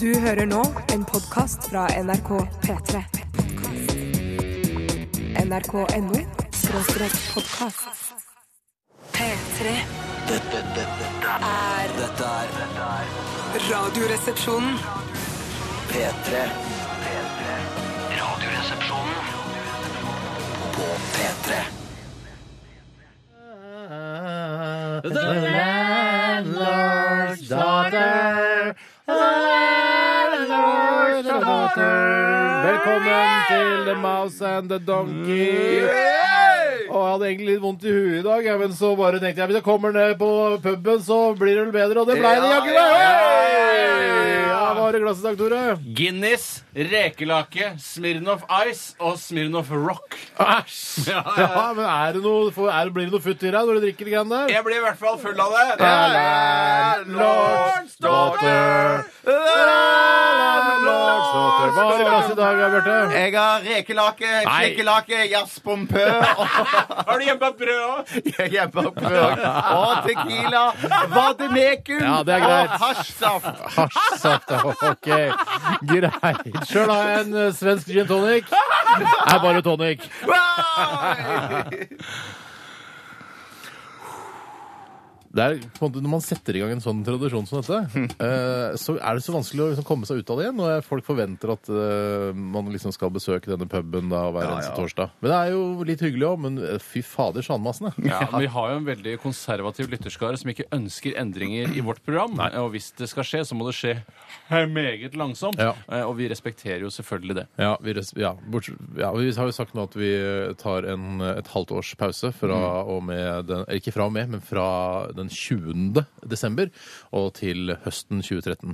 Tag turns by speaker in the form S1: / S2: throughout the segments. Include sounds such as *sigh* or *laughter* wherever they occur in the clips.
S1: Du hører nå en podkast fra NRK P3. NRK.no skråstrek podkast. P3
S2: Dette, dette, dette,
S1: er
S2: dette er
S1: Radioresepsjonen.
S2: P3 P3 Radioresepsjonen På P3
S3: The landlord's daughter. The landlord's daughter. Velkommen til The Mouse and the Donkey. Og jeg hadde egentlig litt vondt i huet i dag, jeg, men så bare tenkte jeg hvis jeg kommer ned på puben, så blir det vel bedre. Og det blei det jaggu meg! Hey! Ja, Hva har du i glasset i dag, Tore?
S4: Guinness, rekelake, Smirnoff Ice og Smirnoff Rock.
S3: Æsj! Ja,
S4: ja.
S3: men er det noe, får- er, blir det noe futt i deg når du drikker de greiene der?
S4: Jeg blir i hvert fall full av det.
S3: Landlords daughter. Landlords daughter. Hva har du i glasset i dag, Bjarte?
S5: Jeg har rekelake,
S3: Nei.
S5: klikkelake, jazzbompør
S4: Har du hjemme brød òg?
S3: *laughs*
S5: Jebbabrød og tequila, vademekun
S3: Ja, det er greit.
S5: og hasjsaft.
S3: Hasjsaft, ja, ok. Greit. Sjøl har jeg en eh, svensk gin tonic. Er bare tonic. Det er, på en måte, når man setter i gang en sånn tradisjon som dette, eh, så er det så vanskelig å liksom, komme seg ut av det igjen. Når folk forventer at eh, man liksom skal besøke denne puben da, hver eneste torsdag. Men det er jo litt hyggelig òg. Men eh, fy fader, sjanmassene.
S4: Ja, men vi har jo en veldig konservativ lytterskare som ikke ønsker endringer i vårt program. Og hvis det skal skje, så må det skje meget langsomt.
S3: Ja.
S4: Eh, Og vi respekterer jo selvfølgelig det.
S3: Ja, vi, res- ja, borts- ja, vi har jo sagt nå at vi eh, tar en, et halvt års pause fra og med den, eller Ikke fra og med, men fra den 20. desember og til høsten 2013.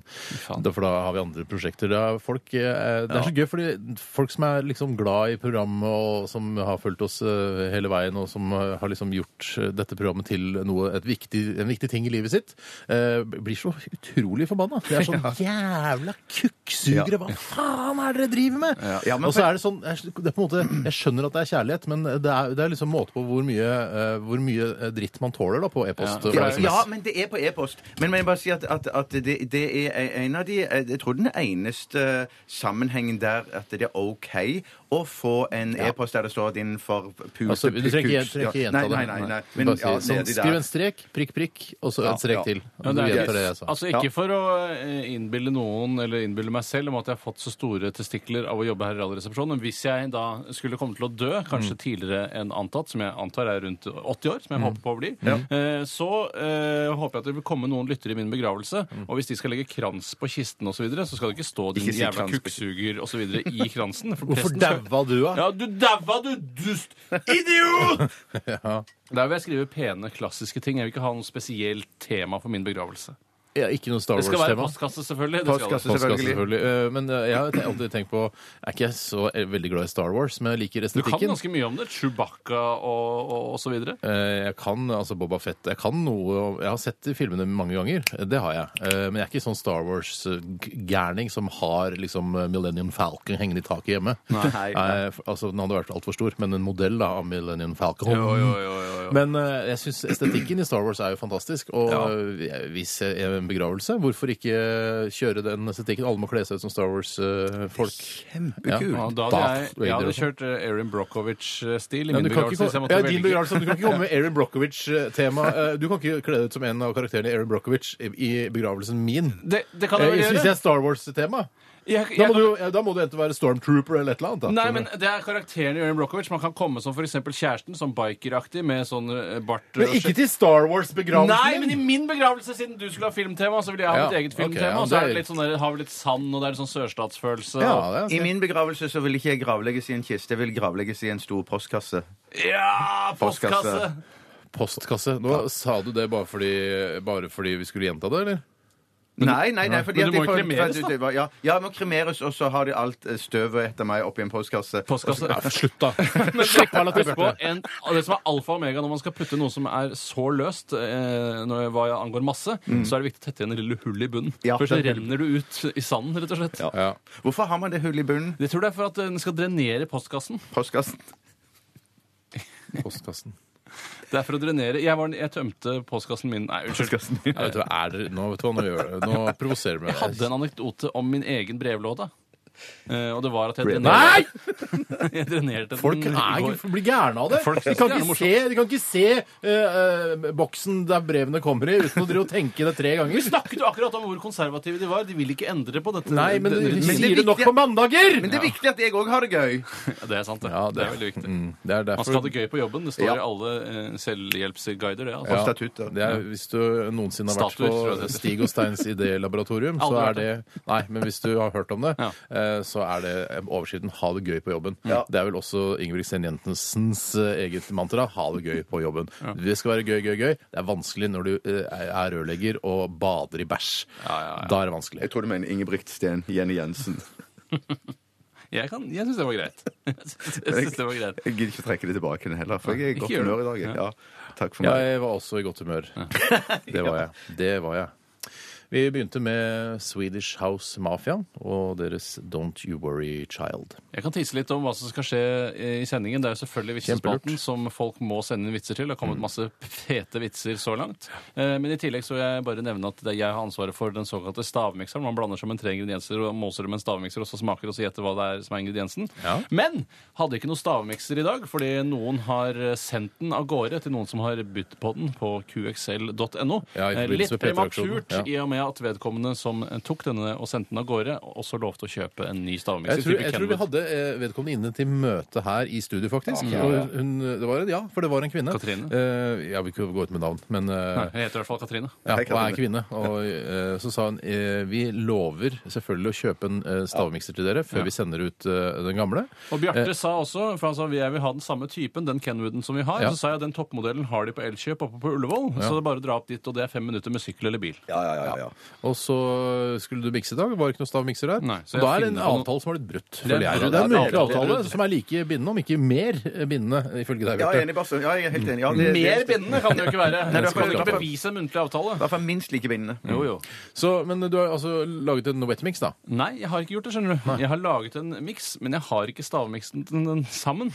S3: Da, for da har vi andre prosjekter. Da er folk, eh, det er så gøy, fordi folk som er liksom glad i programmet og som har fulgt oss eh, hele veien, og som eh, har liksom gjort eh, dette programmet til noe, et viktig, en viktig ting i livet sitt, eh, blir så utrolig forbanna. Det er sånn
S5: *laughs*
S3: jævla kukksugere! Hva faen er det dere driver med?
S5: Ja, men
S3: og så er det sånn, jeg, skj- det er på en måte, jeg skjønner at det er kjærlighet, men det er, det er liksom måte på hvor mye, eh, hvor mye eh, dritt man tåler da, på e-post. og
S5: Ja,
S3: SMS.
S5: ja, men det er på e-post. Men må jeg bare si at, at, at det, det er en av de eh, Jeg tror den eneste eh, sammenhengen der at det er OK å få en e-post der det står at innenfor pute
S3: Altså, du trenger ikke,
S5: kuks-
S3: trenger ikke
S5: ja.
S3: gjenta det.
S5: Nei, nei, nei. nei.
S3: Bare si,
S5: ja,
S3: sånn,
S5: nedi der.
S3: skriv en strek, prikk, prikk, og så en strek
S5: ja.
S3: til.
S4: Ja,
S3: Du
S4: det er-
S3: gjentar det jeg sa.
S4: Altså Ikke for å eh, innbille noen eller innbille meg selv om at jeg har fått så store testikler av å jobbe her i Radioresepsjonen, men hvis jeg da skulle komme til å dø, kanskje tidligere enn antatt, som jeg antar er rundt 80 år, som jeg håper på å bli, eh, så eh, håper jeg at det vil komme noen lyttere i min begravelse. Og hvis de skal legge krans på kisten osv., så, videre, så skal det Mm. ikke stå din
S5: Ikke si
S4: jævla
S5: krans på
S4: kukksuger osv. i kransen. for
S3: Hvorfor
S4: presten skal-
S3: daua du, da?
S4: ja, du daua, du dust!
S3: *laughs*
S4: Idiot! Der vil jeg skrive pene, klassiske ting. Jeg vil ikke ha noe spesielt tema for min begravelse.
S3: Ja, ikke noe Star
S4: Det skal være
S3: Wars-tema.
S4: postkasse, selvfølgelig. Det skal
S5: Postkasse.
S4: det.
S3: Postkasse,
S5: selvfølgelig.
S3: selvfølgelig. Eh, Men eh, jeg har te- alltid tenkt på Jeg er ikke så eh, veldig glad i Star Wars, men jeg liker
S4: Du kan
S3: estetikken.
S4: ganske mye om det. Chewbacca og, og, og så videre.
S3: Eh, Jeg kan altså Boba Fett. Jeg kan noe om- Jeg har sett de filmene mange ganger. Det har jeg. Eh, Men jeg er ikke sånn Star Wars-gærning som har liksom eh, Millennium Falcon hengende i taket hjemme.
S5: Nei.
S3: Eh, for- Altså, Den hadde vært altfor stor, men en modell da, av Millennium Falcon. Men eh, jeg syns estetikken i Star Wars er jo fantastisk. Og eh, hvis jeg er en begravelse, hvorfor ikke kjøre den estetikken? Alle må kle seg ut som Star eh, Wars-folk.
S5: Kjempekult.
S4: Ja, da hadde
S3: Darth
S4: jeg, jeg hadde
S3: Vader.
S4: kjørt eh, Erin Brockovich-stil i min
S3: Men du
S4: begravelse.
S3: kan ikke,
S4: hvis jeg måtte
S3: ja, din
S4: velge.
S3: begravelse, men du kan ikke komme med Erin Brockovich-tema. *laughs* Eh, Du kan ikke kle deg ut som en av karakterene i Erin Brockovich i i begravelsen min.
S4: Det, det kan jeg
S3: Eh,
S4: vel
S3: Hvis hvis det
S4: gjøre.
S3: er Star Wars-tema,
S4: Jeg- jeg
S3: da, må
S4: kan-
S3: du jo- ja, da må du enten være Stormtrooper eller et eller annet. Da.
S4: Nei, men det er karakteren i Erin Brockovich. Man kan komme som f.eks. kjæresten, sånn bikeraktig med sånn eh, bart
S3: men ikke til Star Wars-begravelsen
S4: Nei, men i min begravelse, siden du skulle ha filmtema, så vil jeg ha
S3: Ja,
S4: mitt eget
S3: ok, ja,
S4: filmtema. og så
S3: det er
S4: er det
S3: litt-
S4: litt sånn der, har vi litt sand, og det er litt sånn sørstatsfølelse.
S3: ja,
S4: og...
S3: det er
S5: I
S3: sant.
S5: min begravelse så vil ikke jeg gravlegges i en kiste, jeg vil gravlegges i en stor postkasse.
S4: ja postkasse!
S5: Postkasse.
S3: Postkasse. Nå sa du det bare fordi, bare fordi vi skulle gjenta det, eller?
S5: Nei, nei, nei, fordi
S4: Men du
S5: at
S4: må
S5: jeg
S4: jo
S5: får-
S4: kremeres,
S5: for at du- Ja, ja, jeg må kremeres, og så har de alt eh, støvet etter meg oppi en postkasse.
S4: Postkasse.
S3: Ja, slutt, da!
S4: *laughs* Men
S3: Slapp av, la til
S4: husk på
S3: Bjarte.
S4: en, det som er alfa og omega når man skal putte noe som er så løst, eh, når hva angår masse,
S3: Mm.
S4: så er det viktig å tette igjen det lille hullet i bunnen.
S5: Ja,
S4: Først så
S5: det er-
S4: renner du ut i sanden, rett og slett.
S3: Ja.
S5: Hvorfor har man det hullet i bunnen?
S4: Jeg tror det er for at den skal drenere postkassen.
S5: Postkassen.
S3: Postkassen.
S4: Det er for å drenere. Jeg, var, jeg tømte postkassen min Nei, unnskyld.
S5: Postkassen din.
S3: Ja, vet du hva, er dere, nå vet du hva, nå gjør det. Nå provoserer du meg.
S4: Jeg hadde en anekdote om min egen brevlåde. Eh, og det var at jeg drenerte
S3: Nei!
S4: *laughs* Jeg drenerte
S3: Folk
S4: den i
S3: er,
S4: går.
S3: blir gærne av det.
S4: Folk
S3: De
S4: synes
S3: kan
S4: det er
S3: ikke
S4: morsomt.
S3: se, de kan ikke se eh, eh, boksen der brevene kommer i, uten å drive og tenke det tre
S4: Vi
S3: ganger.
S4: snakket jo akkurat om hvor konservative de var. De vil ikke endre på dette.
S3: Nei, men
S4: det,
S3: de
S5: det er
S3: sier det nok
S5: viktig-
S3: på mandager!
S5: Men det er viktig at jeg òg har det gøy.
S4: Ja, det er sant, det.
S3: Ja,
S4: det, er veldig viktig.
S3: Mm, det
S4: Man
S3: er
S4: skal ha
S3: derfor
S4: det gøy på jobben. Det står
S5: Ja.
S4: i alle eh, selvhjelpsguider, det.
S5: Og
S4: altså.
S5: statutter.
S3: Det er, hvis du noensinne har vært
S4: Statuer, tror jeg det
S3: på
S4: heter.
S3: Stig og Steins idélaboratorium, så
S4: *laughs* Aldri
S3: er det Nei, men hvis du har hørt om det,
S4: Ja.
S3: eh, så er det overskriften 'Ha det gøy på jobben'.
S5: Ja.
S3: Det er vel også Ingebrigtsen Jentensens eh, eget mantra 'Ha det gøy på jobben'. Det skal være gøy, gøy, gøy. Det er vanskelig når du eh, er rørlegger og bader i bæsj. Da er det vanskelig.
S5: Jeg tror du mener Ingebrigtsen Jenny Jensen.
S4: Jeg, kan- jeg syns det var greit. *laughs* Jeg synes det var greit.
S5: Jeg gidder ikke å trekke det tilbake den heller, for jeg er i
S4: Ikke
S5: godt
S4: gjør det.
S5: humør i dag. jeg. Ja, takk for meg.
S3: Jeg var også i godt humør. *laughs* Det var jeg. Det var jeg. Vi begynte med Swedish House Mafia og deres Don't You Worry Child.
S4: Jeg kan tisse litt om hva som skal skje eh, i sendingen. Det er jo selvfølgelig vitsespalten
S3: Kjempelurt. Mm.
S4: som folk må sende inn vitser til. Det har kommet masse fete vitser så langt. Eh, Men i tillegg så vil jeg bare nevne at det er jeg har ansvaret for den såkalte stavmikseren. Man blander sammen tre ingredienser og måser det med en stavmikser, og så smaker det, og så gjetter hva det er som er ingrediensen.
S3: Ja.
S4: Men hadde ikke noe stavmikser i dag, fordi noen har sendt den av gårde til noen som har bytt på den på qxl.no.
S3: Ja,
S4: Eh,
S3: i forbindelse
S4: Litt
S3: med P3-aksjonen,
S4: prematurt i og med at vedkommende som tok denne og sendte den av gårde, også lovte å kjøpe en ny stavmikser.
S3: Jeg tror,
S4: Type
S3: jeg tror vi
S4: Kenwood.
S3: hadde eh, vedkommende inne til møte her i studio, faktisk. Og hun, det var en, ja, for det var en kvinne.
S4: Katrine?
S3: Eh, jeg vil ikke gå ut med navn, men eh,
S4: Hun heter i hvert fall Katrine.
S3: ja, og
S5: Hei,
S3: er
S5: Katrine.
S3: kvinne. Og eh, så sa hun eh, vi lover selvfølgelig å kjøpe en eh, stavmikser til dere før vi sender ut eh, den gamle.
S4: Og Bjarte sa også for han sa, jeg vil ha den samme typen, den Kenwooden som vi har.
S3: Ja.
S4: Så sa jeg den toppmodellen har de på Elkjøp oppe på Ullevål. Så det er bare å dra opp dit, og det er fem minutter med sykkel eller bil.
S5: Ja, ja, ja, ja, ja.
S3: Og så skulle du mikse i dag, var det ikke noe stavmikser der.
S4: Nei, så
S3: og da
S4: jeg
S3: er det en
S4: finner på noe-
S3: avtale som har blitt brutt.
S4: er en
S3: føler jeg.
S4: brudd.
S3: Det er en mulig
S4: Avtale.
S3: avtale som er like bindende, om ikke mer bindende, ifølge deg,
S5: Ja, jeg er
S3: Bjarte.
S5: enig, Basse. Ja, jeg er helt enig. Ja, det,
S4: Mer
S5: det,
S4: bindende kan *laughs* det jo ikke være.
S5: Nei, det
S4: Du kan
S5: er
S4: jo
S5: akkurat-
S4: ikke bevise en muntlig
S5: I
S4: avtale.
S5: hvert fall minst like bindende.
S4: Jo, jo.
S3: Så, men du har altså laget en wetmix, da?
S4: Nei, jeg har ikke gjort det, skjønner du. Jeg har laget en miks, men jeg har ikke stavmiksen den *laughs* sammen.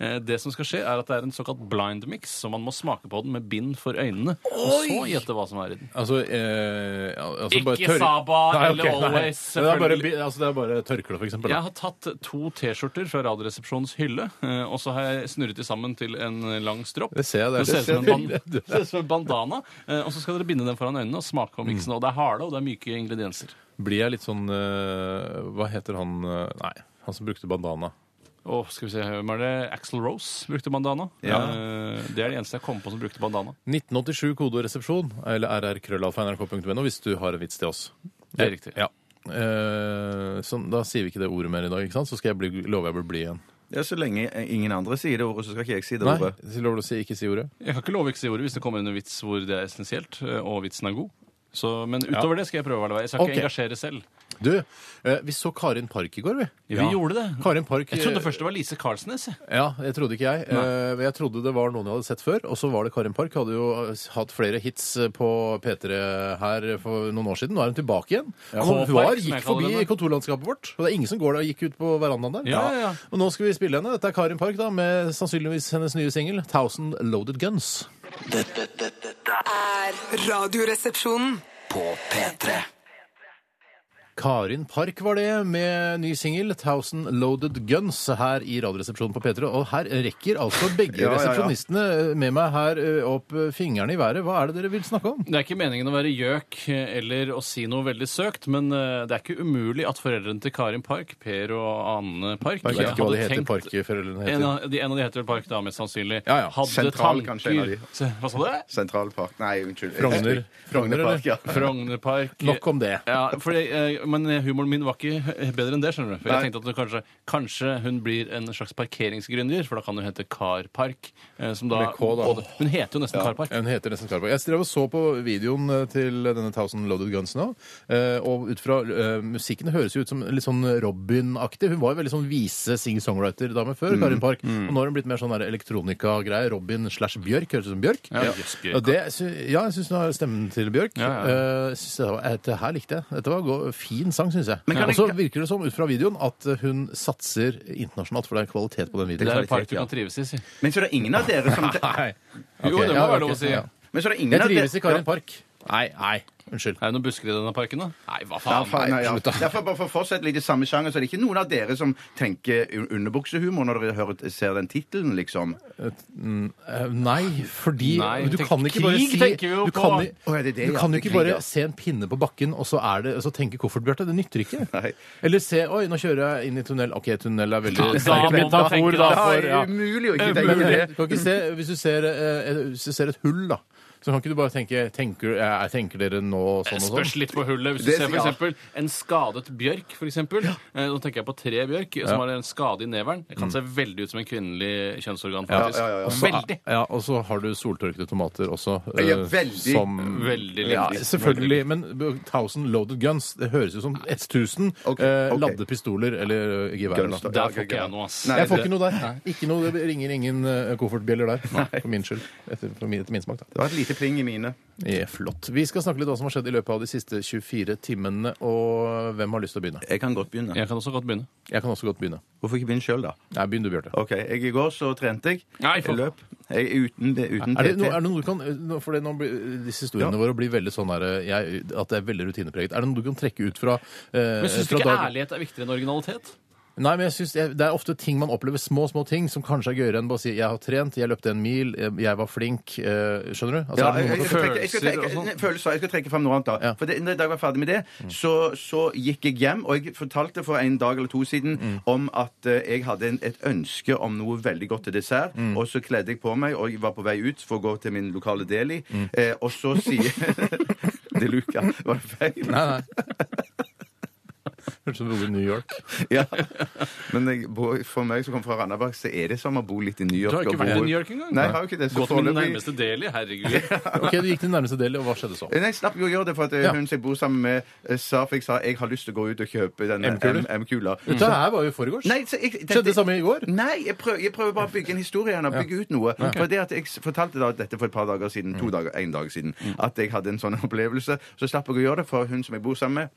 S4: Eh, Det som skal skje, er at det er en såkalt blind mix, så man må smake på den med bind for øynene. Og så gjette hva som er i den.
S3: Altså, eh, ja, altså
S4: Ikke
S3: bare tørr-
S4: Saba
S3: Nei,
S4: eller
S3: ok, nei.
S4: Always,
S3: Men Det er bare,
S4: selvfølgelig.
S3: bi- altså, det er bare tørkle, for eksempel.
S4: Jeg
S3: da.
S4: har tatt to T-skjorter fra Radioresepsjonens hylle, eh, og så har jeg snurret de sammen til en lang stropp.
S3: Det ser jeg, det er-
S4: ser ut som en,
S3: det
S4: ban
S3: ser-
S4: det *laughs* ser ut som en bandana. eh, Og så skal dere binde den foran øynene og smake på
S3: Mm.
S4: miksen. Og det er harde og det er myke ingredienser.
S3: Blir jeg litt sånn eh, Hva heter han eh, Nei, han som brukte bandana.
S4: Og skal vi se, hvem er det? Axel Rose brukte bandana. Eh, Det er det eneste jeg kom på som brukte bandana.
S3: 1987 kode og resepsjon, eller rrkrøllalfa.nrk.no hvis du har en vits til oss.
S4: Det er riktig.
S3: Ja. Eh, sånn, da sier vi ikke det ordet mer i dag, ikke sant? så skal jeg bli, lover jeg blir blid igjen.
S5: Ja, Så lenge eh, ingen andre sier det ordet, så skal ikke jeg si det
S3: Nei,
S5: ordet.
S3: så lover du å si ikke si ordet?
S4: Jeg kan ikke love ikke si ordet hvis det kommer inn en vits hvor det er essensielt, eh, og vitsen er god. Så, men utover det skal jeg prøve å være. Jeg skal ikke
S3: Ok.
S4: engasjere selv.
S3: Du, eh, vi så Karin Park i går, vi.
S4: Vi gjorde det.
S3: Karin Park eh,
S4: Jeg trodde først det var Lise Karlsnes. jeg.
S3: Ja, jeg trodde ikke jeg. Eh, Men jeg trodde det var noen jeg hadde sett før. Og så var det Karin Park. Hadde jo eh, hatt flere hits eh, på P3 her for noen år siden. Nå er hun tilbake igjen. hun
S4: K-Park, som
S3: var,
S4: jeg
S3: gikk
S4: kaller
S3: forbi
S4: henne.
S3: kontorlandskapet vårt. Og det er ingen som går der og gikk ut på verandaen der.
S4: Ja, ja, ja.
S3: Og nå skal vi spille henne. Dette er Karin Park da, med sannsynligvis hennes nye singel 'Thousand Loaded Guns'.
S2: Dette, dette, dette er
S1: Er Radioresepsjonen.
S2: på P3.
S3: Karin Park var det, med ny singel 'Thousand Loaded Guns' her i Radioresepsjonen på P3. Og her rekker altså begge
S5: Ja, ja, ja.
S3: resepsjonistene med meg her eh, opp eh, fingrene i været. Hva er det dere vil snakke om?
S4: Det er ikke meningen å være gjøk eh, eller å si noe veldig søkt, men eh, det er ikke umulig at foreldrene til Karin Park, Per og Anne Park,
S3: Jeg vet ikke hva
S4: hadde
S3: de heter,
S4: tenkt-
S3: parkforeldrene
S4: en
S3: heter.
S4: av, de, en av de heter vel Park, da, mest sannsynlig.
S3: Ja, ja.
S4: Hadde
S5: Sentral,
S4: tanker.
S5: kanskje, en av de.
S4: Se, Hva sa du?
S5: Sentralpark Nei, unnskyld.
S3: Frogner. Frogner, eller?
S5: Frognerpark, ja.
S4: Frognerpark.
S3: Nok om det.
S4: Ja, fordi, eh, men humoren min var ikke bedre enn det, skjønner du. For
S5: Nei.
S4: jeg tenkte at det kanskje, kanskje hun blir en slags parkeringsgründer, for da kan hun hete Karpark. eh, Som da,
S3: Med K, da.
S4: Og- Hun heter jo nesten Karpark.
S3: Hun heter nesten Karpa. Jeg drev og så på videoen eh, til denne Thousand Loaded Guns nå. eh, Og ut fra eh, musikken høres jo ut som litt sånn Robin-aktig. Hun var jo veldig sånn vise
S4: Mm.
S3: sing-songwriter-dame før, Karin Park. Og nå har hun blitt mer sånn der elektronika-greie. Robin slash Bjørk. Høres ut som Bjørk.
S4: Ja, jøss, Bjørk.
S3: Og det, sy- ja jeg syns hun har stemmen til Bjørk.
S4: Ja, ja.
S3: Eh, synes det var, dette her likte jeg. Dette var go- fin sang, syns jeg.
S5: Men kan
S3: Og
S5: jeg-
S3: så virker det som, ut fra videoen, at hun satser internasjonalt, for det er kvalitet på den
S4: Det
S3: videoen.
S4: er en park du
S5: ja.
S4: kan trives i, si.
S5: Men så er det ingen av dere som
S3: Nei.
S4: Jo,
S3: Ok,
S4: det må
S3: ja,
S4: være
S3: ok,
S4: lov å si.
S3: ja.
S5: Men så er det ingen
S3: Jeg
S5: av dere-
S3: trives i Karin Park. Nei, nei. Unnskyld.
S4: Er det noen busker i denne parken, da? Nei, hva
S5: Ja,
S4: faen.
S5: faen,
S3: nei,
S5: ja.
S3: slutt da.
S5: Derfor bare for å fortsette litt i samme sjanger, så er det ikke noen av dere som tenker un- underbuksehumor når dere hører, ser den tittelen, liksom.
S3: Eh, Nei, fordi
S4: Nei,
S3: du
S4: tenk-
S3: kan ikke bare
S4: krig
S3: si
S4: tenker vi jo
S3: du
S4: på.
S3: kan, i-
S5: Å, ja, det er det,
S3: Du
S5: ja.
S3: kan jo
S5: Det er
S3: ikke
S5: krig,
S3: bare
S5: ja.
S3: se en pinne på bakken og så, er det, så tenke koffert, Bjarte. Det nytter ikke.
S5: Nei.
S3: Eller se Oi, nå kjører jeg inn i tunnel. OK, tunnel er veldig
S4: Da
S3: sterk
S4: må man
S3: metafor,
S4: tenke
S3: da,
S4: det.
S3: for-
S5: det
S3: ja.
S5: er umulig å ikke
S3: Det er
S5: tenke
S3: mulig.
S5: det.
S3: Du kan ikke se, hvis, du ser, eh, eh, hvis du ser et hull, da, så kan ikke du bare tenke tenker, jeg, tenker dere nå sånn og
S4: Spørs
S3: sånn?
S4: litt på hullet. Hvis du
S5: Det-
S4: ser for
S5: ja.
S4: eksempel en skadet bjørk, for eksempel. Eh, Nå tenker jeg på tre bjørk som har en skade i neveren. Det kan se veldig ut som en kvinnelig kjønnsorgan, faktisk.
S5: ja, ja, ja.
S4: Og så- Veldig.
S3: Ja, og så har du soltørkede tomater også. eh,
S5: Ja, veldig.
S3: Som,
S4: Veldig
S3: ja,
S4: lengdig.
S3: selvfølgelig. Men 1000 loaded guns, det høres jo som 1000
S5: Ok,
S3: eh,
S5: ok.
S3: ladde pistoler eller eh, geværer.
S5: Guns, da.
S3: da.
S4: Der
S5: Ja,
S4: får
S5: ok,
S4: ikke
S5: ja.
S4: jeg noe, ass.
S5: Nei,
S3: Jeg får
S5: det-
S3: ikke noe der. Ikke noe, det ringer ingen eh, koffertbjeller der. For min skyld. Etter, for min, etter min smak, da.
S5: Det var et lite pling i mine.
S3: Ja, flott. Vi skal snakke litt om hva som har skjedd i løpet av de siste 24 timene. Og hvem har lyst til å begynne?
S5: Jeg kan godt begynne.
S4: Jeg kan også godt begynne.
S3: Jeg kan også godt begynne.
S5: Hvorfor ikke begynne sjøl, da?
S3: Nei, begynn du, Bjarte.
S5: OK. Jeg, I går så trente jeg.
S4: Nei, for-
S5: jeg løp. Jeg, uten det, uten
S3: Er det,
S5: PT.
S3: noe, er det noe du kan, eh, nå- for det, nå blir, Disse historiene
S5: Ja.
S3: våre blir veldig sånn her, jeg, at det er veldig rutinepreget. Er det noe du kan trekke ut fra eh,
S4: Men syns du
S3: fra
S4: ikke
S3: dagen-
S4: ærlighet er viktigere enn originalitet?
S3: Nei, men jeg synes det, det er ofte ting man opplever, små små ting, som kanskje er gøyere enn bare å si 'jeg har trent', 'jeg løpte en mil', 'jeg var flink'. Eh, skjønner du? Altså,
S5: Ja,
S3: er det noe
S5: jeg, jeg,
S3: man
S5: skal trekke, jeg, skal
S4: følelser
S5: trekke,
S4: og sånn?
S5: nei, følelser, jeg skal trekke fram noe annet. da
S3: Ja. Mm.
S5: For det, Da jeg var ferdig med det, så, så gikk jeg hjem. Og jeg fortalte for en dag eller to siden
S3: Mm.
S5: om at eh, jeg hadde en, et ønske om noe veldig godt til dessert.
S3: Mm.
S5: Og så kledde jeg på meg og jeg var på vei ut for å gå til min lokale deli.
S3: Mm.
S5: Eh, og
S3: *laughs*
S5: så sier *laughs* Det er Luca. Var det feil?
S3: Nei, nei. Hørtes ut som å bo i New York.
S5: Ja. Men jeg, bor- for meg som kommer fra Randaberg, så er det som å bo litt i New York.
S4: Du har ikke
S5: og bo-
S4: vært i New York engang?
S5: Nei, jeg har jo ikke det. Så
S4: Gå til den
S5: foreløpig-
S4: nærmeste deli, herregud.
S3: Ok, Du gikk til nærmeste del, og hva skjedde så?
S5: Eh, Nei, jeg slapp jo å gjøre det, for at eh,
S3: Ja.
S5: hun som jeg bor sammen med, eh, sa for jeg sa jeg har lyst til å gå ut og kjøpe denne
S3: M-kuler?
S5: M- M-kula.
S3: Dette her var jo i forgårs.
S5: Nei, så jeg,
S3: Skjedde det samme i går?
S5: Nei, jeg prøver, jeg prøver bare å bygge en historie igjen og bygge ut noe. For det at Jeg s- fortalte da dette for et par dager siden, to dager, en dag siden, at jeg hadde en sånn *laughs* opplevelse. Så slapp jeg å gjøre det, for hun som jeg bor sammen med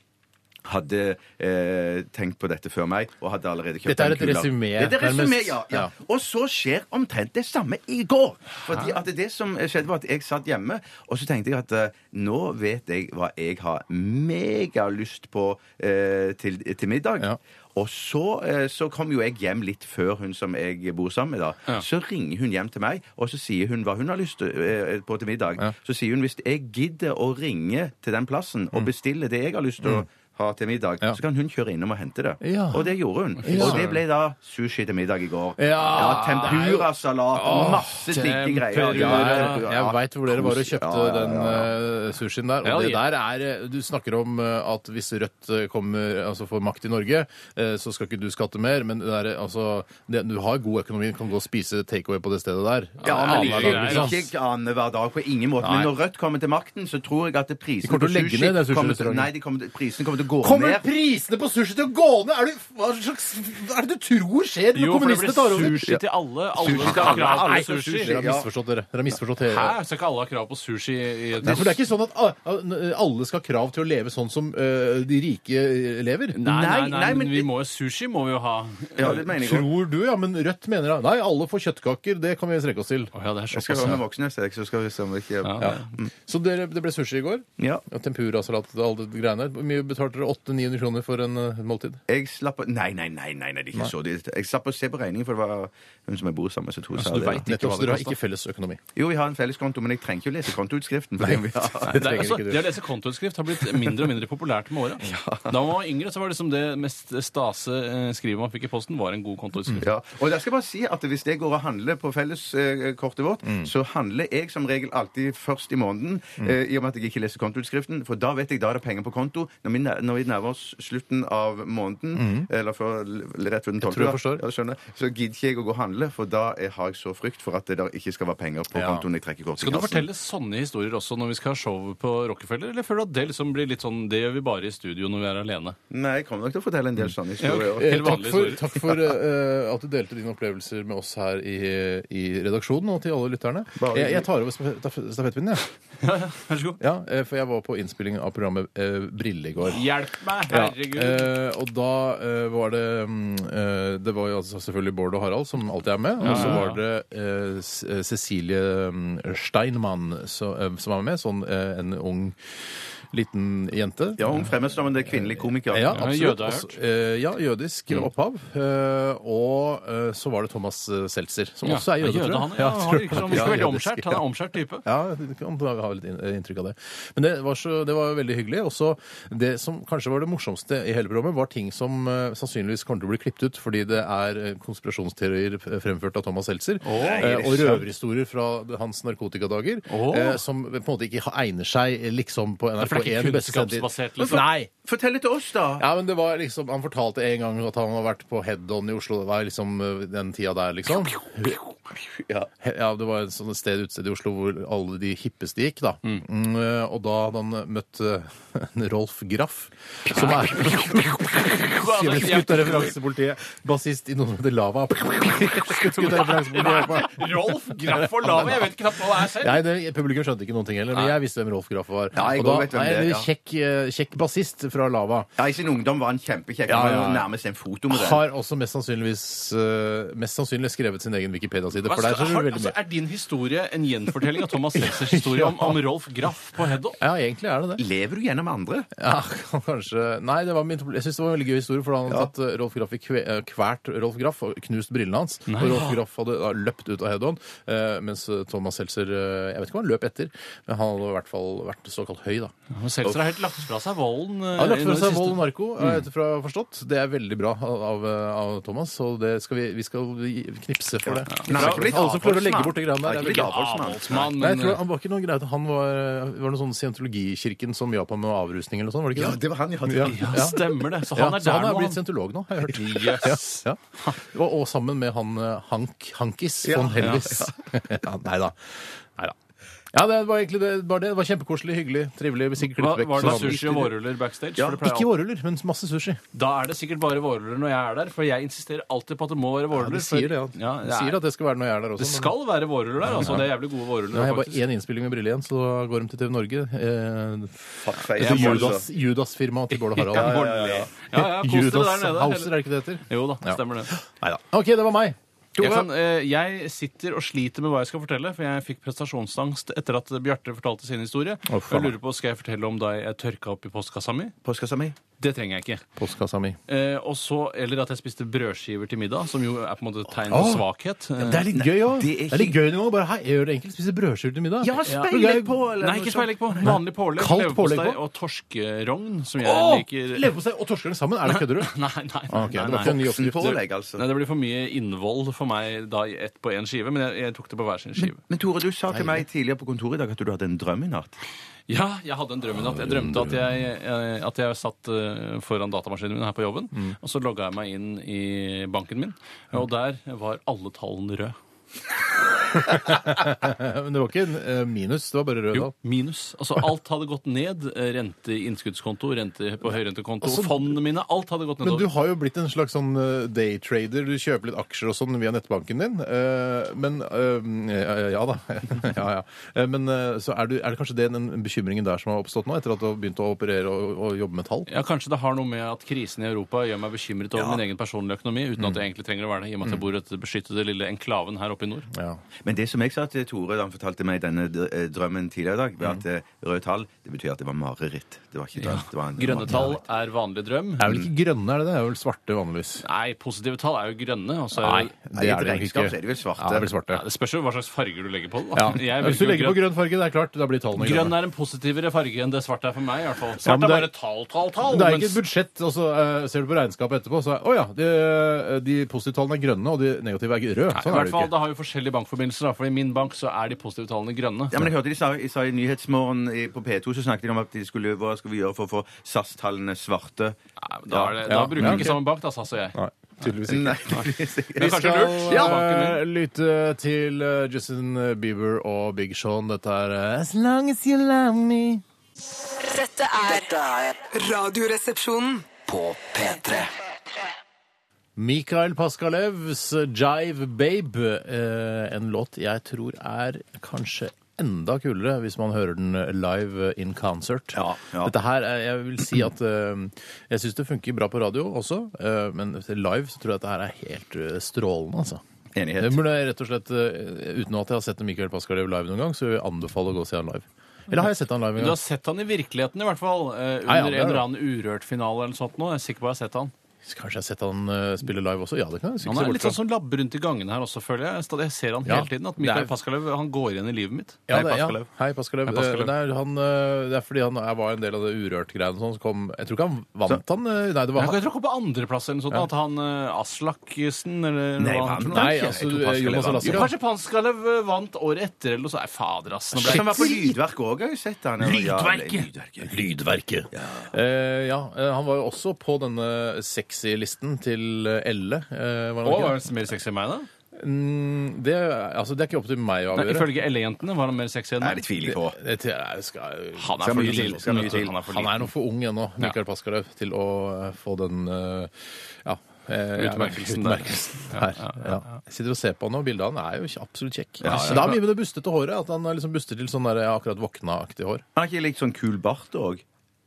S5: hadde eh, tenkt på dette før meg og hadde allerede kjøpt
S3: Dette er
S5: den
S3: et
S5: kula.
S3: resumé,
S5: Dette er resumé,
S3: nærmest.
S5: ja, ja.
S3: Ja.
S5: Og så skjer omtrent det samme i går. Fordi at det som skjedde var at jeg satt hjemme, og så tenkte jeg at eh, nå vet jeg hva jeg har megalyst på eh, til, til middag.
S3: Ja.
S5: Og så, eh, så kom jo jeg hjem litt før hun som jeg bor sammen med. da. Så ringer hun hjem til meg, og så sier hun hva hun har lyst til, eh, på til middag. Så sier hun hvis jeg gidder å ringe til den plassen og bestille det jeg har lyst til å ha til middag,
S3: Mm. Ja.
S5: så kan hun kjøre innom og hente det.
S3: Ja.
S5: Og det gjorde hun. Og det ble da sushi til middag i går.
S3: Ja.
S5: Tempura-salat, masse digge greier.
S3: Jeg,
S5: tempura.
S3: jeg veit hvor dere var og kjøpte
S5: Ja, ja, ja,
S3: den
S5: ja.
S3: eh, sushien der. Og
S4: Ja,
S3: det
S4: ja.
S3: der er eh, Du snakker om eh, at hvis Rødt eh, kommer, altså får makt i Norge, eh, så skal ikke du skatte mer. Men det der, eh, altså, det, du har god økonomi, du kan gå og spise takeaway på det stedet der. liksom.
S5: Ja, men
S4: Ja,
S3: Annenhver
S4: det er
S3: dag,
S4: greit.
S3: ikke sant?
S5: ikke annenhver dag på ingen måte.
S3: Nei.
S5: Men når Rødt kommer til makten, så tror jeg at prisene
S3: kommer
S5: på
S3: til å legge
S5: sushi
S3: ned den
S5: kommer til,
S3: sushi-restauranten.
S5: Nei, de kommer til, prisene kommer til å gå
S3: Kommer
S5: ned.
S3: prisene på sushi til å gå ned?! Er du, hva slags hva er det du tror skjer
S4: Jo,
S3: når
S4: for det
S3: kommunistene
S4: blir
S3: tar over?
S4: sushi til alle.
S5: Sushi
S4: Alle
S5: til
S4: skal ha
S5: alle,
S4: krav
S5: alle
S4: på
S5: sushi.
S4: sushi.
S3: Dere har misforstått dere. Dere har misforstått hele-
S4: Hæ? Skal ikke alle ha krav på sushi? i et-
S3: Nei, for det er ikke sånn at ah, alle skal ha krav til å leve sånn som eh, de rike
S4: Nei,
S3: lever.
S4: nei, nei,
S5: Nei, nei,
S4: men
S5: men-
S4: vi må jo sushi må vi jo ha.
S5: Ja, det mener jeg også.
S3: Tror du, ja, men Rødt mener da Nei, alle får kjøttkaker, det kan vi strekke oss til.
S4: Å ja, det er
S5: Jeg skal
S4: såpass.
S5: være med
S4: ja.
S5: voksne, så jeg så skal vi se om vi ikke
S4: Ja.
S3: Ja. Så dere, det ble sushi i går.
S5: Ja.
S3: Ja, Tempurasalat og alle de greiene. Hvor mye betalte dere? 800-900 kroner for en eh, måltid?
S5: Jeg slapp å Nei, nei, nei, nei, nei det er ikke så dyrt. Jeg slapp å se på regningen, for det var hun som jeg bor sammen med, så to sa
S4: du
S5: det.
S4: vet
S5: da.
S4: ikke
S3: Nettopp,
S4: hva det
S3: så dere har
S4: kostet.
S3: Altså, ikke felles økonomi.
S5: Jo, vi har en felleskonto, men jeg trenger ikke å lese kontoutskriften. Fordi vi har...
S3: Det
S4: Det, er,
S3: trenger
S4: altså,
S3: ikke
S4: det å
S3: du.
S4: lese kontoutskrift har blitt mindre og mindre populært med åra.
S3: *laughs*
S4: Da man var yngre, så var det liksom det mest stase eh, skrivet man fikk i posten, var en god kontoutskrift.
S5: Ja. Og jeg skal bare si at Hvis jeg går og handler på felleskortet vårt,
S3: Mm.
S5: så handler jeg som regel alltid først i måneden. Eh, I og med at jeg ikke leser kontoutskriften. For da vet jeg da er det penger på konto. Når vi, nær- når vi nærmer oss slutten av måneden, eller før- eller rett før den 12.,
S3: tror Mm. jeg
S5: da,
S3: forstår.
S5: ja, skjønner jeg, så gidder ikke jeg å gå og handle, for da er, har jeg så frykt for at det der ikke skal være penger på
S3: Ja.
S5: kontoen jeg trekker kortet. i
S4: Skal du
S5: kassen.
S4: fortelle sånne historier også når vi skal ha show på Rockefeller, eller føler du at det liksom blir litt sånn Det gjør vi bare i studio når vi er alene?
S5: Nei, jeg kommer nok til å fortelle en del sånne
S4: Ja, ok.
S5: historier. også.
S3: Eh,
S4: Helt
S3: Takk
S4: vanlige
S3: for,
S4: historier.
S3: takk for eh, at du delte dine opplevelser med oss her i, i redaksjonen og til alle lytterne.
S5: Bare
S3: Jeg, jeg tar over staf- stafettpinnen, jeg.
S4: Vær så god.
S3: Ja, eh, for jeg var på innspilling av programmet eh, Brille i går.
S4: Hjelp meg,
S3: Ja,
S4: herregud!
S3: eh, og da eh, var det mm, eh, Det var jo altså selvfølgelig Bård og Harald, som alltid er med. Og så
S4: ja, ja.
S3: var det eh, S- eh, Cecilie mm, Steinmann så, eh, som var med. Sånn eh, en ung, liten jente.
S5: Ja, hun fremmes som en kvinnelig komiker.
S3: Ja,
S4: Ja,
S3: absolutt.
S4: jøde har jeg Mm.
S3: Også- eh, ja, jødisk opphav. Eh, og eh, så var det Thomas eh, Seltzer, som
S4: Ja,
S3: også er jøde, tror jeg.
S4: han, ja,
S3: jeg
S4: han
S3: tror
S4: virker som
S3: han er
S4: veldig
S3: jødisk,
S4: omskjært. Han er omskjært type.
S3: ja, du kan ha litt inn- eh, inntrykk av det. Men det var, så, det var veldig hyggelig. Også det som kanskje var det morsomste i hele programmet, var ting som eh, sannsynligvis kommer til å bli klippet ut fordi det er eh, konspirasjonsteorier f- fremført av Thomas Seltzer. eh, og røverhistorier fra hans narkotikadager
S4: Åh.
S3: eh, som på en måte ikke ha- egner seg eh, liksom på
S4: For det er
S3: NRK1.
S4: ikke kunnskapsbasert, liksom.
S3: Nei!
S5: Fortell det til oss, da!
S3: Ja, men det var liksom, Han fortalte en gang at han har vært på Head-On i Oslo. Det var liksom eh, den tida der, liksom.
S5: Ja.
S3: He- Ja, det var et sånt sted utested i Oslo hvor alle de hippeste gikk, da. Mm, eh, og da hadde han eh, møtt eh, en Rolf Graff, som er Skutt- Skutt av referansepolitiet. Bassist i noe som heter Lava. Skutt skutt av referansepolitiet.
S4: Rolf Graff og Lava, jeg vet knapt hva det er selv.
S3: Nei, det, Publikum skjønte ikke noen ting heller, men jeg visste hvem Rolf Graff var.
S5: Ja, jeg
S3: og da
S5: går vet hvem
S3: er
S5: det er,
S3: det
S5: ja.
S3: kjekk, eh, kjekk bassist fra Lava.
S5: Ja, I sin ungdom var han kjempekjekk.
S3: Ja,
S5: Han var
S3: ja,
S5: jo
S3: ja.
S5: nærmest en fotomodell.
S3: Har også mest sannsynligvis eh, mest sannsynlig skrevet sin egen Wikipedia-side. For der så
S4: Har-
S3: er det veldig
S4: altså,
S3: mye.
S4: er din historie en gjenfortelling av Thomas *laughs* Seltzers historie om, om Rolf Graff på Heddo?
S3: Ja, egentlig er det det.
S5: Lever du gjennom andre?
S3: Ja, *laughs* kanskje Nei, det var min, jeg syns det var en veldig gøy historie, for da hadde tatt eh, Rolf Graff i kve, eh, kvært Rolf Graff og knust brillene hans. Og Rolf Graff hadde da løpt ut av head-on, eh, mens eh, Thomas Seltzer eh, Jeg vet ikke om han løp etter, men han hadde i hvert fall vært såkalt høy, da.
S4: Ja, men Seltzer har helt lagt fra seg volden. eh,
S3: Han har lagt
S4: i
S3: fra
S4: det
S3: seg
S4: siste. Mm.
S3: vold og narko, eh, etterfra forstått. Det er veldig bra av, av- eh, av Thomas, og det skal vi, vi skal knipse for det.
S5: Nei,
S3: Alle som klarer å legge bort de greiene
S5: Nei,
S3: der, det er
S5: ikke
S3: veldig
S5: bra folk, mann.
S4: Avholdsmann,
S3: Nei, jeg
S4: men, eh,
S3: tror han var ikke noe greit. Han var, var noe sånn scientologikirken som Japan med avrusning eller noe sånt, var det ikke
S5: Ja, det var han jeg hadde.
S3: Ja.
S4: eh, Ja, stemmer det. Så
S3: Ja,
S4: han er
S3: så
S4: der
S3: han er
S4: nå.
S3: blitt
S4: han.
S3: scientolog nå, har jeg
S4: *laughs*
S3: hørt. Ja, ja. Og, og sammen med han eh, Hank, Hankis von Hellis. *laughs* Ja, nei da. Nei da. Ja, det var egentlig det. Bare det. det var kjempekoselig, hyggelig, trivelig. Vi sikkert
S4: Hva,
S3: klippet vekk.
S4: var det
S3: sånn.
S4: sushi og vårruller backstage? For det pleier
S3: Ikke vårruller, men masse sushi.
S4: Da er det sikkert bare vårruller når jeg er der, for jeg insisterer alltid på at det må være
S3: Ja,
S4: vårruller.
S3: de sier det, ja.
S4: for-
S3: De
S4: det, er,
S3: sier at det skal være når jeg er der også.
S4: det skal være vårruller der, altså. Det er jævlig gode
S3: Men nå har
S4: vårruller.
S3: jeg bare én innspilling med brille igjen, så da går de til TV Norge. Eh,
S5: Fuck face,
S3: så
S5: altså.
S3: Judas- Judas-firmaet til Bård
S4: *laughs*
S3: og
S4: Ja, ja,
S3: Harald.
S4: ja. ja, *laughs* ja kos dere der
S3: Judas
S4: nede.
S3: Hauser, er det ikke det heter?
S4: Jo da,
S3: Ja.
S4: stemmer det.
S3: OK, det var meg.
S4: Jeg, kan, eh, jeg sitter og sliter med hva jeg skal fortelle, for jeg fikk prestasjonsangst etter at Bjarte fortalte sin historie.
S3: Å,
S4: jeg
S3: faen.
S4: lurer på, Skal jeg fortelle om da jeg tørka opp i postkassa mi?
S5: Postkassa mi.
S4: Det trenger jeg ikke.
S3: Postkassa mi.
S4: Eh, og så, Eller at jeg spiste brødskiver til middag, som jo er på en måte et tegn på
S3: Åh.
S4: svakhet. Eh,
S3: Det er litt gøy òg.
S5: det er
S3: Det er litt gøy noen ganger. Bare hei, jeg gjør det enkelt. Spiser brødskiver til middag.
S5: Ja,
S3: Ja.
S5: speilegg på,
S4: Eh,
S5: eller
S4: Nei, ikke speilegg på. Vanlig pålegg.
S3: Kaldt
S4: Leverpostei
S3: pålegg på?
S4: og torskerogn, som jeg
S3: Åh,
S4: liker.
S3: Leverpostei og torskerne sammen? Er det kødder du?
S4: *laughs* Nei, nei, nei,
S3: Ah, ok, det
S4: nei,
S3: var ikke en
S4: nei.
S3: ny
S5: Voksen
S3: oppskrift.
S5: pålegg, altså.
S4: nei. Det blir for mye innvoll for meg da i ett på én skive, men jeg, jeg tok det på hver sin skive.
S5: Men Tore, du sa til meg tidligere på kontoret i dag at du hadde en drøm i natt.
S4: Ja, jeg hadde en drøm i natt. Jeg drømte at jeg, eh, at jeg satt eh, foran datamaskinen min her på jobben,
S3: Mm.
S4: og så logga jeg meg inn i banken min, og der var alle tallene røde.
S3: Ja, Men det var ikke en eh, minus, det var bare rød
S4: Jo,
S3: da.
S4: minus. Altså,
S3: *laughs*
S4: alt hadde gått ned. Eh, Rente i innskuddskonto, rente på høyrentekonto,
S3: Altså,
S4: fondene mine, alt hadde gått
S3: Men du
S4: nedover.
S3: har jo blitt en slags sånn eh, daytrader. Du kjøper litt aksjer og sånn via nettbanken din. Eh, Men eh, ja, ja da. *laughs* ja, ja. Eh, Men eh, så er, du, er det kanskje det den bekymringen der som har oppstått nå, etter at du har begynt å operere og, og jobbe med tall?
S4: Ja, Kanskje det har noe med at krisen i Europa gjør meg bekymret over min egen personlige økonomi, uten
S3: Mm.
S4: at jeg egentlig trenger å være det, i og med at jeg bor i dette beskyttede lille enklaven her oppe i nord.
S3: Ja.
S5: Men det som jeg sa til Tore da han fortalte meg denne dr- eh, drømmen tidligere i dag, var
S4: Mm.
S5: at eh, røde tall det betyr at det var mareritt. Det var ikke drøm. Det var en
S4: Grønne tall
S5: mareritt.
S4: er vanlig drøm.
S3: Det er vel ikke grønne, er det det? Det er vel svarte vanligvis.
S4: Nei, positive tall er jo grønne. og så er jo-
S5: Nei, i et regnskap så er de vel svarte.
S3: Ja, det er vel svarte.
S4: Ja, det spørs jo hva slags farger du legger på. det,
S3: Ja.
S4: Da. *laughs* Jeg
S3: Hvis du
S4: velger jo
S3: legger på grønn farge, det er klart, da blir tallene grønne.
S4: Grønn er en positivere farge enn det svarte er for meg. i hvert fall.
S3: Ja,
S4: Svart er
S3: men det er-
S4: bare tall, tall, tall.
S3: Men det er ikke
S4: mens-
S3: et budsjett. og så eh, ser du på regnskapet etterpå, så er å ja, de, eh, de positive tallene er grønne, og de negative er røde.
S4: Nei,
S3: Sånn
S4: i
S3: er
S4: hvert
S3: det jo
S4: fall,
S3: ikke.
S4: Det har jo forskjellige bankforbindelser. da, for I min bank så er de positive tallene grønne.
S5: Ja, men jeg hørte de sa, jeg sa I Nyhetsmorgen i- på P2 så snakket de om at de skulle, hva skal vi gjøre for å få SAS-tallene svarte.
S4: Nei, men da, er det, da
S3: Ja.
S4: bruker
S3: Ja,
S4: vi
S3: ok.
S4: ikke samme bank, da, SAS og jeg.
S3: Nei, tydeligvis ikke.
S5: *laughs* Nei, det
S4: Men
S3: Vi
S5: er
S4: kanskje
S3: skal
S4: lurt. Ja, banken
S3: eh, lytte til eh, Justin Bieber og Big Sean. Dette er eh, As long as you love me.
S1: Dette er
S2: Dette er
S1: Radioresepsjonen.
S2: på P3.
S3: Mikael Paskalevs Jive Babe. eh, En låt jeg tror er kanskje enda kulere hvis man hører den live in concert.
S5: Ja, ja.
S3: Dette her, er- jeg vil si at eh, jeg syns det funker bra på radio også, eh, men live så tror jeg at det her er helt eh, strålende, altså.
S5: Enighet.
S3: Men det er rett og slett, eh, uten at jeg har sett Michael Pascal live noen gang, så vil jeg anbefale å gå og se han live. Eller har jeg sett han live
S4: Du
S3: en gang?
S4: har sett han i virkeligheten, i hvert fall. eh, Under
S3: Ja, ja, det er
S4: en eller
S3: det.
S4: annen Urørt-finale eller noe sånt. Nå. Jeg er sikker på at jeg har sett han.
S3: Kanskje jeg har sett han eh, spille live også? Ja, det kan jeg
S4: Han er litt
S3: sikkert se bort fra.
S4: sånn som labber rundt i gangene her også, føler jeg. Stadig- Jeg ser han
S3: Ja.
S4: hele tiden. At Mikael
S3: Det er-
S4: Paskalev han går igjen i livet mitt.
S3: Ja,
S4: Nei,
S3: det, ja.
S4: Paskalev.
S3: Hei, Paskalev.
S4: Hei, Paskalev.
S3: Eh, Nei, han, eh, det er fordi han jeg var en del av det urørt-greiene og sånn. Så kom, jeg tror ikke han vant han. eh, Nei, det var
S4: Jeg,
S3: han.
S4: jeg tror ikke på andreplass eller noe sånt. At han eh, Aslaksen eller
S5: Nei,
S4: hva
S5: hva
S4: han
S5: han-
S4: heter.
S3: Nei,
S5: Jeg
S3: altså
S5: tror
S3: du, eh,
S5: Paskalev
S3: Jonas og
S5: vant.
S3: Lasse.
S5: Jo,
S3: Ja.
S4: Kanskje Paskalev eh, vant året etter eller noe sånt. Nei, Fader, ass. Nå ble
S5: Det
S4: jeg
S5: kan være på Lydverket òg, har jeg sett han.
S4: Lydverket.
S5: Lydverket.
S3: Lydverket. Ja. ja, eh, han var jo også på denne sexy-listen til eh, Elle. eh, var
S4: Å,
S3: han ikke
S4: var
S3: det?
S4: han mer sexy enn meg, da?
S3: Mm, det, altså, det er ikke opp til meg å
S4: Nei,
S3: avgjøre.
S4: ifølge LE-jentene var han mer sexy enn
S5: Nei,
S4: meg.
S5: det tviler jeg på.
S3: Det- det er- skal-
S4: Han
S5: Skal
S4: er for
S5: mye
S4: liten.
S5: til, skal mye
S4: vet du.
S5: til.
S4: Han er for
S3: Han
S4: liten.
S3: er nok for ung ennå, Mikael Paskalev, til å eh, få den eh, ja, eh,
S4: Utmerkelsen der.
S3: utmerkelsen her. Ja. Jeg sitter og ser på han nå, bildet av han er jo ikke- absolutt kjekk.
S5: Ja, ja.
S3: Det har mye med det bustete håret, at han liksom buster til sånn der eh, akkurat våkna-aktig hår.
S5: Han har ikke likt sånn kul bart òg?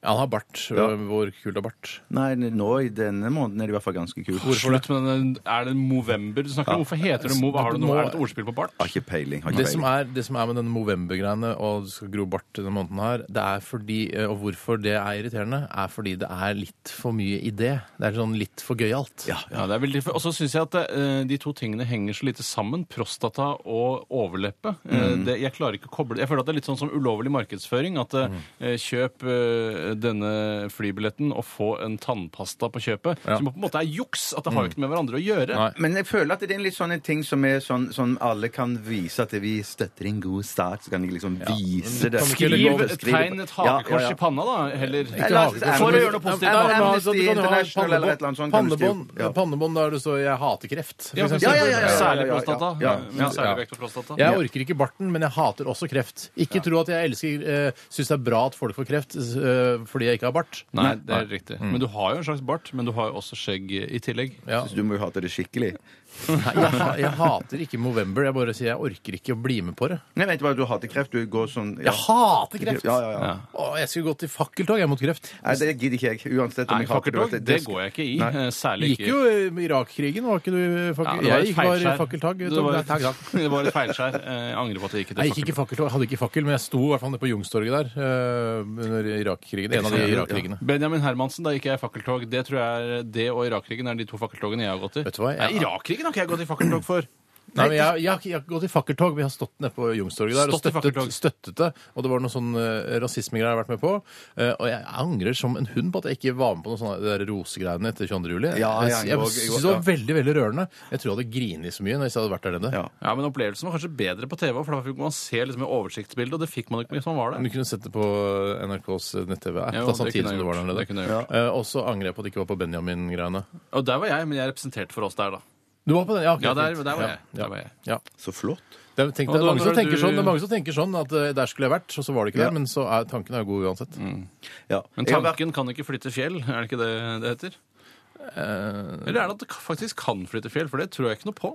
S3: Ja, han har bart. Hvor kult er bart?
S5: Nei, nå i denne måneden er det i hvert fall ganske kult.
S4: Slutt med den Er det Movember du snakker om? Hvorfor heter det Move? Har du noe, er det et ordspill på bart?
S5: Har ikke peiling. Har ikke
S3: Det som,
S5: peiling.
S3: er, det som er med denne Movember-greiene og du skal gro bart denne måneden her, det er fordi, eh, og hvorfor det er irriterende, er fordi det er litt for mye i det. Det er sånn litt for gøyalt.
S5: Ja,
S4: Ja, det er veldig Og så syns jeg at eh, de to tingene henger så lite sammen. Prostata og overleppe. Eh, det, jeg klarer ikke å koble Jeg føler at det er litt sånn som ulovlig markedsføring. At eh, kjøp eh, denne flybilletten og få en tannpasta på kjøpet. Som på en måte er juks! At det har jo ikke med hverandre å gjøre.
S3: Nei.
S5: Men jeg føler at det er en litt sånn en ting som er sånn, sånn alle kan vise at vi støtter en god start. Så kan de liksom vise
S3: Kan
S5: det.
S3: vi ikke
S4: Skriv
S3: Skriv-
S4: et tegn, et hakekors i panna, da, heller.
S5: Eller-
S3: sånn-
S4: For å gjøre noe positivt.
S5: Ja, men-
S4: da.
S5: Amnesty International eller et eller annet sånt kan du skrive.
S3: Pannebånd,
S5: Ja.
S3: pannebånd der det står 'jeg hater kreft'. for eksempel.
S5: ja, ja, ja, ja.
S4: Særlig prostata.
S5: Ja, ja, ja.
S4: Men Særlig vekt på prostata.
S3: Jeg orker ikke barten, men jeg hater også kreft. Ikke tro at jeg elsker eh, syns det er bra at folk får kreft eh, fordi jeg ikke har bart.
S4: Nei, det er riktig. Men du har jo en slags bart, men du har jo også skjegg i tillegg.
S3: Ja.
S5: Så du må jo hate det skikkelig.
S3: Nei, jeg, ha- jeg hater ikke Movember. Jeg bare sier jeg orker ikke å bli med på det.
S5: Nei, vent bare, du hater kreft. Du går sånn ja.
S3: Jeg hater kreft!
S5: Ja, ja, ja.
S3: Å, jeg skulle gått i fakkeltog jeg mot kreft.
S5: Nei, det gidder ikke jeg. Uansett om
S4: Nei,
S5: jeg hater
S4: fakkeltog, det går jeg ikke i. eh,
S3: Det
S4: Særlig
S3: gikk
S4: ikke
S3: jo i Irak-krigen, var ikke du i
S4: Ja,
S3: fakkel...
S4: det var et
S3: jeg gikk var i
S4: feilskjær.
S3: fakkeltog.
S4: Det var
S3: Nei,
S4: et,
S3: takk, takk.
S4: *laughs* det var et feilskjær. Eh, Jeg angrer på at jeg gikk i
S3: Nei,
S4: det
S3: jeg gikk ikke i fakkeltog. Jeg hadde ikke fakkel, men jeg sto i hvert fall nede på Youngstorget der eh, under Irak-krigen. En av de Irak-krigene.
S4: Benjamin Hermansen, da gikk jeg i fakkeltog. Det tror jeg er det og Irak-krigen er de to fakkeltogene jeg har gått i.
S3: Vet du hva, jeg-
S4: Nei, Irak-krigen har ikke jeg gått i fakkeltog for.
S3: Nei, men jeg, jeg, har ikke- jeg har ikke gått i fakkeltog. Vi har stått nede på Youngstorget der og
S4: Stått i
S3: støttet,
S4: fakkeltog.
S3: støttet det. Og det var noen sånn eh, rasismegreier jeg har vært med på. Eh, og jeg angrer som en hund på at jeg ikke var med på noen sånne de der rosegreiene etter 22. juli.
S5: Ja,
S3: jeg
S5: jeg
S3: jeg,
S5: angrer også, jeg
S3: synes det var veldig veldig rørende. Jeg tror jeg hadde grinet så mye når jeg hadde vært der nede.
S5: Ja.
S4: Ja, Men opplevelsen var kanskje bedre på TV, for da fikk man se liksom et oversiktsbilde, og det fikk man ikke hvis man var
S3: Men
S4: der.
S3: Du kunne sett det på NRKs nett-TV-app
S4: Jo,
S3: da,
S4: det
S3: samtidig
S4: kunne jeg
S3: som du var der
S4: gjort. Det
S3: nede.
S4: kunne jeg gjort.
S3: Eh, og så angrer jeg på at det ikke var på Benjamin-greiene.
S4: Og der var jeg, men jeg er representert for oss der, da.
S3: Du var på den? Ja, ok,
S4: Ja, der-
S3: fint.
S4: der var jeg.
S3: Ja,
S4: Der var jeg.
S3: Ja.
S5: Så flott.
S3: Det er, tenk,
S4: Og
S3: det, er
S4: da-
S3: mange som
S4: da er du-
S3: tenker sånn, det er mange som tenker sånn at eh, der skulle jeg vært, og så var det ikke
S5: Ja.
S3: det. Men så er tanken er god uansett.
S5: Ja.
S4: Men
S5: Jeg har vært-
S4: tanken kan ikke flytte fjell, er det ikke det det heter? Eller er det at det faktisk kan flytte fjell? For det tror jeg ikke noe på.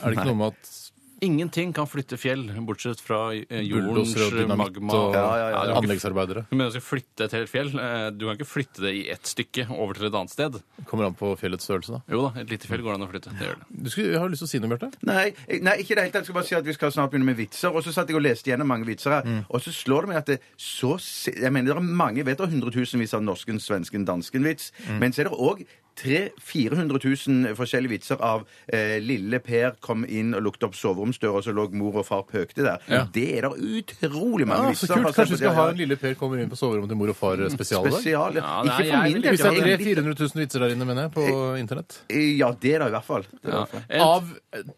S3: Er det ikke noe med at
S4: Ingenting kan flytte fjell, bortsett fra eh, jordens
S3: bulldoser og dynamitt
S4: magma.
S3: og
S5: Ja, ja, ja.
S4: du kan ikke-
S3: anleggsarbeidere?
S4: Du mener du skal flytte et helt fjell? Eh, Du kan ikke flytte det i ett stykke over til et annet sted.
S3: Kommer an på fjellets størrelse, da.
S4: Jo da, et lite fjell går det an å flytte. Det gjør det.
S3: Du skulle, har du lyst til å si noe, Bjarte?
S5: Nei, eh, nei, ikke i det hele tatt. Jeg skal bare si at vi skal snart begynne med vitser. Og så satt jeg og leste gjennom mange vitser her,
S3: Mm.
S5: og så slår det meg at det så si- Jeg mener, det er mange vet og hundretusenvis av norsken, svensken, dansken vits,
S3: Mm.
S5: men så er det òg 400 000 forskjellige vitser av eh, lille Per kom inn og lukket opp soveromsdøra, og så lå mor og far pøkte der.
S3: Ja.
S5: Det er det utrolig mange
S3: Ja, Ah, så
S5: vitser.
S3: kult.
S5: basert på
S3: Kanskje vi
S5: det,
S3: skal
S5: ja.
S3: ha en Lille Per kommer inn på soverommet til mor og far spesial i dag?
S5: spesial.
S4: Ja, nei,
S5: ikke for
S4: jeg
S5: min
S4: vil
S5: del.
S3: Hvis det
S5: det
S3: er
S5: var en
S3: 300 000-400 000 vitser der inne, mener jeg, på internett.
S5: litt- Ja, det er det i hvert fall. Det er det i hvert fall.
S4: Et-
S3: Av,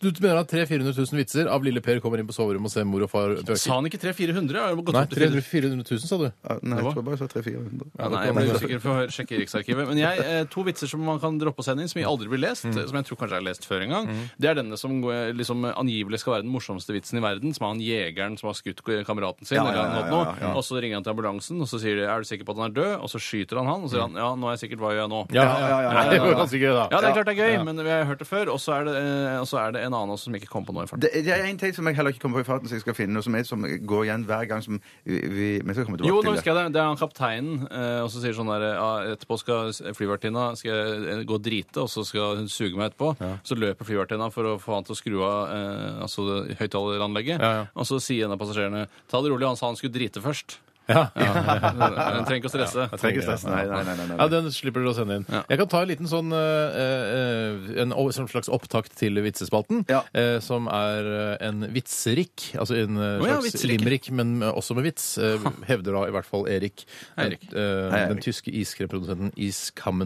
S3: du mener at 300 000-400 000 vitser av Lille Per kommer inn på soverommet og ser mor og far
S4: Sa
S3: bøker?
S4: han ikke 300-400? Jeg har gått
S3: Nei,
S4: opp til 400.
S3: 300 400 000, sa du?
S5: Ja, Nei,
S4: Det var-
S5: jeg tror bare jeg sa 300-400.
S4: Ja, nei, jeg ble usikker. Få høre- sjekke i Riksarkivet. Men jeg, eh, to vitser som man kan droppe å sende inn, som jeg aldri blir lest,
S5: Mm.
S4: som jeg tror kanskje jeg har lest før en gang, det er denne som går- liksom, angivelig skal være den morsomste vitsen i verden, som er han jegeren som har skutt kameraten sin,
S5: Ja,
S4: eller
S5: ja,
S4: han
S5: ja,
S4: hadde
S5: ja,
S4: noe,
S5: ja, ja.
S4: og så ringer han til ambulansen, og så sier de, er du sikker på at han er død? Og så skyter han han, og så sier han, ja, nå er jeg sikkert, hva gjør jeg nå?
S3: Ja,
S5: Mm. ja, ja, ja,
S3: *laughs* Det
S4: ja,
S3: var
S4: ja.
S3: ganske gøy, da.
S4: Ja, det er klart det er gøy, men vi har hørt det før. Og så er, det, eh, og så er det en annen også som ikke kom på noe i farten.
S5: Det, det er en ting som jeg heller ikke kommer på i farten, som jeg skal finne, og som, er, som går igjen hver gang som vi, vi men jeg skal komme tilbake
S4: Jo, nå
S5: til
S4: husker jeg det. Det er han kapteinen. eh, Og så sier sånn der ja, Etterpå skal s- flyvertinna skal jeg, eh, gå og drite, og så skal hun suge meg etterpå. Så løper flyvertinna for å få han til å skru av eh, altså, det høyttaleranlegget.
S3: Ja, ja.
S4: Og så sier en av passasjerene Ta det rolig, han sa han skulle drite
S3: *laughs*
S4: først.
S3: Ja.
S4: Men Trenger ikke å stresse.
S5: Jeg trenger ikke stress. Nei, nei, nei. nei, nei.
S3: Ja, Den slipper dere å sende inn. Jeg kan ta en liten sånn eh, eh, en o- som slags opptakt til vitsespalten,
S5: Ja.
S3: eh, som er eh, en vitserikk. Altså en eh,
S4: Å ja,
S3: slags
S4: vitserikk.
S3: limerick, men eh, også med vits, eh, hevder da i hvert fall Erik.
S4: Hei,
S3: Den,
S4: Erik.
S3: eh,
S5: Hei, Erik.
S3: den tyske iskremprodusenten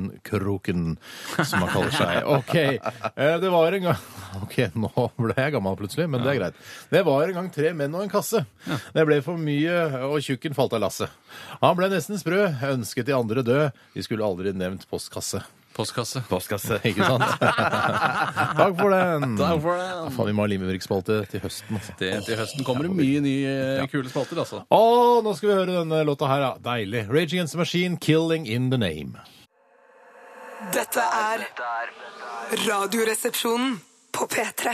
S3: Iskammenkroken, som han
S4: *laughs*
S3: kaller seg. OK. eh, Det var en gang OK, nå ble jeg gammel plutselig, men det er greit. Det var en gang tre menn og en kasse. Det ble for mye, og tjukken falt av lasset. Han ble nesten sprø, ønsket de andre død. De skulle aldri nevnt postkasse.
S4: Postkasse.
S5: Postkasse.
S3: Ikke
S4: *laughs*
S3: sant? Takk for den.
S4: Takk for det.
S3: Faen, vi må ha limerickspalte til høsten. altså.
S4: Det- Til høsten kommer det mye nye eh, kule spalter, altså.
S3: Å, nå skal vi høre denne låta her, ja. Deilig. Rage Against the Machine, 'Killing In The Name'.
S1: Dette er Radioresepsjonen på P3.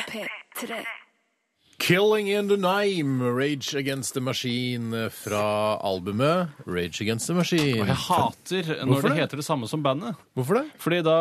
S3: Killing in the name, Rage Against the Machine eh, fra albumet Rage Against the Machine.
S4: Jeg hater når
S3: Hvorfor
S4: det
S3: det?
S4: heter det samme som bandet.
S3: Hvorfor det?
S4: Fordi da,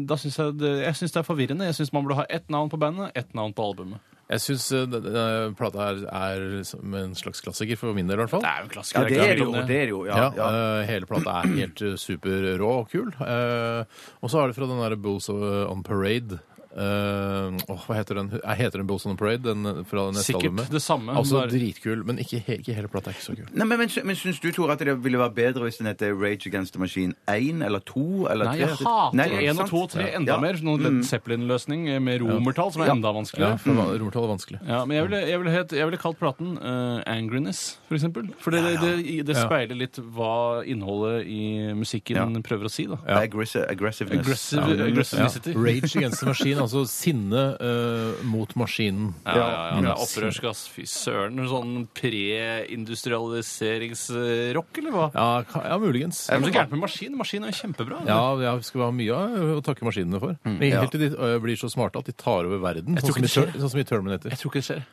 S4: da syns jeg, det, jeg synes det er forvirrende. Jeg syns man burde ha ett navn på bandet, ett navn på albumet.
S3: Jeg eh, syns denne plata er, er som en slags klassiker, for min del i hvert fall.
S4: Det er jo en klassiker.
S5: Ja, det er
S4: ikke
S5: det jo.
S4: tvil om
S5: Det er det jo, ja.
S3: Ja,
S5: ja.
S3: eh, Hele plata er helt eh, superrå og kul. Eh, og så er det fra den derre Bulls on Parade. Eh, åh, hva heter den? Eh, Heter den Bulls on Parade? Den eh, fra det neste
S4: Sikkert
S3: albumet?
S4: det samme.
S3: Altså
S4: Bare-
S3: dritkul, men ikke, he- ikke hele plata er ikke så kul.
S5: Nei, men, men, sy- men syns du, Tore, at det ville være bedre hvis den heter Rage Against the Machine 1 eller 2 eller 3?
S4: Nei, jeg
S5: Nei,
S4: hater
S5: ikke
S4: én og
S5: sant?
S4: to og tre enda
S5: Ja. Mm.
S4: mer. Noen Led Zeppelin-løsning eh, med romertall, som er enda
S3: Ja,
S4: vanskeligere.
S3: for Romertall er vanskelig.
S4: Ja, men jeg ville, jeg ville, het, jeg ville kalt platen eh, Angriness, for eksempel. For det, det, det, det speiler litt hva innholdet i musikken
S5: Ja.
S4: prøver å si, da.
S5: Det er aggressi- aggressiveness.
S4: Aggressive,
S5: Ja.
S4: aggressivisity.
S3: Rage Against the Machine, altså sinne eh, mot maskinen. Mm.
S4: Ja, ja, ja, det er opprørsk, ass. Fy søren. Sånn preindustrialiseringsrock, eller hva?
S3: Ja, ka- ja muligens.
S4: Det er så gærent med maskin. Maskin er jo kjempebra.
S3: Ja, ja, vi skal ha mye av å takke maskinene for.
S4: Mm.
S3: Men helt til de ø, blir så smarte at de tar over verden,
S4: tror
S3: sånn som, i,
S4: ikke det
S3: Ter- sånn som i Terminator.
S4: Jeg tror ikke det skjer.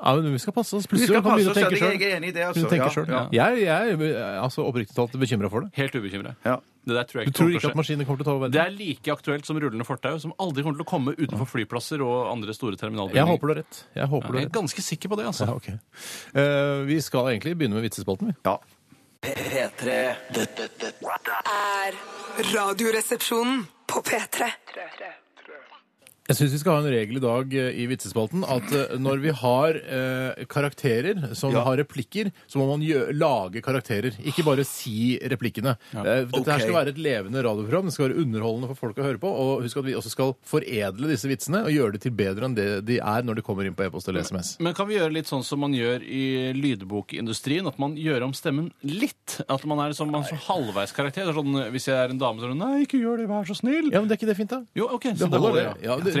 S3: Ja, men vi skal passe oss.
S5: Vi
S3: Plutselig
S5: skal
S3: kan vi begynne å
S5: passe oss, ja,
S3: tenke
S5: det- jeg
S3: sjøl.
S5: er enig i det. Altså.
S3: Begynne å tenke
S5: Ja,
S3: selv.
S5: ja.
S3: Jeg, jeg er altså, oppriktig talt bekymra for det.
S4: Helt ubekymra.
S5: Ja.
S4: Det der tror jeg
S3: Du
S4: ikke
S3: tror
S4: kommer til å
S3: ikke at
S4: skje.
S3: maskinene kommer til å ta over
S4: Det
S3: verden?
S4: er like aktuelt som rullende fortau, som aldri kommer til å komme utenfor flyplasser og andre store terminalbygninger.
S3: Jeg håper du har rett. Jeg håper du
S4: Jeg
S3: har
S4: er
S3: rett.
S4: ganske sikker på det, altså.
S3: Ja, ok. Eh, vi skal egentlig begynne med vitsespalten, vi.
S5: Ja.
S2: P3. Dette, dette
S1: Er Radioresepsjonen på P3.
S3: Jeg syns vi skal ha en regel i dag eh, i vitsespalten at eh, når vi har eh, karakterer som
S5: Ja.
S3: har replikker, så må man gjø lage karakterer. Ikke bare si replikkene. Eh, dette her
S5: Ok.
S3: skal være et levende radioprogram. Det skal være underholdende for folk å høre på. Og husk at vi også skal foredle disse vitsene og gjøre det til bedre enn det de er når de kommer inn på e-post eller SMS.
S4: Men kan vi gjøre litt sånn som man gjør i lydbokindustrien? At man gjør om stemmen litt? At man er liksom, man er sånn halvveiskarakter? Det er Sånn, hvis jeg er en dame, så er det sånn Nei, ikke gjør det, vær så snill.
S3: Ja, men det er ikke det fint, da?
S4: Jo, OK.
S3: Det
S4: Så
S3: holder, det.
S4: Ja.
S3: Ja,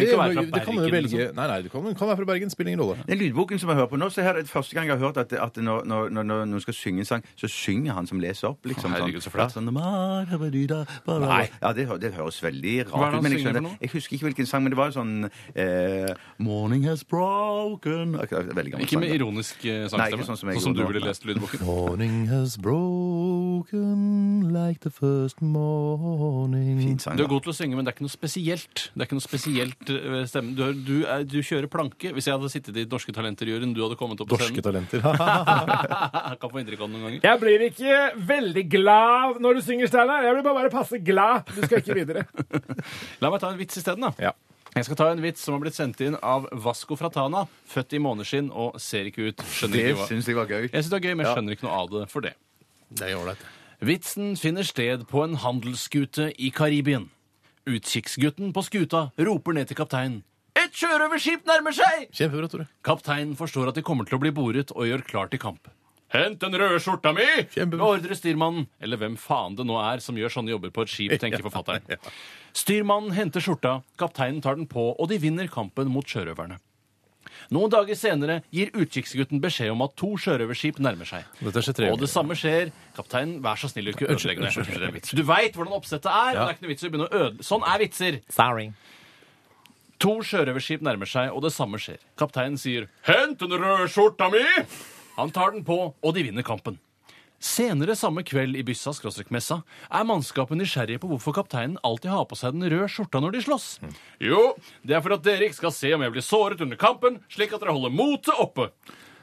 S4: Jeg trenger ikke være fra
S3: det, det, det kan man jo
S4: Bergen,
S3: velge.
S4: liksom.
S3: Nei, nei, du kan, kan være fra Bergen. Spiller ingen rolle.
S5: Den lydboken som jeg hører på nå, så er det første gang jeg har hørt at, at når, når, når, når noen skal synge en sang, så synger han som leser opp. Liksom,
S4: Å, herregud, så flaut.
S5: Sånn, Nei. Ja, det, hø- det høres veldig
S4: Hva er det han
S5: rart ut. Men jeg,
S4: synger for
S5: skjønner,
S4: noe?
S5: jeg husker ikke hvilken sang, men det var sånn eh, Morning has broken Ok, det er Veldig gammel
S4: Ikke
S5: sang.
S4: med
S5: da.
S4: ironisk eh,
S5: Nei,
S4: sangstemme,
S5: ikke sånn som jeg
S4: du
S5: gjorde.
S4: ville lest lydboken.
S3: Morning has broken like the first morning.
S5: Fin sang.
S4: Du er
S5: Da.
S4: god til å synge, men det er ikke noe spesielt. Det er ikke noe spesielt eh, stemme. Du, er, du, er, du kjører planke. Hvis jeg hadde sittet i Norske Talenter-juryen, du hadde kommet opp på
S3: Dorske
S4: scenen.
S3: *laughs* talenter.
S4: Jeg kan få inntrykk av det noen ganger.
S6: Jeg blir ikke veldig glad når du synger, Steinar. Jeg blir bare, bare passe glad. Du skal ikke videre.
S4: La meg ta en vits isteden, da.
S3: Ja.
S4: Jeg skal ta en vits som har blitt sendt inn av Vasco fra Tana. Født i måneskinn og ser ikke ut. Skjønner
S5: Det
S4: ikke hva.
S5: syns jeg var gøy.
S4: Jeg syns det er gøy, men jeg skjønner ikke noe av det for det.
S3: Det er ålreit.
S4: Vitsen finner sted på en handelsskute i Karibien. Utkikksgutten på skuta roper ned til kapteinen. Et sjørøverskip nærmer seg!
S3: *laughs* Kjempebra, Tore.
S4: Kapteinen forstår at de kommer til å bli boret og gjør klar til kamp. Hent den røde skjorta mi!
S3: Kjempe-
S4: Beordrer styrmannen, eller hvem faen det nå er som gjør sånne jobber på et
S3: *laughs*
S4: skip, tenker forfatteren. Styrmannen henter skjorta, kapteinen tar den på, og de vinner kampen mot sjørøverne. Noen dager senere gir utkikksgutten beskjed om at to sjørøverskip nærmer seg.
S3: Dette skjer tre
S4: Og
S3: ganger.
S4: det samme skjer. Kapteinen, vær så snill, ikke
S3: Unnskyld,
S4: ødelegg det.
S3: unnskyld.
S4: Det er en vits. Du veit hvordan oppsettet er. og Det er ikke noe vits i å begynne å øde... Sånn er vitser.
S3: Sorry.
S4: To sjørøverskip nærmer seg, og det samme skjer. Kapteinen sier 'Hent den røde skjorta mi!' Han tar den på, og de vinner kampen. Senere samme kveld i byssa skråstrek messa er mannskapet nysgjerrige på hvorfor kapteinen alltid har på seg den røde skjorta når de slåss. Mm. Jo, det er for at dere ikke skal se om jeg blir såret under kampen, slik at dere holder motet oppe.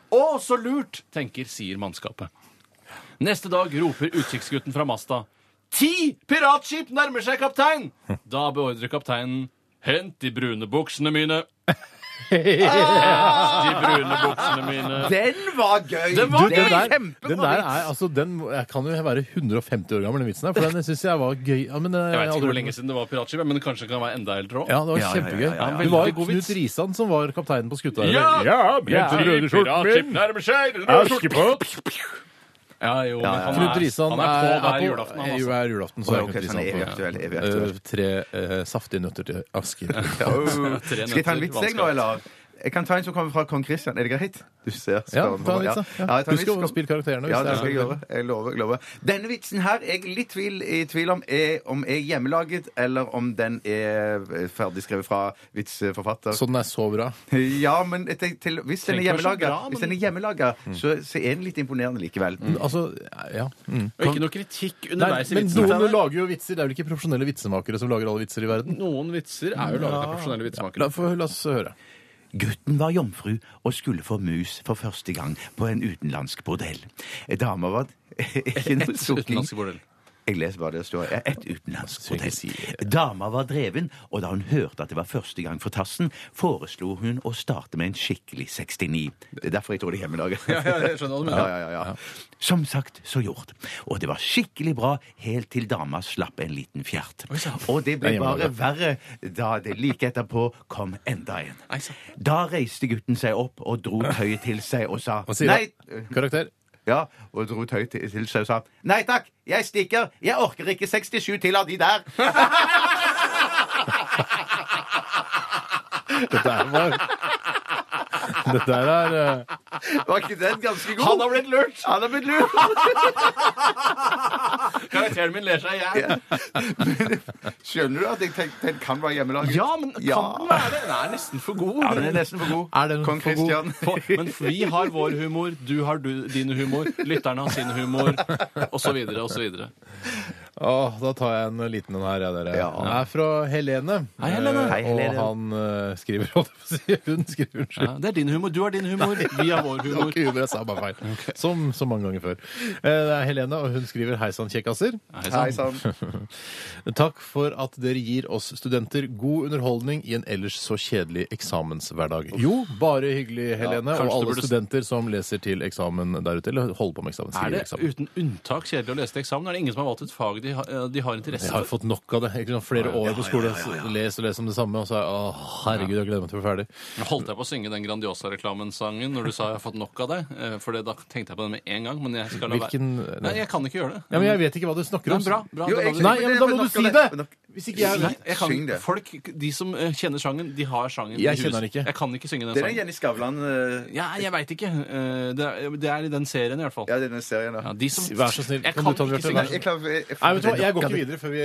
S4: Å, så lurt, tenker, sier mannskapet. Neste dag roper utkikksgutten fra masta. Ti piratskip nærmer seg, kaptein! *laughs* Da beordrer kapteinen Hent de brune buksene mine. Hent de brune buksene mine.
S5: Den var gøy!
S4: Den var
S3: Den der,
S5: kjempebra
S3: den der er, altså, den må- jeg kan jo være 150 år gammel, den vitsen der, for den syns jeg var gøy. Ja, men,
S4: Jeg vet ikke hvor lenge siden det var piratskip, men det kanskje kan være enda eldre òg.
S3: Ja, det var
S5: Ja, ja, ja,
S3: kjempegøy.
S5: ja, ja,
S3: Det
S5: ja.
S3: var jo
S4: Veldig god
S3: Knut
S4: vits.
S3: Risan som var kapteinen på skuta.
S4: Ja!
S3: ja,
S4: piratskip nærmer seg! den røde skjorta- Ja, jo, men han
S3: Knut
S4: er,
S3: Risan
S4: han er på hver
S3: på-
S4: julaften, han,
S3: er jo
S4: altså.
S3: hver julaften. Så
S5: Å,
S3: er
S5: ok,
S3: Knut
S5: så han
S3: Risan
S5: er evig
S3: på.
S5: aktuell. Evig
S3: Eh,
S5: aktuell.
S3: Tre eh, saftige nøtter til
S5: *laughs*
S3: Asker.
S5: Åh.
S4: *laughs* Tre
S5: Skal jeg ta
S4: nøtter,
S5: en vits, jeg, nå,
S4: vanskelig.
S5: eller? Jeg kan ta en som kommer fra kong Kristian. Er det greit? Du ser
S3: Ja,
S5: spør-
S3: ta en vits, da.
S5: Ja,
S3: Ja.
S5: jeg tar en
S3: Du skal
S5: vits.
S3: spille karakterene. hvis
S5: Ja,
S3: det
S5: det
S3: er
S5: skal
S3: sånn.
S5: jeg gjøre. Jeg lover. jeg lover. Denne vitsen her er jeg litt tvil, i tvil om er om er hjemmelaget, eller om den er eh, ferdigskrevet fra vitsforfatter.
S3: Så den er så bra.
S5: Ja, men jeg tenker til, hvis den
S4: Trenger ikke
S5: er
S4: være så
S5: hjemmelaget,
S4: bra, men-
S5: hvis den er hjemmelaget så, så er den litt imponerende likevel.
S3: Altså, ja. Mm.
S4: Og ikke noe kritikk
S3: Nei,
S4: underveis i
S3: men
S4: vitsen.
S3: noen lager jo vitser. Det er vel ikke profesjonelle vitsemakere som lager alle vitser i verden?
S4: Noen vitser er jo laget av profesjonelle
S3: La,
S4: vitsemakere.
S3: få- la oss høre.
S5: Gutten var jomfru og skulle få mus for første gang på en utenlandsk bordell. Dama var *laughs* Ikke noe sukking.
S4: Utenlandske bordell.
S5: Jeg leser bare det det står. Et utenlandsk
S3: Skal ikke
S5: hotell.
S3: si
S5: Dama var dreven, og da hun hørte at det var første gang for tassen, foreslo hun å starte med en skikkelig 69. Det er derfor jeg tror det er hjemmelaget.
S4: Ja, ja, jeg skjønner hva du mener.
S5: Ja, ja, ja, ja. Som sagt, så gjort. Og det var skikkelig bra helt til dama slapp en liten fjert. Og det ble
S3: Nei,
S5: bare
S3: hjemmelaget.
S5: verre da det like etterpå kom enda en.
S4: Nei, sant.
S5: Da reiste gutten seg opp og dro tøyet til seg og sa
S3: Hva sier
S5: Nei!
S3: han? Karakter.
S5: Ja, og dro tøyet til til seg og sa Nei takk, jeg stikker. Jeg orker ikke 67 til av de
S3: *laughs*
S5: der.
S3: Dette her var Dette her er eh,
S5: Var ikke den ganske god?
S4: Han har blitt lurt!
S5: Han har blitt
S3: *laughs*
S5: lurt!
S4: Karakteren min ler seg i hjel.
S5: Skjønner du at jeg tenk- den kan være hjemmelaget?
S4: Ja, men kan
S5: Ja.
S4: den være det? Den er nesten for god.
S5: Ja, den er nesten for god.
S3: Er den
S5: Kong
S3: *laughs* for god?
S5: Christian.
S4: *laughs* For, men vi har vår humor, du har du, din humor, lytterne har sin humor, osv. osv.
S3: Åh, da tar jeg en liten en her, jeg, dere.
S5: Ja.
S3: Den er fra Helene.
S4: Hei, Helene.
S3: Eh,
S5: *laughs* Hei, Helene.
S3: Og han eh, skriver *laughs* holdt jeg på å si, Hun skriver unnskyld.
S4: Ja, det er din humor, du har din humor, vi har vår
S3: Det var *laughs*
S4: humor.
S3: ikke humor, jeg sa bare feil. Som så mange ganger før. Eh, Det er Helene, og hun skriver 'Hei sann, kjekkaser'.
S4: Hei,
S5: Hei
S4: sant.
S5: sann.
S3: *laughs* Takk for at dere gir oss studenter god underholdning i en ellers så kjedelig eksamenshverdag. Jo, bare hyggelig, Helene,
S4: kanskje
S3: og alle
S4: du burde-
S3: studenter som leser til eksamen der ute, eller holder på med
S4: Er
S3: eksamen. skriver
S4: det
S3: eksamen.
S4: uten unntak kjedelig å lese til eksamen? Er det ingen som har valgt et fag de, har- eh, de har interesse
S3: Jeg har
S4: for?
S3: fått nok av det. Ikke sant? Flere år på skole, les og les om det samme, og så er åh, herregud, jeg gleder meg til å bli ferdig.
S4: Holdt jeg på å synge den Grandiosa-reklamen-sangen når du sa 'jeg har fått nok av deg'? Eh, For det, da tenkte jeg på den med en gang. Men jeg skal la være.
S3: Hvilken-
S4: Nei, jeg kan ikke gjøre det.
S3: Ja, men jeg vet ikke hva du snakker
S4: Nei,
S3: om.
S4: bra, bra.
S5: Jo,
S4: da la
S5: jeg-
S4: du-
S3: Nei, ja, men da må du si det! Hvis ikke jeg
S4: Nei,
S3: vet
S4: jeg kan,
S5: Syng det.
S4: Folk, de som eh, kjenner sangen, de har sangen. i
S3: Jeg
S4: huset.
S3: kjenner den ikke.
S4: Jeg kan ikke synge den
S5: Det er den
S4: sangen.
S5: Jenny Skavlan eh,
S4: Ja, jeg veit ikke. Eh, Det er, det er i den serien, i hvert fall.
S5: Ja, det er den serien. da.
S4: Ja, de som,
S3: Vær så snill,
S4: Jeg
S3: kan
S4: kan,
S3: du ta
S4: ikke
S3: Bjarte?
S4: synge
S3: Vær så
S5: Nei, jeg, klarer, jeg,
S3: Nei, vet du hva, jeg går ikke videre før, vi,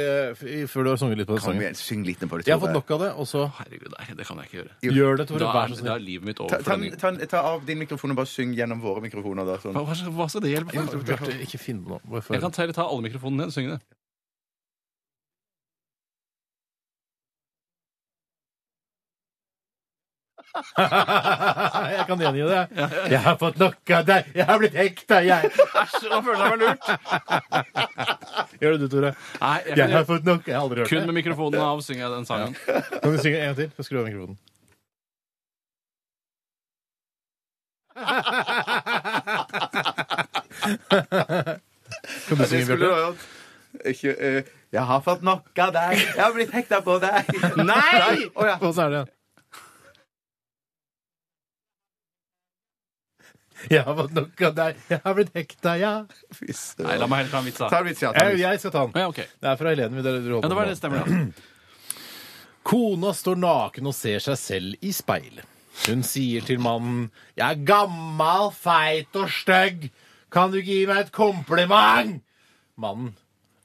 S3: eh, før du har sunget litt på den
S5: Kom
S3: sangen.
S5: igjen, syng litt på det.
S3: Jeg har fått
S5: Tore.
S3: nok av det, og så
S4: Herregud, nei, det kan jeg ikke gjøre.
S3: gjør det, Tore.
S4: Da
S3: Vær
S4: er,
S3: så
S4: da er
S3: snill.
S4: livet mitt
S5: Ta,
S4: over
S5: ta,
S4: for den
S5: ta, ta av din mikrofon og bare syng gjennom våre mikrofoner. da.
S3: *laughs*
S5: Sånn. *laughs*
S4: hva, hva skal- hva skal det hjelpe for?
S3: Bjarte, ikke finn på noe. Bare
S4: Jeg
S3: før.
S4: kan ta, ta alle mikrofonene ned og synge det.
S3: *laughs* jeg kan gjengi det. Jeg har fått nok av deg. Jeg har blitt hekta, jeg.
S4: *laughs* Æsj, nå føler jeg meg lurt!
S3: *laughs* Gjør det du, Tore.
S4: Nei, jeg
S3: Jeg
S4: kan,
S3: har fått nok. Jeg har aldri hørt
S4: kun
S3: det.
S4: med mikrofonen av synger jeg den sangen.
S3: Kan du synge en gang til? Så Skru av mikrofonen. Kan du synge, Bjarte?
S5: ha gjort. Ikke, eh, jeg har fått nok av deg, jeg har blitt hekta på
S4: *laughs*
S5: deg.
S3: *laughs*
S5: Nei! Å, ja.
S3: Og så er det igjen. Jeg har fått nok av deg, jeg har blitt hekta, ja. Fy søren.
S4: Nei, la meg heller ta en vits,
S5: Ta
S4: da.
S5: en vits, ja. ta en
S3: Jeg,
S5: vits.
S3: jeg skal ta den.
S4: Ja, ok.
S3: Det er fra Helene. vi dere- dere holder
S4: Ja, det
S3: på
S4: var
S3: med.
S4: det stemmer, ja.
S3: Kona står naken og ser seg selv i speilet. Hun sier til mannen 'Jeg er gammal, feit og stygg. Kan du ikke gi meg et kompliment?' Mannen.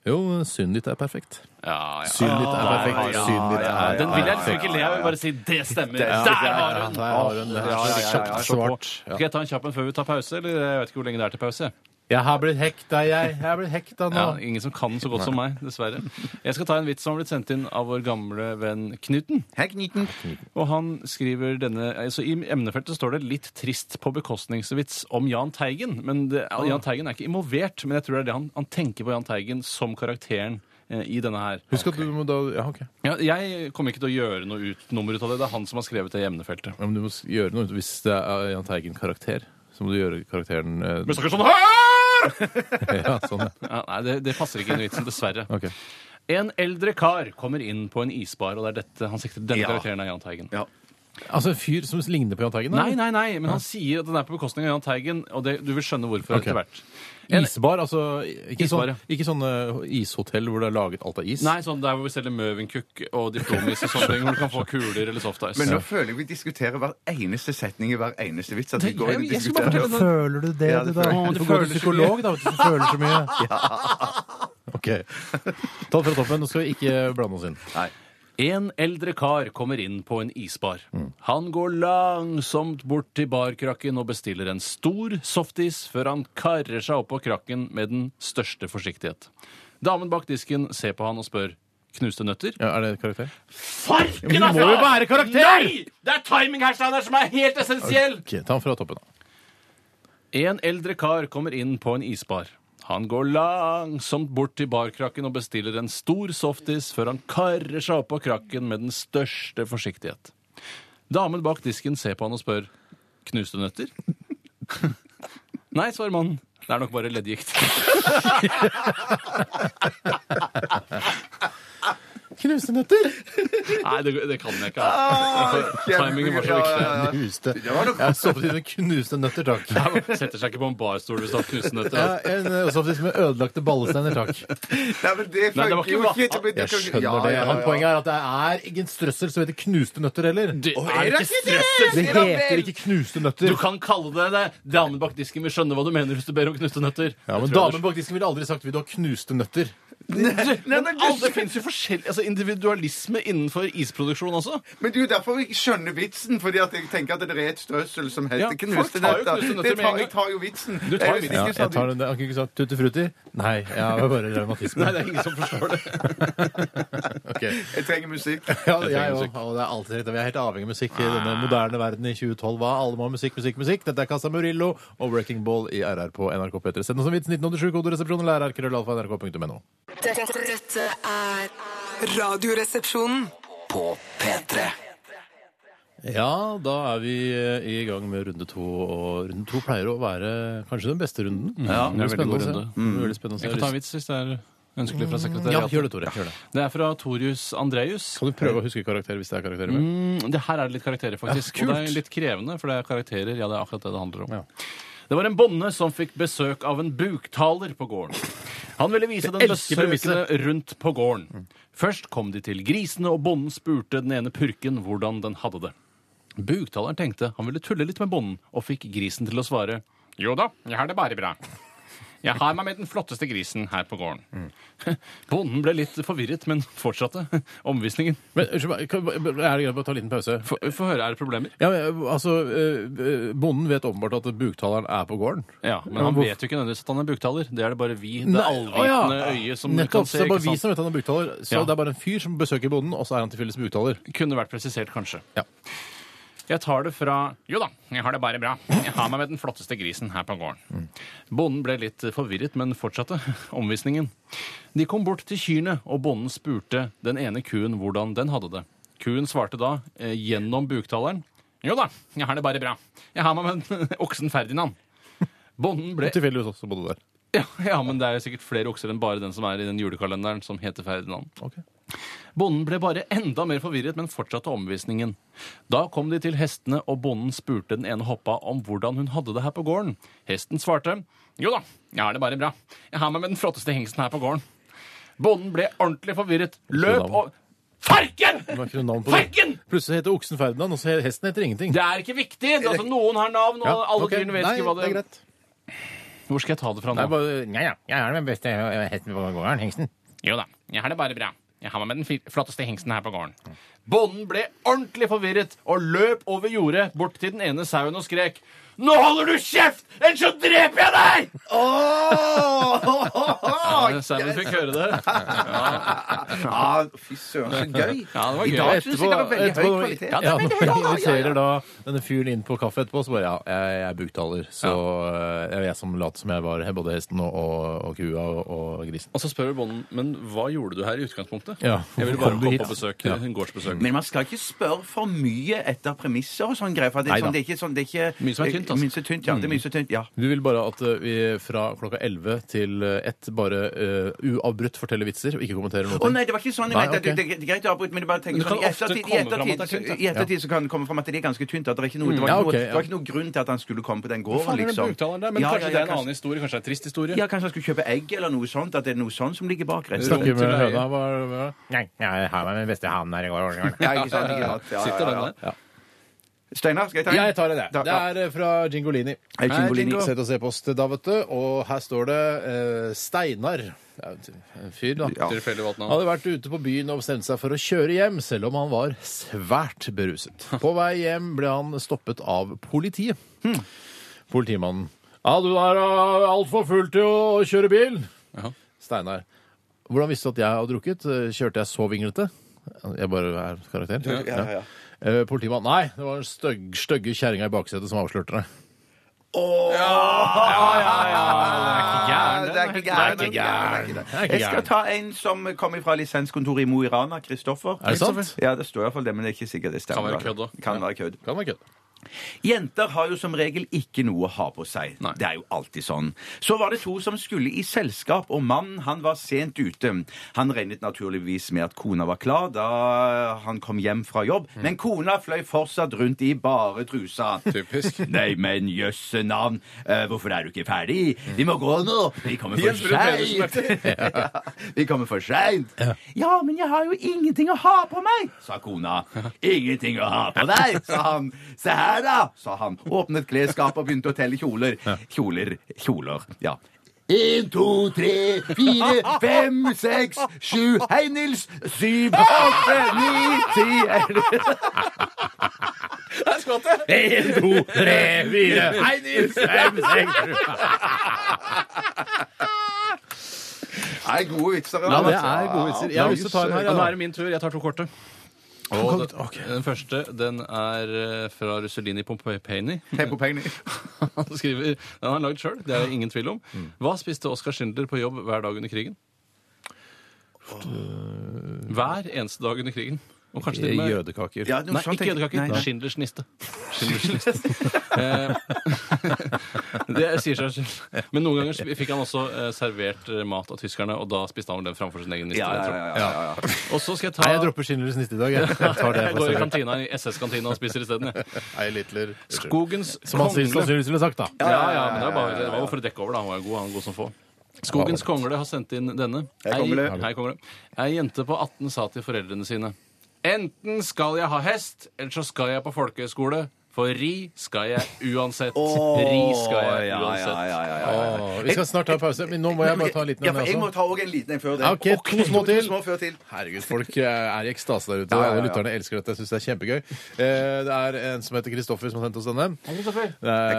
S3: Jo, synet ditt er perfekt.
S4: ja, ja.
S3: Synet ditt er
S4: Ah,
S3: perfekt.
S4: ja,
S3: Synet ditt er
S4: ja, Den vil jeg
S3: perfekt.
S4: liksom ikke le av. Jeg vil bare si det stemmer.
S5: Ja,
S4: Der
S5: ja,
S4: har
S3: Ja,
S4: hun!
S3: der har hun det.
S4: Ja, ja, ja, ja, ja.
S3: Kjapt svart.
S4: Skal jeg ta en kjapp en før vi tar pause? Eller jeg vet ikke hvor lenge det er til pause.
S3: Jeg har blitt hekta, jeg. Jeg har blitt hekta nå.
S4: Ja, ingen som kan den så godt som meg, dessverre. Jeg skal ta en vits som har blitt sendt inn av vår gamle venn Knuten.
S5: Hei, Knuten.
S4: Og han skriver denne altså I emnefeltet står det 'litt trist på bekostningsvits om Jahn Teigen'. Men det, Jahn Teigen er ikke involvert, men jeg tror det er det han, han tenker på Jahn Teigen som karakteren eh, i denne her.
S3: Husk at du må da Ja, OK.
S4: Ja, jeg kommer ikke til å gjøre noe ut, nummer ut av det. Det er han som har skrevet det i emnefeltet.
S3: Ja, Men du må s- gjøre noe hvis det er Jahn Teigen-karakter. Så må du gjøre karakteren eh, *laughs* ja, sånn. ja.
S4: Ja, nei, det, det passer ikke inn i vitsen, dessverre.
S3: Ok.
S4: En eldre kar kommer inn på en isbar, og det er dette han sikter denne
S5: Ja.
S4: karakteren av Jahn Teigen.
S5: Ja.
S3: Altså en fyr som ligner på Jahn Teigen? da?
S4: Nei, nei, nei, men han sier at den er på bekostning av Jahn Teigen, og det, du vil skjønne hvorfor
S3: Ok.
S4: etter hvert. En-
S3: Isbar, altså ikke,
S4: Isbar, ja.
S3: sånn, ikke sånne ishotell hvor det er laget alt av is?
S4: Nei, sånn der hvor vi selger Møvenkukk og diplomis og sånne ting, hvor du kan få kuler eller softice.
S5: Men nå føler jeg vi diskuterer hver eneste setning i hver eneste vits. At vi
S4: Det-
S5: går inn
S4: jeg-
S5: og
S4: jeg skal bare
S5: diskuterer.
S4: fortelle
S3: Føler du det,
S5: Ja, det
S3: du, da?
S5: føler-
S4: Å, det
S3: du får gå
S4: føles
S3: til
S4: så
S3: psykolog, da, hvis du føler så *laughs* mye. OK. Ta det fra toppen. Nå skal vi ikke blande oss inn.
S4: En eldre kar kommer inn på en isbar. Han går langsomt bort til barkrakken og bestiller en stor softis før han karrer seg opp på krakken med den største forsiktighet. Damen bak disken ser på han og spør knuste nøtter.
S3: Ja, er det karakter?
S4: Farken,
S3: Men det må jo være karakter!
S4: Nei! Det er timing her, Steinar, som er helt essensiell!
S3: Ok, ta den fra toppen, da.
S4: En eldre kar kommer inn på en isbar. Han går langsomt bort til barkrakken og bestiller en stor softis før han karrer seg opp på krakken med den største forsiktighet. Damen bak disken ser på han og spør knuste nøtter? *laughs* Nei, svarer mannen. Det er nok bare leddgikt. *laughs*
S3: Knusenøtter!
S4: Nei, det, det kan jeg ikke.
S3: Ah,
S4: Altså. Timingen var så viktig.
S3: Knuste.
S5: Det var nok-
S3: Jeg har sovet med knuste nøtter, takk.
S4: Jeg Setter seg ikke på en barstol hvis du har knuste nøtter. altså.
S3: Ja, en, eh, sovet med ødelagte ballesteiner, takk.
S5: Nei, men det
S4: Nei, det var
S5: funker jo
S4: ikke
S5: ikke. til å bli-
S3: Jeg
S5: kan-
S3: skjønner
S5: Ja,
S3: det.
S5: ja,
S3: Men
S5: ja.
S3: poenget er at det er ingen strøssel som heter knuste nøtter heller.
S4: Det
S5: Å,
S4: er ikke strøssel!
S3: Det heter ikke knuste
S4: Du
S3: nøtter.
S4: kan kalle det det. Damen bak disken vil skjønne hva du mener hvis du ber om knuste nøtter.
S3: Ja, men
S4: Det tror jeg
S3: Damen bak disken ville aldri sagt 'vil du ha knuste nøtter'?
S5: Nei, men
S4: Men
S5: du-
S4: alle- det fins jo forskjellig altså individualisme innenfor isproduksjon også.
S5: Men det er jo derfor vi ikke skjønner vitsen, fordi at jeg tenker at det er et strøssel som
S4: Ja,
S5: heter
S4: folk
S5: knuste
S4: tar jo
S5: nøtter.
S4: knuste nøtter
S5: Det
S4: med en
S5: tar,
S4: gang.
S5: jeg tar jo vitsen.
S4: Du tar
S5: Jeg
S4: vitsen.
S5: visste ikke
S3: Ja, jeg
S5: sånn-
S3: tar den der. Han kunne ikke sagt tutti frutti. Nei, jeg har bare revmatisme.
S4: Nei, det er ingen som forstår det.
S3: *laughs* Ok.
S5: Jeg trenger
S3: *laughs*
S5: musikk.
S3: Ja,
S4: Jeg trenger
S3: jeg
S4: musikk.
S3: òg. Og det er alltid rett. Vi er helt avhengig av musikk i denne moderne verden i 2012. Hva? Alle må ha musikk, musikk, musikk. Dette er Casa Murillo og Wrecking Ball i RR på NRK P3. Send oss en vits 1987, koderesepsjon eller rr.krøllalfa.nrk.no.
S7: Dette, dette er
S1: Radioresepsjonen.
S2: På P3.
S3: Ja, da er vi eh, i gang med runde to, og runde to pleier å være kanskje den beste runden.
S4: Mm. Ja, det er veldig god
S3: å se.
S4: runde.
S3: Mm. Veldig spennende å se.
S4: Jeg kan ta en vits hvis det er ønskelig fra
S3: Ja,
S4: sekretariatet.
S3: gjør det, Tore. Gjør det.
S4: Det er fra Torius Andreus.
S3: Kan du prøve å huske karakter hvis det er karakterer med?
S4: Mm, Det her er det litt karakterer, faktisk.
S3: Ja, kult.
S4: og det er litt krevende, for det er karakterer. Ja, det er akkurat det det handler om.
S3: Ja.
S4: Det var en bonde som fikk besøk av en buktaler på gården. Han ville vise den
S3: Jeg elsker
S4: besøkende rundt på gården. Først kom de til grisene, og bonden spurte den ene purken hvordan den hadde det. Buktaleren tenkte han ville tulle litt med bonden, og fikk grisen til å svare. Jo da, jeg har det bare bra. Jeg har meg med den flotteste grisen her på gården. *laughs* Bonden ble litt forvirret, men fortsatte omvisningen.
S3: Men unnskyld meg, kan- er det greit å bare ta en liten pause?
S4: Få få høre, er det problemer?
S3: Ja, men, altså, eh, eh, Bonden vet åpenbart at buktaleren er på gården.
S4: Ja, Men han
S3: hvorfor-
S4: vet jo ikke nødvendigvis at han er buktaler. Det er det bare vi, det
S3: Nei,
S4: allvitende
S3: å ja.
S4: øyet, som
S3: Nettopp,
S4: kan se.
S3: så det er
S4: ikke
S3: bare vi
S4: sant?
S3: som vet han er buktaler. Så
S4: Ja.
S3: det er bare en fyr som besøker bonden, og så er han tilfeldigvis buktaler.
S4: Kunne vært presisert, kanskje.
S3: Ja.
S4: Jeg tar det fra Jo da, jeg har det bare bra. Jeg har meg med den flotteste grisen her på gården.
S3: Mm.
S4: Bonden ble litt forvirret, men fortsatte *laughs* omvisningen. De kom bort til kyrne, og bonden spurte den ene kuen hvordan den hadde det. Kuen svarte da, eh, gjennom buktaleren, Jo da, jeg har det bare bra. Jeg har meg med den *laughs* oksen Ferdinand. Bonden ble
S3: Tilfeldigvis også bodde der.
S4: ja, ja, men det er jo sikkert flere okser enn bare den som er i den julekalenderen som heter Ferdinand.
S3: Ok.
S4: Bonden ble bare enda mer forvirret, men fortsatte omvisningen. Da kom de til hestene, og bonden spurte den ene hoppa om hvordan hun hadde det her på gården. Hesten svarte, jo da, jeg har det bare bra. Jeg har meg med den flotteste hengsten her på gården. Bonden ble ordentlig forvirret, løp og Farken!
S3: Det var ikke noe navn på
S4: Farken!
S3: det. Plutselig heter oksen Ferdinand, og så he- hesten heter ingenting.
S4: Det er ikke viktig! Altså, noen har navn, og
S3: Ja,
S4: alle
S3: ok.
S4: dyrene vet
S3: Nei,
S4: ikke hva
S3: det er
S4: det
S3: greit.
S4: Hvor skal jeg ta det fra
S3: Nei,
S4: nå?
S3: bare, nei, ja, jeg er den beste hesten på gården, hengsten.
S4: Jo da, jeg har det bare bra. Jeg har meg med den fi- flotteste hengsten her på gården. Mm. Bonden ble ordentlig forvirret og løp over jordet bort til den ene sauen og skrek Nå holder du kjeft, ellers så dreper jeg deg! Ja, sauen fikk høre det.
S5: Ja, Fy søren, så gøy.
S4: Ja, det var *laughs*
S5: I
S4: gøy.
S5: dag syns
S3: Etterpå,
S5: jeg det var veldig høy
S3: etterpå
S5: kvalitet.
S3: ja, når vi inviterer da denne fyren inn på kaffe etterpå, så bare ja, jeg, jeg er buktaler. Så eh, jeg, jeg som lot som jeg var både hesten og, og, og kua og, og grisen.
S4: Og så spør bonden, men hva gjorde du her i utgangspunktet?
S3: Ja,
S4: Jeg ville bare
S3: hvorfor kom du
S4: komme
S3: hit?
S4: på besøk.
S3: Ja.
S4: En gårdsbesøk.
S5: Men man skal ikke spørre for mye etter premisser og sånn greier. For det,
S3: Nei
S5: er
S3: da.
S5: sånn, det er ikke sånn det er ikke,
S4: Mye som er tynt, altså. Mm.
S5: Mye som er tynt, ja. Det er mye som er tynt, ja.
S3: Du vil bare at eh, vi fra klokka 11 til eh, 1 bare eh, uavbrutt forteller vitser og ikke kommenterer noe.
S5: Å nei, det var ikke sånn. jeg
S3: Nei,
S5: mente at
S3: ok.
S5: det, det, det er greit å avbryte, men det bare
S4: Men
S5: tenker
S4: det kan
S5: sånn, i
S4: ofte
S5: ettertid, i
S4: komme fram at
S5: ettertid,
S4: det er tynt, ja. Mm.
S5: så- i ettertid så kan det komme fram at det er ganske tynt. At det, er ikke noe, det, var
S3: Ja,
S5: ikke
S3: ok,
S5: noe, det
S3: ja.
S5: var ikke noe grunn til at han skulle komme på den gården,
S4: Faen, er det
S5: liksom.
S4: buktaleren der? Men
S5: Ja,
S4: kanskje
S5: ja,
S4: det
S5: ja,
S4: er en
S5: kanskje-
S4: annen historie? Kanskje det er en trist historie?
S5: Ja, kanskje han skulle kjøpe egg eller noe sånt? At det er noe sånt som ligger bak
S3: Jeg
S5: resten?
S3: Snakker med
S4: Til deg.
S3: høna, hva er det- hva er det? Nei, jeg har meg min beste han her i går.
S5: Ja, ikke sant, ikke sant. Ja, ja,
S4: Sitter
S5: ja,
S4: den
S5: ja.
S4: der?
S5: Steinar, skal jeg ta
S3: Jeg tar det,
S5: Da-
S3: det. Det er eh, fra Gingolini.
S5: Hei, Gingolini.
S3: Hei, Sett og se på oss da, vet du. Og her står det eh, Steinar. Det er jo En fyr, da.
S5: Ja.
S4: Tilfeldig valgt
S3: Han
S4: navn.
S3: hadde vært ute på byen og bestemt seg for å kjøre hjem, selv om han var svært beruset. På vei hjem ble han stoppet av politiet. Politimannen. Ja, du er eh, altfor full til å kjøre bil.
S4: Jaha.
S3: Steinar. Hvordan visste du at jeg hadde drukket? Kjørte jeg så vinglete? Jeg bare er karakter.
S5: Ja, ja, ja.
S3: Eh, Politimannen. Nei, det var den stygg- stygge kjerringa i baksetet som avslørte det.
S5: Ja, det er ikke gærent.
S3: Det er ikke gærent.
S5: Det er ikke
S3: Det er
S5: gærent.
S3: ikke
S5: Jeg skal ta en som kommer fra lisenskontoret i Mo i Rana, Kristoffer.
S3: Er det sant?
S5: Ja, det står iallfall det, men det er ikke sikkert det stemmer.
S4: Kan være kødd også.
S5: Kan være kødd.
S3: Kan være kødd.
S5: Jenter har jo som regel ikke noe å ha på seg.
S4: Nei.
S5: Det er jo alltid sånn. Så var det to som skulle i selskap, og mannen han var sent ute. Han regnet naturligvis med at kona var klar da han kom hjem fra jobb,
S4: Mm.
S5: men kona fløy fortsatt rundt i bare trusa.
S4: Typisk.
S5: *laughs* Nei, men jøsse navn, Eh, hvorfor er du ikke ferdig?
S4: Mm.
S5: Vi må gå nå! Vi kommer for seint! *laughs* ja, vi kommer for seint! Ja, men jeg har jo ingenting å ha på meg, sa kona. Ingenting å ha på deg, sa han. Se her, da, sa han. Åpnet klesskapet og begynte å telle kjoler. Kjoler, kjoler, ja. En, to, tre, fire, fem, seks, sju. Hei, Nils! Syv, åtte, ni, ti, elleve
S4: *laughs*
S3: En, to, tre,
S5: *laughs*
S3: fire. Hei, Nils! Fem, seks, sju.
S5: Nei, gode vitser.
S3: Ja, det
S5: altså.
S3: er gode vitser. Jeg har lyst til å ta en her.
S4: Ja, nå
S3: jeg, da.
S4: er det min tur. Jeg tar to korte. Og den, den første den er eh, fra Russelini Pompeini. *laughs*
S5: Hei på pengene.
S4: Han skriver, Den har han lagd sjøl, det er det ingen tvil om.
S3: Mm.
S4: Hva spiste Oskar Schindler på jobb hver dag under krigen? Hver eneste dag under krigen. Og kanskje
S3: Eh,
S4: til og med
S3: Jødekaker.
S5: Ja, noe
S4: Nei,
S5: sånt,
S4: ikke
S5: tenker jeg.
S4: jødekaker.
S5: Nei, nei.
S4: Schindlers niste. Schindlers niste.
S3: *laughs*
S4: Eh, *laughs* det sier seg selv. Men noen ganger fikk han også eh, servert eh, mat av tyskerne, og da spiste han vel den framfor sin egen niste.
S5: Ja,
S4: vil jeg
S5: ja,
S4: tro.
S5: ja, ja, ja, ja.
S4: Og så skal jeg ta
S3: Nei, jeg dropper Schindlers niste i dag. Jeg, jeg
S5: *laughs*
S3: tar det
S4: Jeg
S3: for
S4: går i
S3: servert.
S4: kantina, i SS-kantina og spiser isteden. jeg.
S3: Ei Littler.
S4: Skogens
S3: Som han sier-
S4: kongle
S3: sannsynligvis ville sagt, da.
S4: Ja, ja, men det er bare det var jo for å dekke over, da. Han var god, han var god som få. Skogens kongle har sendt inn denne. Hei,
S5: kongle.
S4: Hei, kongle. Ei jente på 18 sa til foreldrene sine Enten skal jeg ha hest, eller så skal jeg på folkehøyskole. For ri skal jeg uansett. Ri skal jeg
S5: ja, ja,
S4: uansett.
S5: ja, ja, ja.
S3: Å, vi skal snart ta pause, men nå må jeg bare ta en liten
S5: ja,
S3: en.
S5: for jeg må
S3: jeg også.
S5: ta òg en liten en før det.
S3: Ja, ok, to små til.
S5: små før til.
S3: Herregud, folk eh, er i ekstase der ute.
S5: Ja, ja, ja.
S3: Alle lytterne elsker dette. Jeg syns det er kjempegøy. Eh, Det er en som heter Kristoffer, som har sendt oss denne. Eh,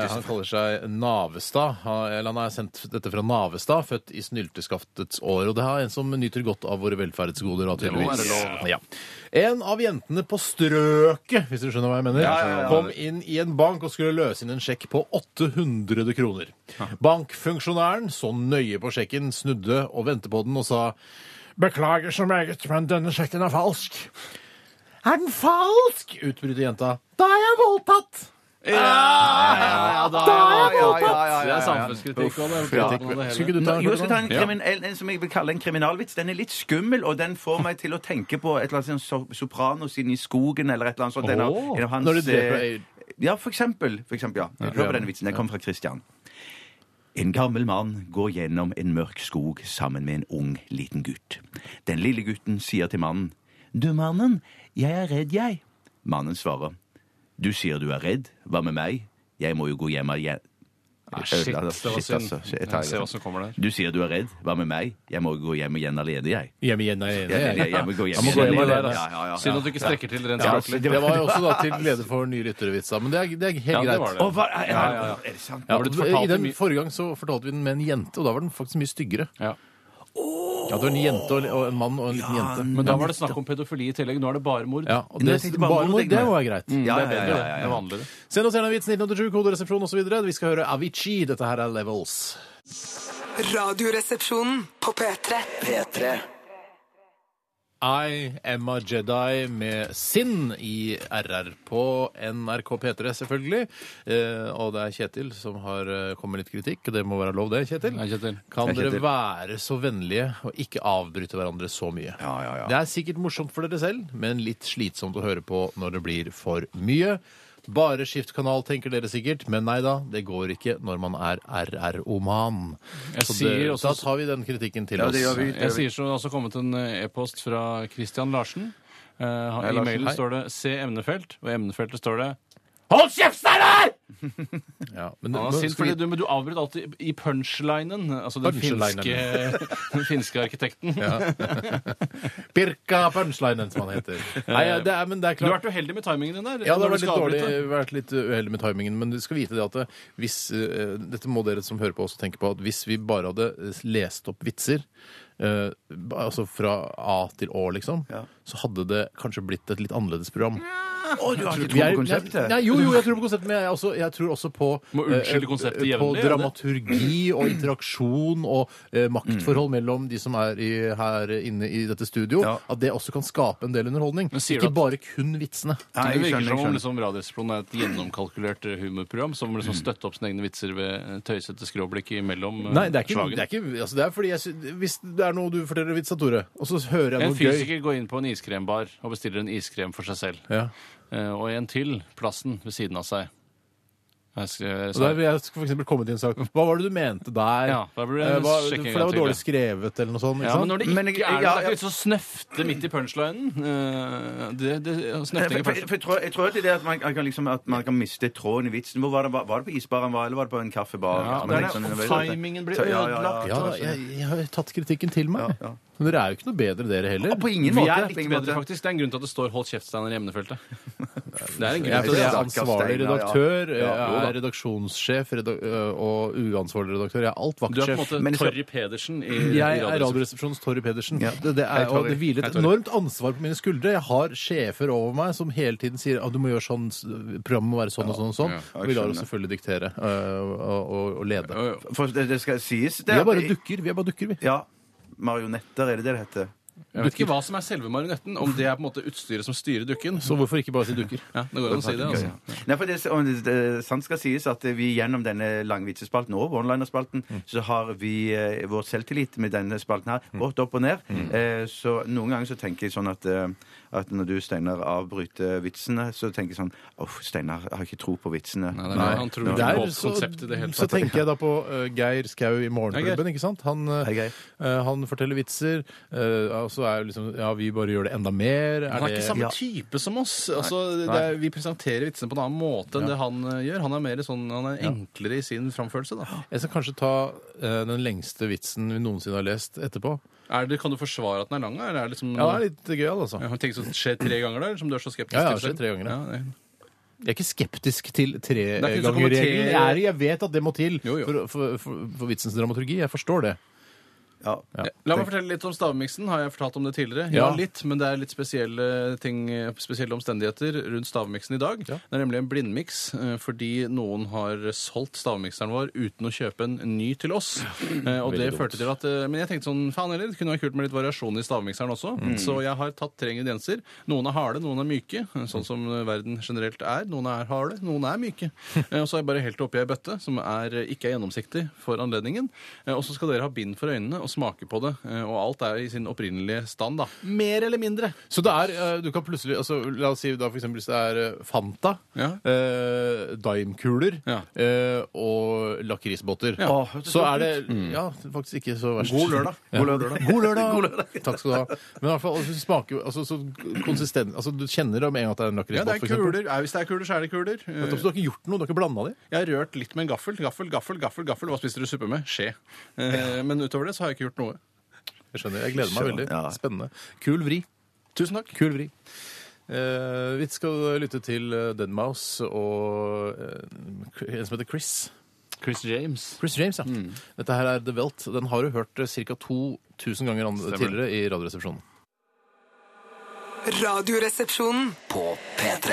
S3: Han kaller seg Navestad. Han- Eller han har sendt dette fra Navestad, født i snylteskaftets år. Og det er en som nyter godt av våre velferdsgoder. da,
S4: må være
S3: tydeligvis. Ja. En av jentene på strøket, hvis du skjønner hva jeg mener, kom inn i en bank og skulle løse inn en sjekk på 800 kroner. Bankfunksjonæren så nøye på sjekken, snudde og vendte på den og sa Beklager så meget, men denne sjekken er falsk. Er den falsk? utbryter jenta. Da er jeg voldtatt!
S4: Ja, ja, ja, da er jeg
S5: ja, ja, ja,
S4: Det er
S5: ja, ja.
S4: samfunnskritikk òg.
S3: Skulle ikke du
S5: Nå,
S3: ta en
S5: jo, jeg skal ta en,
S4: Ja.
S5: krimin, en, en som jeg vil kalle en kriminalvits. Den er litt skummel, og den får meg til å tenke på et eller annet sånn so- Sopranos inne i skogen eller et eller annet sånt. Den av-
S4: Åh.
S5: en av hans,
S3: Når de dreper
S5: eh,
S3: ei-
S5: Ja, for eksempel. For eksempel ja. Hør på denne vitsen. Den kommer fra Christian. En gammel mann går gjennom en mørk skog sammen med en ung, liten gutt. Den lille gutten sier til mannen, Du, mannen, jeg er redd, jeg. Mannen svarer, Du sier du er redd. Hva med meg? Jeg må jo gå hjem igjen.
S4: Ah, Shit, det var
S5: Shit,
S4: synd.
S5: altså. Shit,
S4: Jeg ser hva som kommer der.
S5: Du sier du er redd. Hva med meg? Jeg må gå hjem igjen alene, jeg.
S3: Hjem igjen, nei, nei,
S5: Jeg,
S3: nei.
S5: jeg, jeg må gå hjem
S3: Jeg må gå hjem
S5: alene.
S3: alene,
S5: Ja, ja, ja.
S4: Synd at du ikke strekker til rent
S3: Ja,
S4: språklig.
S3: det var jo også da til glede for nye lyttervitser, men det er, det er helt
S4: Ja, det var
S3: greit.
S4: det.
S5: Å, hva,
S4: Ja,
S5: er,
S4: ja, ja.
S5: er det sant?
S4: Det har
S3: Ja,
S4: blitt
S3: I
S4: fortalt
S3: den
S4: mye-
S3: Forrige gang så fortalte vi den med en jente, og da var den faktisk mye styggere.
S4: Ja.
S3: Ja, det var en jente og en- og en mann og en liten jente.
S4: Men da var det snakk om pedofili i tillegg. Nå er det bare mord.
S3: Ja, og
S5: Nå
S3: det,
S5: tenkte jeg bare
S3: bare
S5: mot
S3: mot
S5: deg,
S3: det
S5: men-
S3: var greit.
S5: Ja,
S4: Det
S5: ja,
S4: er
S5: ja,
S4: bedre,
S5: ja,
S4: det.
S5: ja,
S4: Det er
S5: ja.
S4: vanligere.
S3: Send oss gjerne vits 1987, koderesepsjon osv. Vi skal høre Avicii. Dette her er Levels.
S7: Radioresepsjonen på P3.
S2: P3
S3: I am a Jedi med Sinn i RR på NRK P3, selvfølgelig. Eh, og det er Kjetil som har eh, kommet med litt kritikk, og det må være lov, det, Kjetil.
S4: Nei, Kjetil.
S3: Kan
S5: Hei, Kjetil.
S3: dere være så vennlige og ikke avbryte hverandre så mye?
S5: Ja, ja, ja.
S3: Det er sikkert morsomt for dere selv, men litt slitsomt å høre på når det blir for mye. Bare skift kanal, tenker dere sikkert, men nei da, det går ikke når man er RR-oman.
S4: Jeg
S3: Så det,
S4: sier også-
S3: da tar vi den kritikken til
S5: Ja,
S3: oss.
S5: det gjør vi.
S4: Jeg sier så det har også kommet en eh, e-post fra Christian Larsen. Eh, han-
S5: Hei,
S4: I
S5: Larsen.
S4: mailen
S5: Hei.
S4: står det 'se emnefelt', og i emnefeltet står det
S3: Ja,
S4: Han
S3: men,
S4: er
S3: men
S4: sint
S3: skal vi-
S4: fordi du, men du avbryter alltid i punchlinen. Altså den
S3: Punchlinen.
S4: finske, *laughs* den finske arkitekten.
S3: Birka Punchlinen, som han heter. Nei, *laughs* ja, det er, men det er
S4: Du har
S3: klart
S4: vært uheldig med timingen din der.
S3: ja, det har
S4: når du
S3: vært litt,
S4: skal
S3: dårlig,
S4: avbryte.
S3: vært litt uheldig med timingen, men du skal vite det at det, hvis eh, Dette må dere som hører på også tenke på, at hvis vi bare hadde eh, lest opp vitser eh, ba- altså fra A til Å, liksom, så hadde det kanskje blitt et litt annerledes program.
S5: Å, du har ikke
S3: Vi
S5: tro
S3: er-
S5: på konseptet?
S3: Nei, jo, jo, jeg tror på konseptet, men jeg, er også, jeg tror også på
S4: Må unnskylde konseptet
S3: eh, På
S4: jevnlig, eller?
S3: dramaturgi
S4: *clears throat*
S3: og interaksjon og eh, maktforhold mellom de som er i, her inne i dette studio.
S5: Ja.
S3: At det også kan skape en del underholdning.
S4: Men sier
S3: Ikke
S4: du at-
S3: bare kun vitsene.
S5: Nei,
S4: det
S5: jeg
S4: virker som
S5: skjønner, jeg
S4: om
S5: skjønner.
S4: liksom, Radioresepsjonen er et gjennomkalkulert eh, humorprogram som liksom
S5: Mm.
S4: støtter opp sine egne vitser ved eh, tøysete skråblikk imellom eh,
S3: Nei, det er ikke,
S4: slagene.
S3: det er ikke altså det er fordi jeg, sy- Hvis det er noe du forteller vits av, Tore, og så hører jeg
S4: En
S3: noe gøy
S4: fysiker går inn på en iskrembar og bestiller en iskrem for seg selv.
S3: ja.
S4: Eh, Og en til plassen ved siden av seg. Jeg sk- jeg
S3: Så der
S4: sa-
S3: vil jeg for eksempel komme til en sak Hva var det du mente der?
S4: Ja, da blir det en
S3: Eh, hva,
S4: sjekking
S3: for
S4: en
S3: det
S4: gang
S3: var
S4: til,
S3: dårlig
S4: ja.
S3: skrevet eller noe sånt. Ikke
S4: Ja, men
S3: sant?
S4: når det ikke
S5: Men jeg-
S4: er
S5: ja,
S4: det, er
S5: ja.
S4: ikke vits å snøfte midt i punchlinen. Eh, Det, det,
S5: For,
S4: snøfting i
S5: for, for,
S4: punchlinen.
S5: jeg, tror, jeg tror det er det at man, kan liksom, at man kan miste tråden i vitsen. Hvor var, det, var, var det på isbaren, var, eller var det på en kaffebar?
S4: Ja,
S5: Men
S4: det er
S5: liksom,
S4: det.
S5: jeg vet ikke.
S4: Timingen blir
S5: Så- ja, ja, ja.
S4: ødelagt.
S3: Ja, jeg, jeg har tatt kritikken til meg.
S5: Ja, ja.
S3: Men dere er jo ikke noe bedre, dere heller.
S5: På ingen
S4: Vi
S5: måte.
S4: er
S5: på
S4: litt
S5: ingen måte.
S4: bedre, faktisk. Det er en grunn til at det står 'hold kjeft, Steinar' i
S5: *laughs*
S4: emnefeltet. Det er en grunn
S3: Jeg
S4: til
S3: er
S4: det.
S5: stakkars
S3: ansvarlig
S5: Steinar, ja.
S3: redaktør,
S5: Ja,
S3: jeg
S5: jo da.
S3: er redaksjonssjef redak øh, og uansvarlig redaktør. Jeg er alt
S4: Du er på en
S3: vaktsjef.
S5: Men
S4: måte
S5: så-
S4: Torry Pedersen i, i
S3: Jeg er
S4: Radioresepsjonen.
S3: Radioresepsjonens Torry Pedersen.
S5: Ja.
S3: Det, det
S5: Hei,
S3: er, og
S5: Torry.
S3: det hviler et
S4: Hei, Torry.
S3: enormt ansvar på mine skuldre. Jeg har sjefer over meg som hele tiden sier at du må gjøre sånn, s- programmet må være sånn og sånn og sånn.
S4: Ja,
S3: Og vi lar oss selvfølgelig diktere øh, og, og, og lede.
S5: For det, det skal sies det
S3: Vi er
S5: at-
S3: bare dukker, vi er bare dukker, vi.
S5: Ja. Marionetter, er det det det heter?
S4: Jeg vet ikke hva som er selve marionetten, om det er på en måte utstyret som styrer dukken.
S3: Så hvorfor ikke bare si dukker?
S4: Ja, det går an å si det, altså.
S5: Nei, for det, om det, det sant skal sies at vi gjennom denne langvitsespalten og onlinerspalten,
S4: Mm.
S5: så har vi eh, vår selvtillit med denne spalten her gått opp og ned.
S4: Mm.
S5: Eh, så noen ganger så tenker jeg sånn at, eh, at når du, Steinar, avbryter vitsene, så tenker jeg sånn Uff, Steinar jeg har ikke tro på vitsene.
S4: Nei, nei, han tror ikke
S3: Der
S4: på
S3: så,
S4: konseptet i det hele
S3: så
S4: tatt.
S3: tenker jeg da på eh, Geir Skau i
S4: Hei, Geir.
S3: Morgenklubben. ikke sant? Han, eh,
S5: Hei, Geir.
S3: eh, han forteller vitser, eh, og så er jo liksom Ja, vi bare gjør det enda mer. Er
S4: Han er
S3: det-
S4: ikke samme
S5: Ja.
S4: type som oss. Altså, det er, vi presenterer vitsene på en annen måte enn det han eh, gjør. Han er, mer sånn, han er enklere i sin framførelse. Da.
S3: Jeg skal kanskje ta eh, den lengste vitsen vi noensinne har lest etterpå.
S4: *gasps* Er det, kan du forsvare at den er lang? Eller er det liksom,
S3: Ja, det er litt gøyal, altså.
S4: Ja, Tenk som sånn, skjer tre ganger, da? eller Som du er så skeptisk
S3: Ja, ja,
S4: til selv?
S3: skjer tre ganger, ja.
S4: Ja, det-
S3: Jeg er ikke skeptisk til
S4: Det er ikke så kommer
S3: tregangerregelen.
S4: tre-
S3: Jeg, er- jeg vet at det må til
S4: Jo, jo.
S3: For, for, for, for vitsens dramaturgi. Jeg forstår det.
S5: Ja.
S4: Eh, La meg fortelle litt om stavmiksen. Har jeg fortalt om det tidligere? Ja,
S3: Ja.
S4: litt, men det er litt spesielle ting, spesielle omstendigheter rundt stavmiksen i dag. Det er nemlig en blindmiks, eh, fordi noen har solgt stavmikseren vår uten å kjøpe en ny til oss. Eh, Og det
S3: Veldig dumt.
S4: førte til at eh, Men jeg tenkte sånn, faen heller, det kunne vært kult med litt variasjon i stavmikseren også. Så jeg har tatt tre ingredienser. Noen er harde, noen er myke, eh, sånn som eh, verden generelt er. Noen er harde, noen er *laughs* myke. Eh, Og så har jeg bare helt oppi ei bøtte som er, eh, ikke er gjennomsiktig for anledningen. Eh, Og så skal dere ha bind for øynene og smake på det. Eh, Og alt er i sin opprinnelige stand, da. Mer eller mindre.
S3: Så det er, eh, du kan plutselig altså, La oss si da for eksempel hvis det er eh, Fanta,
S4: Ja.
S3: eh, daimkuler
S4: Ja.
S3: eh, og lakrisbåter.
S4: Ja. Åh,
S3: Så er det ja, faktisk ikke så verst.
S4: God lørdag.
S3: *laughs* Ja. God
S4: *laughs*
S3: lørdag. Takk skal du ha. Men i hvert fall, altså, det smaker jo altså, så konsistent altså, Du kjenner det med en gang at det er en
S4: Ja, det
S3: lakrisbåt,
S4: er kuler. Ja, Hvis det er kuler, så er det kuler. Eh,
S3: Så du har ikke gjort noe? Du har ikke blanda de?
S4: Jeg har rørt litt med en gaffel. Gaffel, gaffel, gaffel. gaffel. Hva spiser du suppe med? Skje. Eh, Men utover det så har jeg ikke gjort noe.
S3: Jeg skjønner. Jeg gleder meg
S5: Skjønner,
S3: veldig.
S5: ja.
S3: Spennende. Kul vri.
S4: Tusen takk.
S3: Kul vri. Eh, vi skal lytte til eh, Dead Mouse og eh, en som heter Chris.
S4: Chris James.
S3: Chris James, ja. Dette her er The Welt. Den har du hørt eh, ca. 2000 ganger an- tidligere i Radioresepsjonen.
S7: Radioresepsjonen.
S2: På P3.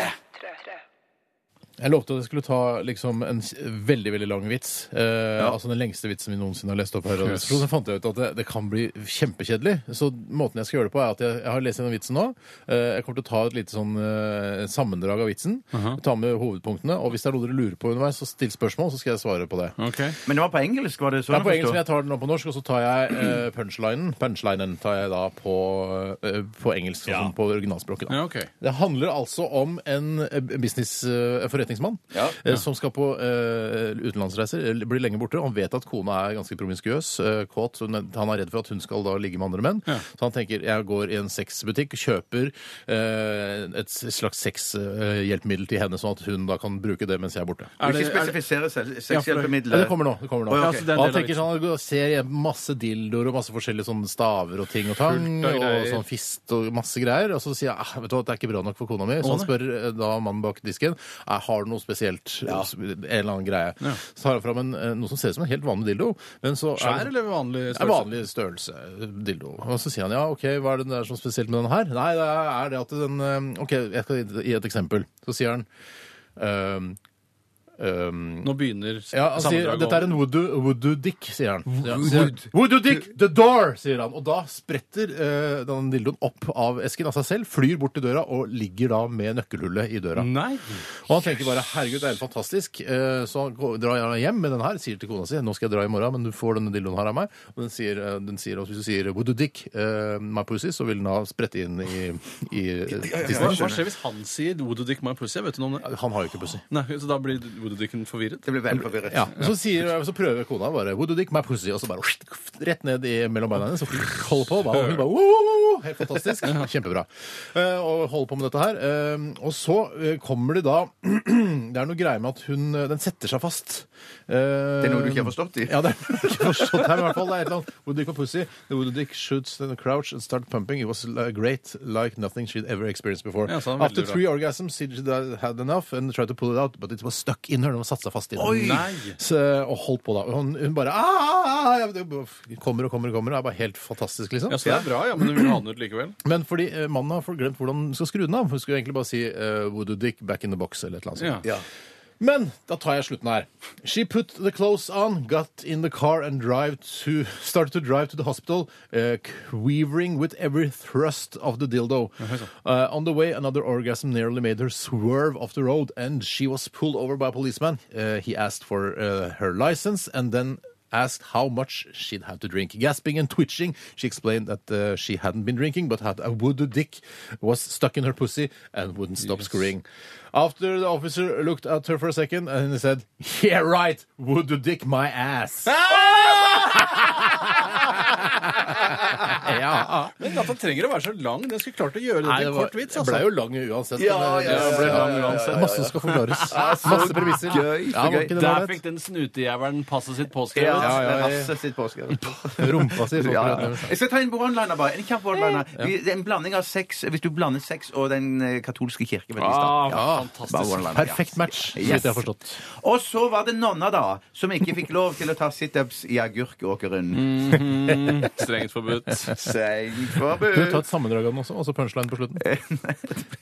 S3: Jeg lovte at jeg skulle ta liksom en s- veldig veldig lang vits. Eh, Altså Den lengste vitsen vi noensinne har lest opp. her. Yes. Så fant jeg ut at det, det kan bli kjempekjedelig. Så måten jeg skal gjøre det på, er at jeg, jeg har lest gjennom vitsen nå. Eh, jeg kommer til å ta et lite sånn eh, sammendrag av vitsen. Ta med hovedpunktene. Og hvis det er noe dere lurer på underveis, så still spørsmål, så skal jeg svare på det.
S4: Ok.
S5: Men det var på engelsk, var det
S3: Det
S5: sånn?
S3: er på engelsk, men jeg tar den nå på norsk, og så tar jeg eh, punchlinen. Punchlinen tar jeg da på, eh, på engelsk, sånn som på originalspråket. Da.
S4: Ja, ok.
S3: Det handler altså om en eh, business eh, en forretningsmann eh, som skal på eh, utenlandsreiser, eller blir lenge borte. Han vet at kona er ganske promiskuøs, eh, kåt. så hun er- Han er redd for at hun skal da ligge med andre menn. Så han tenker jeg går i en sexbutikk, kjøper eh, et slags sexhjelpemiddel til henne, sånn at hun da kan bruke det mens jeg er borte.
S5: Du vil
S4: Er det-
S5: ikke
S4: er det-
S5: spesifisere selv- sexhjelpemidler?
S3: Ja, det kommer nå. Det kommer nå.
S5: Å, ja,
S4: ok.
S3: Og han tenker sånn, han går og ser igjen masse dildoer og masse forskjellige sånne staver og ting og tang.
S4: Fullt av
S3: Og
S4: greier.
S3: sånn fist og masse greier. Og så sier jeg ah, vet du hva, det er ikke bra nok for kona mi. Så han spør eh, da mannen bak disken «Ah, har du noe spesielt. eh, En eller annen greie. Så tar han fram en, eh, noe som ser ut som en helt vanlig dildo. Men så er
S4: Skjær
S3: det-
S4: eller vanlig
S3: det er vanlig størrelse eh, dildo. Og så sier han ja, OK, hva er det der som er spesielt med den her? Nei, det er det at den eh, OK, jeg skal gi et eksempel. Så sier han ehm, ehm,
S4: Nå begynner
S3: ja, han sier,
S4: sammendraget
S3: Dette er
S4: om-
S3: en voodoo, voodoo dick, sier han. Ja, han sier, Voodoo dick, the door, sier han. Og da spretter eh, den dildoen opp av esken av seg selv, flyr bort til døra og ligger da med nøkkelhullet i døra.
S4: Nei!
S3: Og han tenker bare 'herregud, det er helt fantastisk', eh, så han går- drar gjerne hjem med den her. Sier til kona si 'nå skal jeg dra i morgen, men du får denne dildoen her av meg'. Og den sier, eh, den sier også, hvis du sier 'voodoo dick, eh, my pussy', så vil den da sprette inn i, i eh,
S4: Hva, hva
S3: tissen.
S4: skjer hvis han sier 'Would you dick my pussy'? Vet du noe om det?
S3: Han har jo ikke pussy.
S4: Nei, så da blir Woododicken forvirret?
S5: Det blir veldig forvirret.
S3: Ja, og så, sier, så prøver kona bare Would you dick my pussy? Og så bare rett ned i mellom beina hennes og holder på. Bare, og hun bare, «Wow!» Helt fantastisk. Kjempebra. Eh, Og holder på med dette her. Eh, Og så eh, kommer det da *clears throat* Det er noe greier med at hun eh, Den setter seg fast. Eh,
S5: Det er noe du ikke har forstått i?
S3: Ja, det er ikke forstått her, men i hvert fall. Det er et eller annet Would you dick my pussy? The would you dick shoots in a crouch and start pumping. It was like great, like nothing she'd ever experienced before.
S4: Ja, så det er
S3: After
S4: veldig bra.
S3: three orgasms, she had enough and tried to pull it out, but it was stuck in her. Den var satt seg fast i den.
S4: Nei!
S3: Så, og holdt på da. Og Hun, hun bare «Ah, ah, ah!» Kommer og kommer og kommer. Det er bare helt fantastisk, liksom.
S4: Ja, så det er bra, ja, men du vil ha den ut likevel?
S3: Men fordi eh, mannen har for- glemt hvordan hun skal skru den av. Hun skulle egentlig bare si eh, Would you dick back in the box? eller et eller annet sånt.
S4: Ja.
S3: Men da tar jeg slutten her. She put the clothes on, got in the car and drive to, started to drive to the hospital, uh, quivering with every thrust of the dildo. Uh, on the way, another orgasm nearly made her swerve off the road, and she was pulled over by a policeman. Uh, he asked for uh, her license and then asked how much she'd had to drink. Gasping and twitching, she explained that uh, she hadn't been drinking but had a voodoo dick, was stuck in her pussy, and wouldn't stop screaming. After the officer looked at her for a second and he said, Yeah, right,
S5: Ah!
S3: *laughs* voodoo dick my ass.
S4: Men at han trenger å være så lang, det skulle klart å gjøre det
S3: Nei,
S4: til
S3: det
S4: en
S3: var,
S4: kort vits. altså.
S3: det ble jo lang uansett.
S5: altså. Ja,
S3: men, eh,
S5: ja, ja, Ah,
S4: ja,
S3: ble
S4: ja,
S3: lang
S4: ja, ja,
S3: uansett.
S4: ja.
S3: Masse skal forklares.
S5: så
S3: Masse premisser.
S5: gøy, så
S3: Ja, var
S5: gøy.
S3: ikke det
S4: Der
S3: bare
S4: fikk den snutejævelen passet sitt
S5: Ja,
S4: påskrevet.
S3: ja, ja.
S5: Rasset sitt
S3: *laughs*
S5: påskrevet.
S3: et- rumpa si?
S5: Ja, ja. Jeg skal ta en one-liner, bare. En kjapp one-liner. Vi- Det er en blanding av sex Hvis du blander sex og den eh, katolske kirke vet du, i
S4: Ah,
S5: stad. Bare
S4: fantastisk.
S5: one-liner, ja.
S3: Perfekt match, så vidt jeg har forstått.
S5: Og så var det nonna, da, som ikke fikk lov til å ta situps i agurkåkeren.
S4: Strengt forbudt.
S5: Strengt
S3: Kan du ta
S5: forbud.
S3: et sammendrag av den også, og så punchline på *laughs* slutten?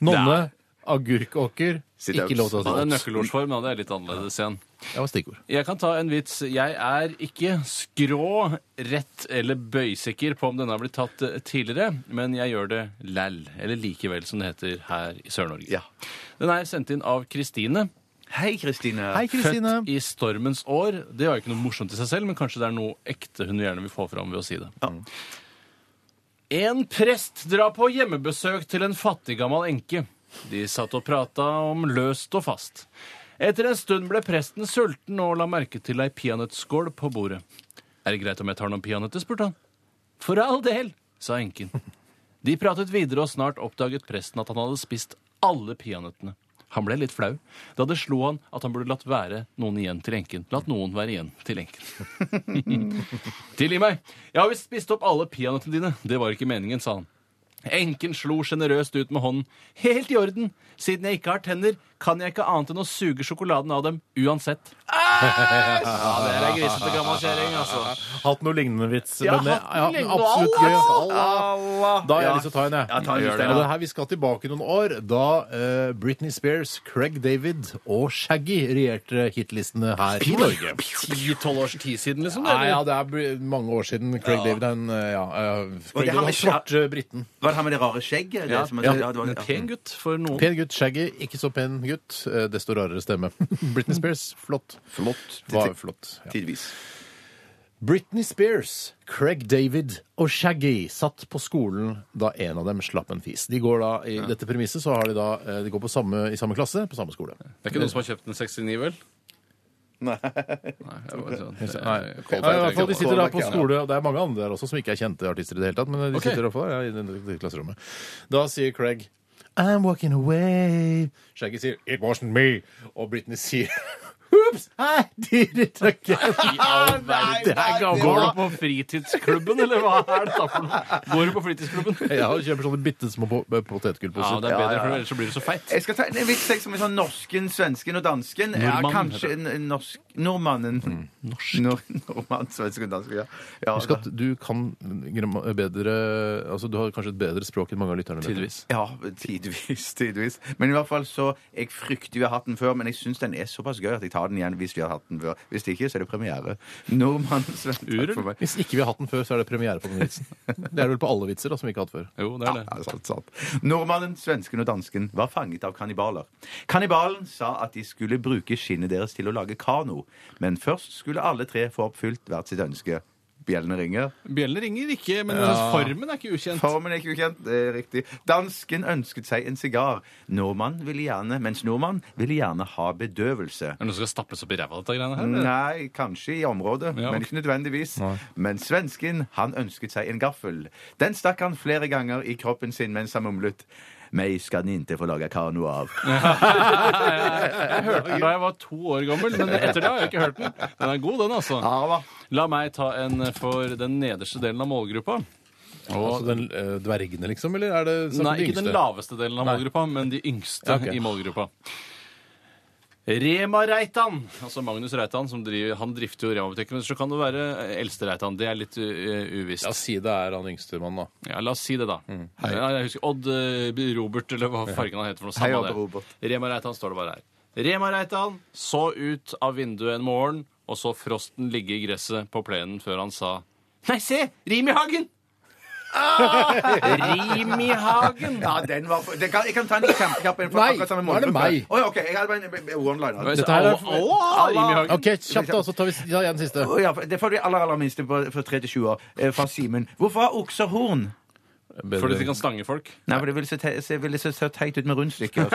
S3: Nonne, agurkåker,
S5: Sit
S3: ikke lov til å
S4: Det er
S3: ta opp.
S4: nøkkelordsform, ja, det er litt annerledes igjen.
S3: Det var stikkord.
S4: Jeg kan ta en vits. Jeg er ikke skrå, rett eller bøysikker på om denne har blitt tatt eh, tidligere, men jeg gjør det læll, eller likevel, som det heter her i Sør-Norge.
S5: Ja.
S4: Den er sendt inn av Kristine.
S5: Hei, Kristine.
S3: Hei, Kristine.
S4: Født i stormens år. Det var jo ikke noe morsomt i seg selv, men kanskje det er noe ekte hun gjerne vil få fram ved å si det. En prest drar på hjemmebesøk til en fattig gammel enke. De satt og prata om løst og fast. Etter en stund ble presten sulten og la merke til ei peanøttskål på bordet. Er det greit om jeg tar noen peanøtter? spurte han. For all del, sa enken. De pratet videre, og snart oppdaget presten at han hadde spist alle peanøttene. Han ble litt flau. Da det slo han at han burde latt være noen igjen til enken. Latt noen være igjen til enken. Tilgi meg. Jeg har visst spist opp alle peanøttene dine. Det var ikke meningen, sa han. Enken slo sjenerøst ut med hånden. Helt i orden. Siden jeg ikke har tenner, kan jeg ikke annet enn å suge sjokoladen av dem uansett. Ja, det
S5: Ah,
S4: er ei grisete gammel kjerring, altså.
S3: Hatt noe lignende vits.
S4: Ja,
S3: men det-
S4: hatt noe lignende.
S3: absolutt gøy.
S5: Allah.
S3: Da har jeg liksom-
S5: ah. Ja.
S3: lyst til å ta en, jeg.
S5: Ja, ta en
S3: Gjør
S5: siste,
S3: det.
S5: ja.
S3: Og det her, vi skal tilbake noen år, da eh, Britney Spears, Craig David og Shaggy regjerte hitlistene her i Norge.
S4: Ti-tolv års tid siden, liksom?
S3: Nei, ja,
S4: eller?
S3: det er br- mange år siden Craig David er en eh, ja, eh,
S5: Og
S3: Craig
S5: det her
S3: David,
S5: med
S3: han svarte eh, briten.
S5: Var det han med det rare skjegget?
S4: Ja,
S5: Det som-
S4: ja,
S5: det var- Mm.
S4: en pen gutt for noen.
S3: Pen gutt, Shaggy. Ikke så pen gutt. eh, Desto rarere stemme. *laughs* Britney Spears, flott.
S5: Flott.
S3: Var flott. Ja.
S5: Tidvis.
S3: Britney Spears, Craig David og Shaggy satt på skolen da en av dem slapp en fis. De går da, I dette premisset så har de da, eh, de går på samme, i samme klasse på samme skole.
S4: Det er ikke noen som har kjøpt en 69, vel? Nei. det var sånn- eh,
S3: Ja,
S4: callback,
S3: i hvert fall, De sitter da på
S5: Callback, ja.
S3: skole, og det er mange andre der også som ikke er kjente artister i det hele tatt, men de sitter i hvert fall ja, i det- det klasserommet. Da sier Craig I'm walking away. Shaggy sier It wasn't me. Og Britney sier *laughs* Oops, I did it again. Det er
S4: Går du
S3: gammel.
S4: på fritidsklubben, eller hva er det da for noe? Går du på fritidsklubben?
S3: *laughs* Ja, og kjøper sånne bitte små po-
S4: Ja,
S3: potetgullposer.
S4: det er bedre, for ellers så blir du så feit.
S5: Jeg skal ta en vits jeg, som er sånn norsken, svensken og dansken.
S4: Nordmannen,
S5: ja, kanskje en, en norsk Nordmannen. Norsk. Nor nordmann, svensken og dansken, ja. ja
S3: Husk at du kan gram- bedre Altså, du har kanskje et bedre språk enn mange av lytterne. vet du.
S4: Tidvis.
S5: Ja, tidvis. tidvis. Men i hvert fall så Jeg frykter vi har hatt den før, men jeg syns den er såpass gøy at jeg tar den igjen hvis vi har hatt den før. Hvis ikke, så er det premiere. Nordmann Sven, takk for meg.
S3: Hvis ikke vi har hatt den før, så er det premiere på den *laughs* vitsen. Det er vel på alle vitser da, som vi ikke har hatt før.
S4: Jo, det er det.
S5: Ja, sant, sant. Nordmannen, svensken og dansken var fanget av kannibaler. Kannibalen sa at de skulle bruke skinnet deres til å lage kano, men først skulle alle tre få oppfylt hvert sitt ønske. Bjellene ringer.
S4: Bjellene ringer ikke, men altså, formen er ikke ukjent.
S5: Formen er ikke ukjent. Det er riktig. Dansken ønsket seg en sigar. Nordmann ville gjerne, mens nordmann ville gjerne ha bedøvelse.
S4: Er det noen som skal stappes opp i ræva, dette greiene her? eller?
S5: Nei, kanskje i området,
S4: Ja,
S5: men
S4: ok.
S5: ikke nødvendigvis. Men svensken, han ønsket seg en gaffel. Den stakk han flere ganger i kroppen sin mens han mumlet. Meg skal ni inte få laga kano av.
S4: *laughs* Jeg hørte den da jeg var to år gammel, men etter det har jeg ikke hørt den. Den er god, den, altså. La meg ta en for den nederste delen av målgruppa.
S3: Altså den eh, dvergene, liksom? Eller er det snakk om
S4: Nei,
S3: de
S4: ikke den
S3: yngste?
S4: laveste delen av målgruppa, men de yngste
S3: Ja, ok.
S4: i målgruppa. Rema Reitan, altså Magnus Reitan, som driver, han drifter jo Rema-butikken. Men så kan det være eh, eldste Reitan. Det er litt eh, uvisst.
S3: La oss si det er han yngste mannen, da.
S4: Ja, la oss si det, da. Ja, jeg husker Odd eh, Robert, eller hva fargen han heter. for noe
S5: Hei,
S4: samme
S5: Odd
S4: det.
S5: Robert.
S4: Rema Reitan står det bare her. Rema Reitan så ut av vinduet en morgen og så frosten ligge i gresset på plenen før han sa Nei, se! Rim i hagen! Rim i hagen!
S5: Ja, den var for... det kan, Jeg kan ta en kjempekjapp en for
S3: Nei,
S5: akkurat samme
S3: nå er det
S5: målgruppe.
S3: meg.
S5: Oi, ok, jeg hadde bare en- en one-liner.
S3: Dette her er-
S4: Au, au, au, Rim i hagen.
S3: OK, kjapt, da, så tar vi ja, en siste.
S5: Å, Ja, for- det får de aller, aller minste på, for 3-20 år, eh, fra Simen. Hvorfor har okser horn?
S4: Fordi de kan stange folk.
S5: Nei, for det ville se, te se, ville se, se teit ut med rundstykker.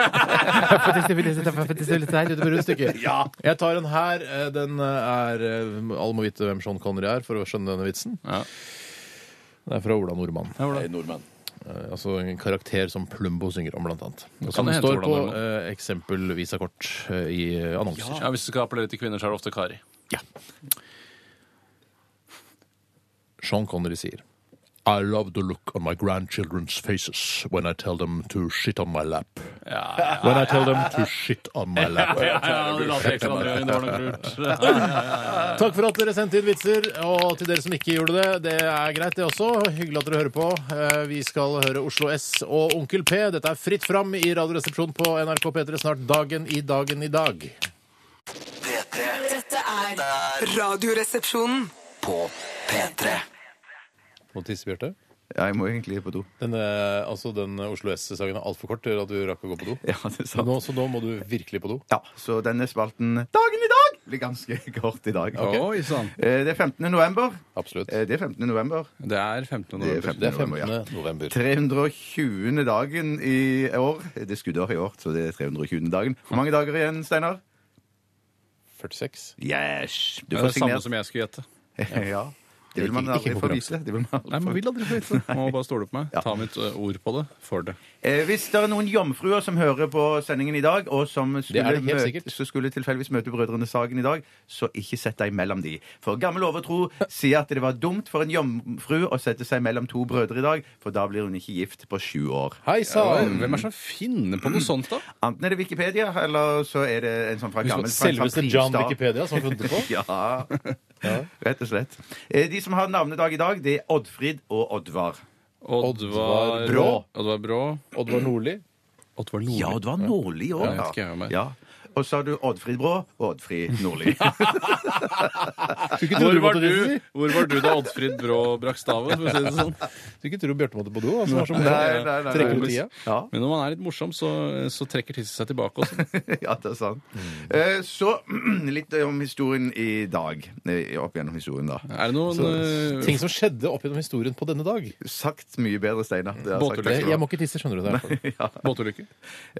S3: Ja. Jeg tar en her. eh, Den eh, er eh, Alle må vite hvem Sean Connery er for å skjønne denne vitsen. Det er fra Ola Nordmann.
S4: Ja, hvordan?
S3: Eh, altså en karakter som Plumbo synger om, blant annet. Og
S4: Kan
S3: som
S4: det hende
S3: står
S4: Ola
S3: på
S4: Nordmann?
S3: eh, eksempelvis av kort eh, i annonser.
S4: Ja, Hvis du skal appellere til kvinner, så er det ofte Kari.
S3: Sean Connery sier I love the look on my grandchildren's faces when I tell them to shit on my lap. When I tell them to shit on my lap.
S4: det later jeg ikke andre øyne, det var nok *laughs* lurt. Ja, ja, ja.
S3: Takk for at dere sendte inn vitser, og til dere som ikke gjorde det, det er greit det også. Hyggelig at dere hører på. Eh, Vi skal høre Oslo S og Onkel P. Dette er fritt fram i Radioresepsjonen på NRK P3 snart dagen i dagen i dag.
S2: P3
S7: Dette er Radioresepsjonen.
S2: på P3.
S3: Må tisse, Bjarte.
S5: *laughs* Ja, jeg må egentlig på do.
S3: Den, eh, altså, den Oslo S-sangen er altfor kort til at du rakk å gå på do.
S5: *laughs* Ja, det er
S3: Så
S5: sant.
S3: nå, så nå må du virkelig på do.
S5: Ja, så denne spalten Dagen i dag blir ganske *laughs* kort i dag.
S4: Oi sånn. sann.
S5: Eh, Det er 15. november.
S3: Absolutt.
S5: Eh, Det er 15. november.
S4: Det er 15.
S5: Det er
S4: november.
S5: 15.
S3: Det er
S5: november, ja.
S3: 15. november.
S5: 320. dagen i år. Det er skuddår i år, så det er 320. dagen. Hvor mange dager igjen, Steinar?
S3: 46.
S5: Yes! Du
S4: Det
S5: får
S4: er det samme
S5: signert.
S4: som jeg skulle gjette.
S5: *laughs* Ja. Det vil man
S3: Ikke- ikke
S5: aldri få
S3: konkurranse.
S5: vite. Det vil man aldri
S4: Nei,
S5: få
S4: man
S5: vite.
S4: vil aldri få vite det. *laughs* Må bare stole på meg.
S5: Ja.
S4: Ta mitt ø, ord på det. For det.
S5: Eh, Hvis det er noen jomfruer som hører på sendingen i dag, og som
S3: er
S5: skulle,
S3: det helt
S5: møte,
S3: sikkert.
S5: så skulle tilfeldigvis møte Brødrene Sagen i dag, så ikke sett deg mellom de. For gammel overtro sier at det var dumt for en jomfru å sette seg mellom to brødre i dag, for da blir hun ikke gift på sju år.
S3: Hei sann!
S4: Hvem er det som finner på noe sånt, da?
S5: Enten er det Wikipedia, eller så er det en sånn fra gammel fra en sånn
S3: Selveste John
S5: prisdag.
S3: Wikipedia som har funnet det på.
S5: *laughs* Ja. Rett og slett. Eh, De som har navnedag i dag, det er Oddfrid og Oddvar.
S4: Oddvar
S5: Brå.
S4: Oddvar Brå.
S3: Oddvar Nordli.
S4: Oddvar Nordli.
S5: Ja, Oddvar Nordli
S4: Ja, jeg vet
S5: òg.
S4: ikke hvem jeg er.
S5: Ja. Og så har du Oddfrid Brå og Oddfrid
S3: *laughs*
S5: Nordli.
S4: Hvor var, du, hvor var du da Oddfrid Brå brakk staven? For å si det sånn.
S3: Skulle ikke tro Bjarte måtte på do. Altså, var så morsom.
S5: Nei, nei, nei,
S3: Trekker
S5: nei.
S3: ut tida.
S5: Ja.
S4: Men når man er litt morsom, så, så trekker tisset seg tilbake også.
S5: *laughs* ja, det er sant. Eh, Så *clears throat* litt eh, om historien i dag. Eh, Opp gjennom historien, da.
S4: Er det noen eh, ø,
S3: Ting som skjedde opp gjennom historien på denne dag.
S5: Sagt mye bedre, Steinar. Det har jeg sagt.
S3: Det, jeg må ikke tisse, skjønner du. det i hvert fall.
S4: båtulykker?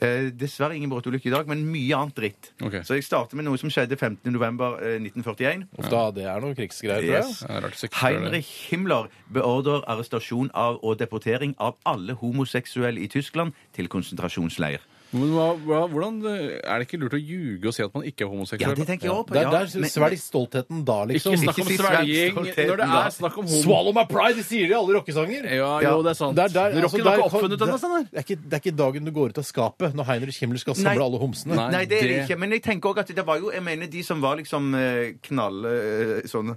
S5: Eh, Dessverre ingen båtulykke i dag, men mye annet dritt.
S4: Ok.
S5: Så jeg starter med noe som skjedde 15.11.1941.
S3: Uff da, det er noen krigsgreier, tror
S5: Yes.
S3: jeg.
S4: Det er rart sikkert det er det.
S5: Heinrich Himmler beordrer arrestasjon av og deportering av alle homoseksuelle i Tyskland til konsentrasjonsleir.
S4: Men hva, hva, hvordan, ø, er det ikke lurt å ljuge og si at man ikke er
S5: Ja,
S4: homoseksuell?
S5: det tenker jeg også på.
S3: Der,
S5: ja.
S3: der
S5: Men-
S3: svelg stoltheten da, liksom.
S4: ikke snakk om
S5: Ikke si
S4: svelging
S5: svelgstoltheten,
S4: når det
S5: da.
S4: er snakk om homo.
S3: Swallow my pride! Det sier de i alle rockesanger.
S4: Ja,
S5: Ja.
S4: jo, det er sant.
S3: Det er, der,
S4: Rocken
S3: altså,
S4: har
S3: der-
S4: ikke oppfunnet denne, Steinar.
S3: det, er ikke, det er ikke dagen du går ut av skapet når Heinrich Himmler skal samle
S5: Nei.
S3: alle homsene.
S4: Nei.
S5: Nei, det er det
S4: det-
S5: ikke. Men jeg tenker også at det var jo Jeg mener de som var liksom eh, knall... eh, Sånn eh,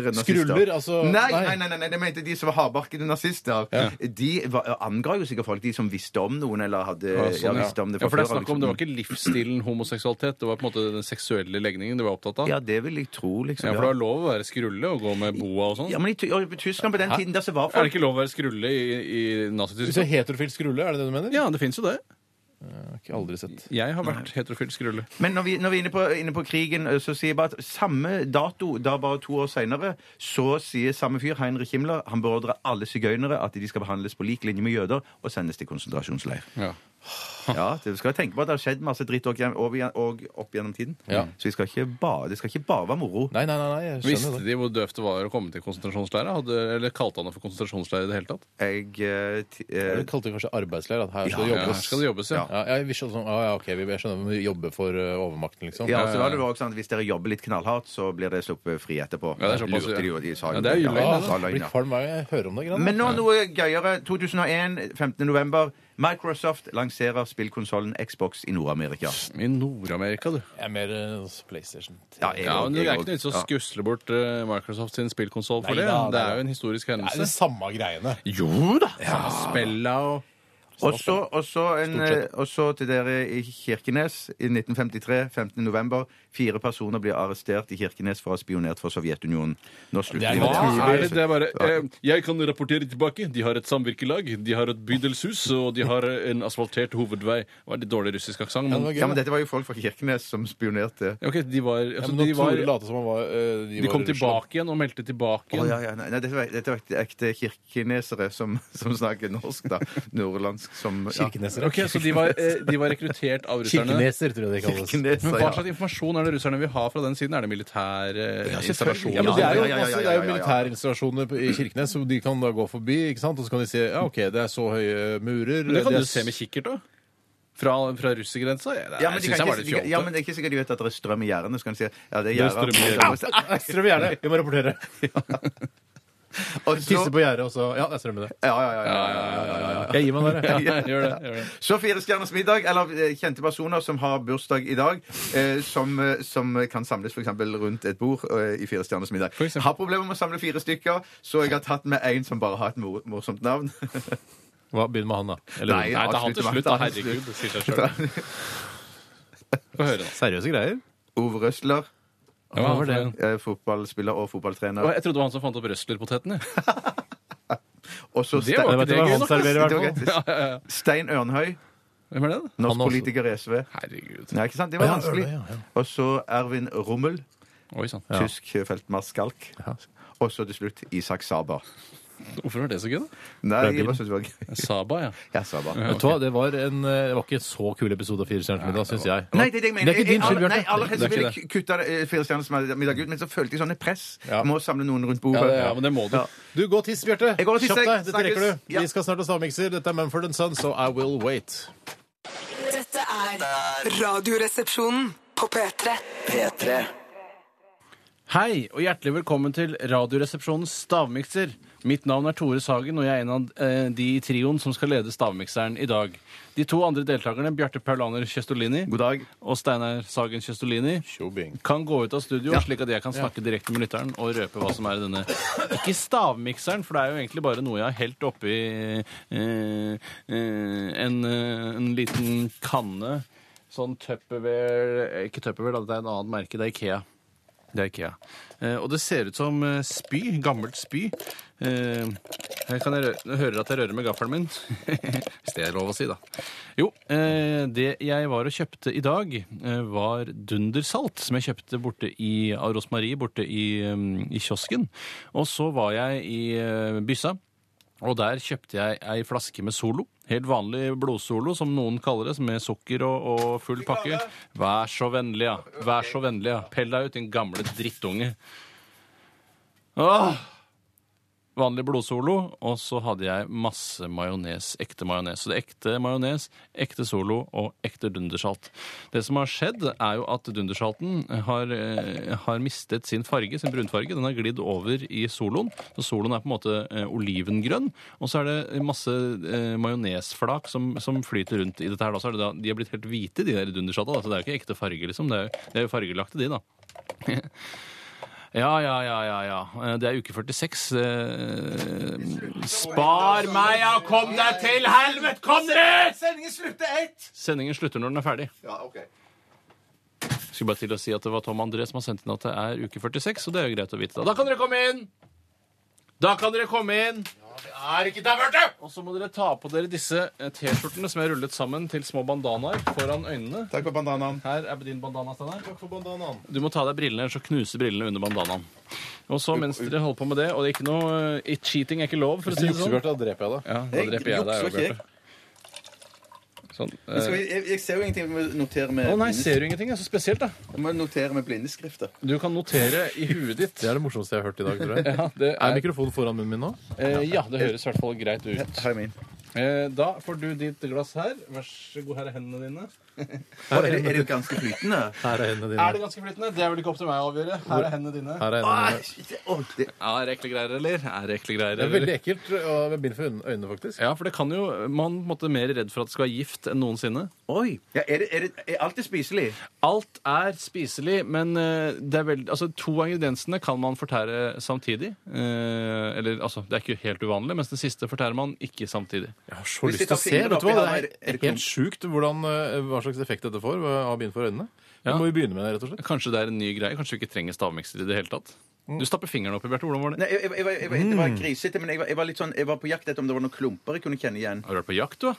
S5: nazister.
S3: Skruller, altså,
S5: Nei,
S3: nei.
S5: nei, nei, nei, nei, jeg mente de som var hardbarkede nazister. De var, anga jo sikkert folk, de som visste om noen, eller hadde
S4: Ja,
S5: ja,
S4: sånn, ja.
S5: visste om det
S4: ja,
S5: fra
S4: for det, er
S5: før,
S4: snakk om,
S5: liksom.
S4: det var ikke livsstilen homoseksualitet, det var på en måte den seksuelle legningen de var opptatt av. Ja,
S5: Ja, det vil jeg tro, liksom.
S4: sånn. For det var lov å være skrulle og gå med boa og sånn.
S5: Ja, men i, Ty- og i Tyskland på den tiden der så var
S4: Er det
S5: folk
S4: ikke lov å være skrulle i, i
S3: Hvis du er
S4: nazityskland?
S3: heterofil skrulle, er det det du mener?
S4: Ja, det fins jo det.
S3: Jeg har ikke aldri sett.
S4: Jeg har vært heterofil skrulle.
S5: Men når vi, når vi er inne på, inne på krigen, eh, så sier jeg bare at samme dato, da bare to år seinere, så sier samme fyr, Heinrich Himmler, han beordrer alle sigøynere at de skal behandles på lik linje med jøder og sendes til konsentrasjonsleir.
S4: Ja.
S5: Ja, du skal tenke på at det har skjedd masse dritt og, og, og opp gjennom tiden.
S3: Ja.
S5: Så vi skal ikke bare, det skal ikke bare være moro.
S3: Nei, nei, nei, nei jeg
S4: Visste
S3: skjønner det.
S4: de hvor døvt det var å komme til konsentrasjonsleir? Hadde- Eller kalte han det for konsentrasjonsleir i det hele tatt?
S5: Jeg, eh, ti- eh,
S3: Du kalte det kanskje arbeidsleir? At her skal det
S4: Ja,
S3: jobbes.
S4: her skal det jobbes, ja.
S3: Ja, jeg visste sånn, ah, ja, ok, vi- jeg skjønner, vi jobber for eh, overmakten, liksom.
S5: ja, og så var det jo også sånn at Hvis dere jobber litt knallhardt, så blir dere sluppet fri etterpå.
S4: Ja, det er såpass,
S5: Lurte
S4: ja.
S5: de jo
S4: Ja,
S5: i sagen.
S4: det er jo løgn,
S5: Ja,
S3: Ja,
S4: det
S5: var
S3: jeg
S5: løgn,
S3: blir
S5: ja.
S3: kvalm hver gang jeg hører om det. grann.
S5: Men nå noe gøyere. 2001, 15. november. Microsoft lanserer spillkonsollen Xbox i Nord-Amerika.
S4: I Nord-Amerika, du.
S3: Jeg er mer eh, hos PlayStation.
S5: Ja, jeg
S4: Ja,
S5: også,
S4: men Det
S5: jeg
S4: er ikke
S5: også.
S4: noe vits å
S5: Ja.
S4: skusle bort eh, Microsoft sin spillkonsoll for
S3: Nei
S4: det.
S3: da,
S4: Det
S3: nei da.
S4: er jo en historisk
S3: Det er det
S4: hendelse.
S3: samme greiene.
S4: Jo da! Spella og
S5: Og så- og så en,
S3: Stort sett.
S5: eh, og så til dere i Kirkenes i 1953, 15. november. Fire personer blir arrestert i Kirkenes for å ha spionert for Sovjetunionen. Nå slutter
S3: Det er
S5: vi med
S3: litt
S4: Hva er det?
S5: det.
S4: Det er bare eh, Jeg kan rapportere tilbake. De har et samvirkelag, de har et bydelshus, og de har eh, en asfaltert hovedvei. Det var litt dårlig russisk aksent,
S3: Ja, det
S4: men
S3: var gøy.
S5: Ja, men dette var jo folk fra Kirkenes som spionerte.
S4: Ja, OK, de var,
S3: Ja,
S4: altså,
S3: men
S4: de,
S3: når
S4: var
S3: Tore late som han var eh,
S4: de
S3: var
S4: kom
S3: i Russland.
S4: tilbake igjen og meldte tilbake
S5: Å,
S4: igjen.
S5: ja, ja, nei, nei, dette var, dette var ekte kirkenesere som, som snakker norsk, da. Nordlands faktisk som ja.
S3: Kirkeneser.
S4: Ok, Så de var, eh, de var rekruttert av russerne?
S3: Kirkeneser, tror jeg det kalles.
S5: Kirkeneser,
S4: Men
S5: ja.
S4: Hva slags informasjon er det russerne vil ha fra den siden? Er det militære eh, installasjoner?
S3: Ja, men det er jo,
S5: Ja, ja, ja, ja,
S3: masse- det er jo
S5: ja, ja, ja.
S3: militærinstallasjoner på- i Kirkenes, så de kan da gå forbi, ikke sant? og så kan de se ja, ok, det er så høye murer
S4: Men det kan
S3: er
S4: du se med kikkert, da. Fra, fra russergrensa? Ja, det
S5: Ja,
S4: synes jeg var
S5: men, de kan ikke,
S4: litt
S5: de kan-
S4: fjollete.
S5: ja, men det er ikke sikkert de vet at det er strøm i gjerdene. Så kan de si ja, det er
S4: er strøm i
S5: gjerdet.
S3: Strøm i gjerdet. Vi må rapportere. *laughs*
S5: Og
S3: Tisse
S5: så-
S3: på gjerdet også. Ja, det er strøm i det.
S5: Ja, ja, ja, ja, ja.
S3: Jeg gir meg der, jeg.
S4: *laughs* Ja, gjør det, gjør det.
S5: Så Fire stjerners middag, eller eh, kjente personer som har bursdag i dag, eh, som, eh, som kan samles f.eks. rundt et bord eh, i Fire stjerners middag.
S4: For eksempel.
S5: Har problemer med å samle fire stykker, så jeg har tatt med en som bare har et mor morsomt navn. *laughs*
S3: Hva, Begynn med han, da. Eller,
S5: Nei,
S4: Nei, ta han til
S5: avslutter
S4: slutt,
S5: med-
S4: da. Herregud, det sier seg sjøl.
S5: *laughs*
S4: Få høre, da.
S3: seriøse greier.
S5: Ove Røsler,
S4: Hva var det?
S5: eh, fotballspiller og fotballtrener.
S4: Jeg trodde det var han som fant opp *laughs* røslerpoteten. jeg.
S5: Og så
S4: Det var
S5: Stein,
S4: ikke det gøy nok. ass.
S3: serverer, i hvert fall.
S5: det var greit. Stein Ørnhøi,
S4: Hvem er det? da?
S5: norsk
S3: også.
S5: politiker i SV.
S4: Herregud.
S5: Nei, ikke sant? Det var
S3: Ja,
S5: vanskelig.
S3: Ørnhøi, ja, ja.
S5: Og så Ervin Rommel.
S4: Oi sånn. sann.
S5: tysk eh, feltmarskalk. Og så til slutt Isak Saba.
S4: Hvorfor var det så gøy, da?
S5: Nei,
S3: Fra
S5: jeg
S3: bilen.
S5: bare synes det var gøy.
S4: Saba, ja.
S5: Ja, Saba.
S3: Vet du hva, det var, en, eh, det var ikke en så kul episode av Fire stjerners middag, syns jeg.
S5: Nei, det er det jeg mener.
S3: Det er ikke din
S5: Jeg- jeg-
S3: skyld, Bjarte.
S5: Nei, aller helst
S3: Det er
S5: ville
S3: ikke
S5: jeg kutta det, eh, Fire stjerners middag ut, men så følte jeg sånn et press.
S3: Ja.
S5: Jeg må samle noen rundt
S4: Ja,
S5: bordet.
S4: det, ja, men det må du.
S5: Ja.
S3: Du, gå og tiss, Bjarte.
S5: Jeg går og tisser,
S3: Kjapp deg.
S5: jeg.
S3: Dette rekker
S5: Snakkes.
S3: du.
S5: Ja.
S3: Vi skal snart ha stavmikser. Dette er Mumford Son, so I will wait.
S7: Dette er Radioresepsjonen på P3.
S2: P3
S4: Hei, og hjertelig velkommen til Radioresepsjonens stavmikser. Mitt navn er Tore Sagen, og jeg er en av eh, de i trioen som skal lede stavmikseren i dag. De to andre deltakerne, Bjarte Paulaner Kjøstolini
S5: God dag.
S4: og Steinar Sagen Kjøstolini,
S3: Tjobing.
S4: kan gå ut av studio, slik at jeg kan snakke direkte med lytteren og røpe hva som er i denne Ikke stavmikseren, for det er jo egentlig bare noe jeg har helt oppi eh, eh, en, eh, en liten kanne. Sånn Tupperware Ikke Tupperware, da, det er en annen merke. Det er Ikea. Det er Ikea. Eh, og det ser ut som eh, spy. Gammelt spy. Eh, her kan jeg rø hører at jeg rører med gaffelen min. *laughs* Hvis det er lov å si, da. Jo, eh, det jeg var og kjøpte i dag, eh, var dundersalt, som jeg kjøpte borte i av Rosmarie, borte i, eh, i kiosken. Og så var jeg i eh, byssa. Og der kjøpte jeg ei flaske med Solo. Helt vanlig blodsolo, som noen kaller det, som med sukker og, og full pakke. Vær så vennlig, ja. Vær så vennlig, ja. Pell deg ut, din gamle drittunge. Åh! Vanlig blodsolo, og så hadde jeg masse majones, ekte majones. Så det er ekte majones, ekte solo og ekte dundersalt. Det som har skjedd, er jo at dundersalten har, eh, har mistet sin farge, sin brunfarge. Den har glidd over i soloen. Så soloen er på en måte eh, olivengrønn. Og så er det masse eh, majonesflak som, som flyter rundt i dette her. Da. Så er det da, de har blitt helt hvite, de der dundersalta. Da. Så det er jo ikke ekte farge, liksom. Det er jo, det er jo fargelagte, de, da. Ja, ja, ja, ja, ja. Eh, Det er uke 46. eh, Spar meg, ja! Kom deg til helvete! Kom dere!
S5: Sendingen slutter ett!
S4: Sendingen slutter når den er ferdig.
S5: Ja, ok.
S4: Skulle bare til å si at det var Tom André som har sendt inn at det er uke 46, og det er jo greit å vite. Da Da kan dere komme inn! Da kan dere komme inn! Og så må dere ta på dere disse eh, T-skjortene som er rullet sammen til små bandanaer foran øynene.
S5: Takk for bandanaen.
S4: Her er din bandana, Steinar. Du må ta av deg brillene, ellers så knuser brillene under bandanaen. Og så mens dere holder på med det, og det er ikke noe eh, Cheating er ikke lov, for å si det sånn.
S3: da dreper jeg deg.
S4: Ja, da dreper jeg deg,
S5: jukser ikke jeg.
S4: Bjarte. Sånn. eh.
S5: Skal vi- Jeg, jeg ser jo ingenting. Jeg må notere med,
S4: Å nei, ser du ingenting? Det er så spesielt, da.
S5: jeg må notere med blindeskrifter.
S4: Du kan notere i huet ditt.
S3: Det er det morsomste jeg har hørt i dag, *laughs* tror jeg.
S4: Ja, det
S3: Er
S4: er,
S3: mikrofonen foran munnen min nå?
S4: eh, ja, det høres i hvert fall greit ut.
S5: Her er min.
S4: Eh, da får du ditt glass her. Vær så god, her er hendene dine.
S5: Å, er, det, er det ganske flytende?
S3: Her er hendene
S4: Er
S3: dine.
S4: det ganske flytende? Det er vel ikke opp til meg å avgjøre. Her er hendene dine.
S3: Her er hendene
S5: Å,
S3: dine.
S5: shit, det- å, det-
S4: Ja, er det ekle greier, eller? Er det ekle greier,
S3: Det er
S4: eller?
S3: veldig ekkelt eh, å binde for øynene, faktisk.
S4: Ja, for det kan jo Man måtte mer redd for at det skal være gift enn noensinne.
S5: Oi. Ja, er, det, er, det, er alt er spiselig?
S4: Alt er spiselig, men eh, det er vel, altså, to av ingrediensene kan man fortære samtidig. Eh, eller altså, det er ikke helt uvanlig, mens den siste fortærer man ikke samtidig.
S3: Jeg har så
S5: Hvis
S3: lyst
S5: vi
S3: til
S5: tar
S3: å se.
S5: fingeren
S3: Vet
S5: opp
S3: du
S5: i
S3: hva?
S5: hånda, er
S3: Det
S5: det- er
S3: er
S5: det
S3: helt sjukt hvordan, eh, hva slags effekt dette får ved å ha bind for øynene. Vi
S4: Ja.
S3: må jo begynne med det, rett og slett.
S4: Kanskje det er en ny greie? Kanskje vi ikke trenger stavmikser i det hele tatt? Du stapper fingeren oppi, Bjarte. Hvordan var det?
S5: Nei, jeg, jeg, jeg, jeg, jeg, det var
S4: Mm.
S5: grisete, men jeg, var- jeg var litt sånn, jeg var på jakt etter om det var noen klumper jeg kunne kjenne igjen.
S4: Har du vært på jakt, du? da?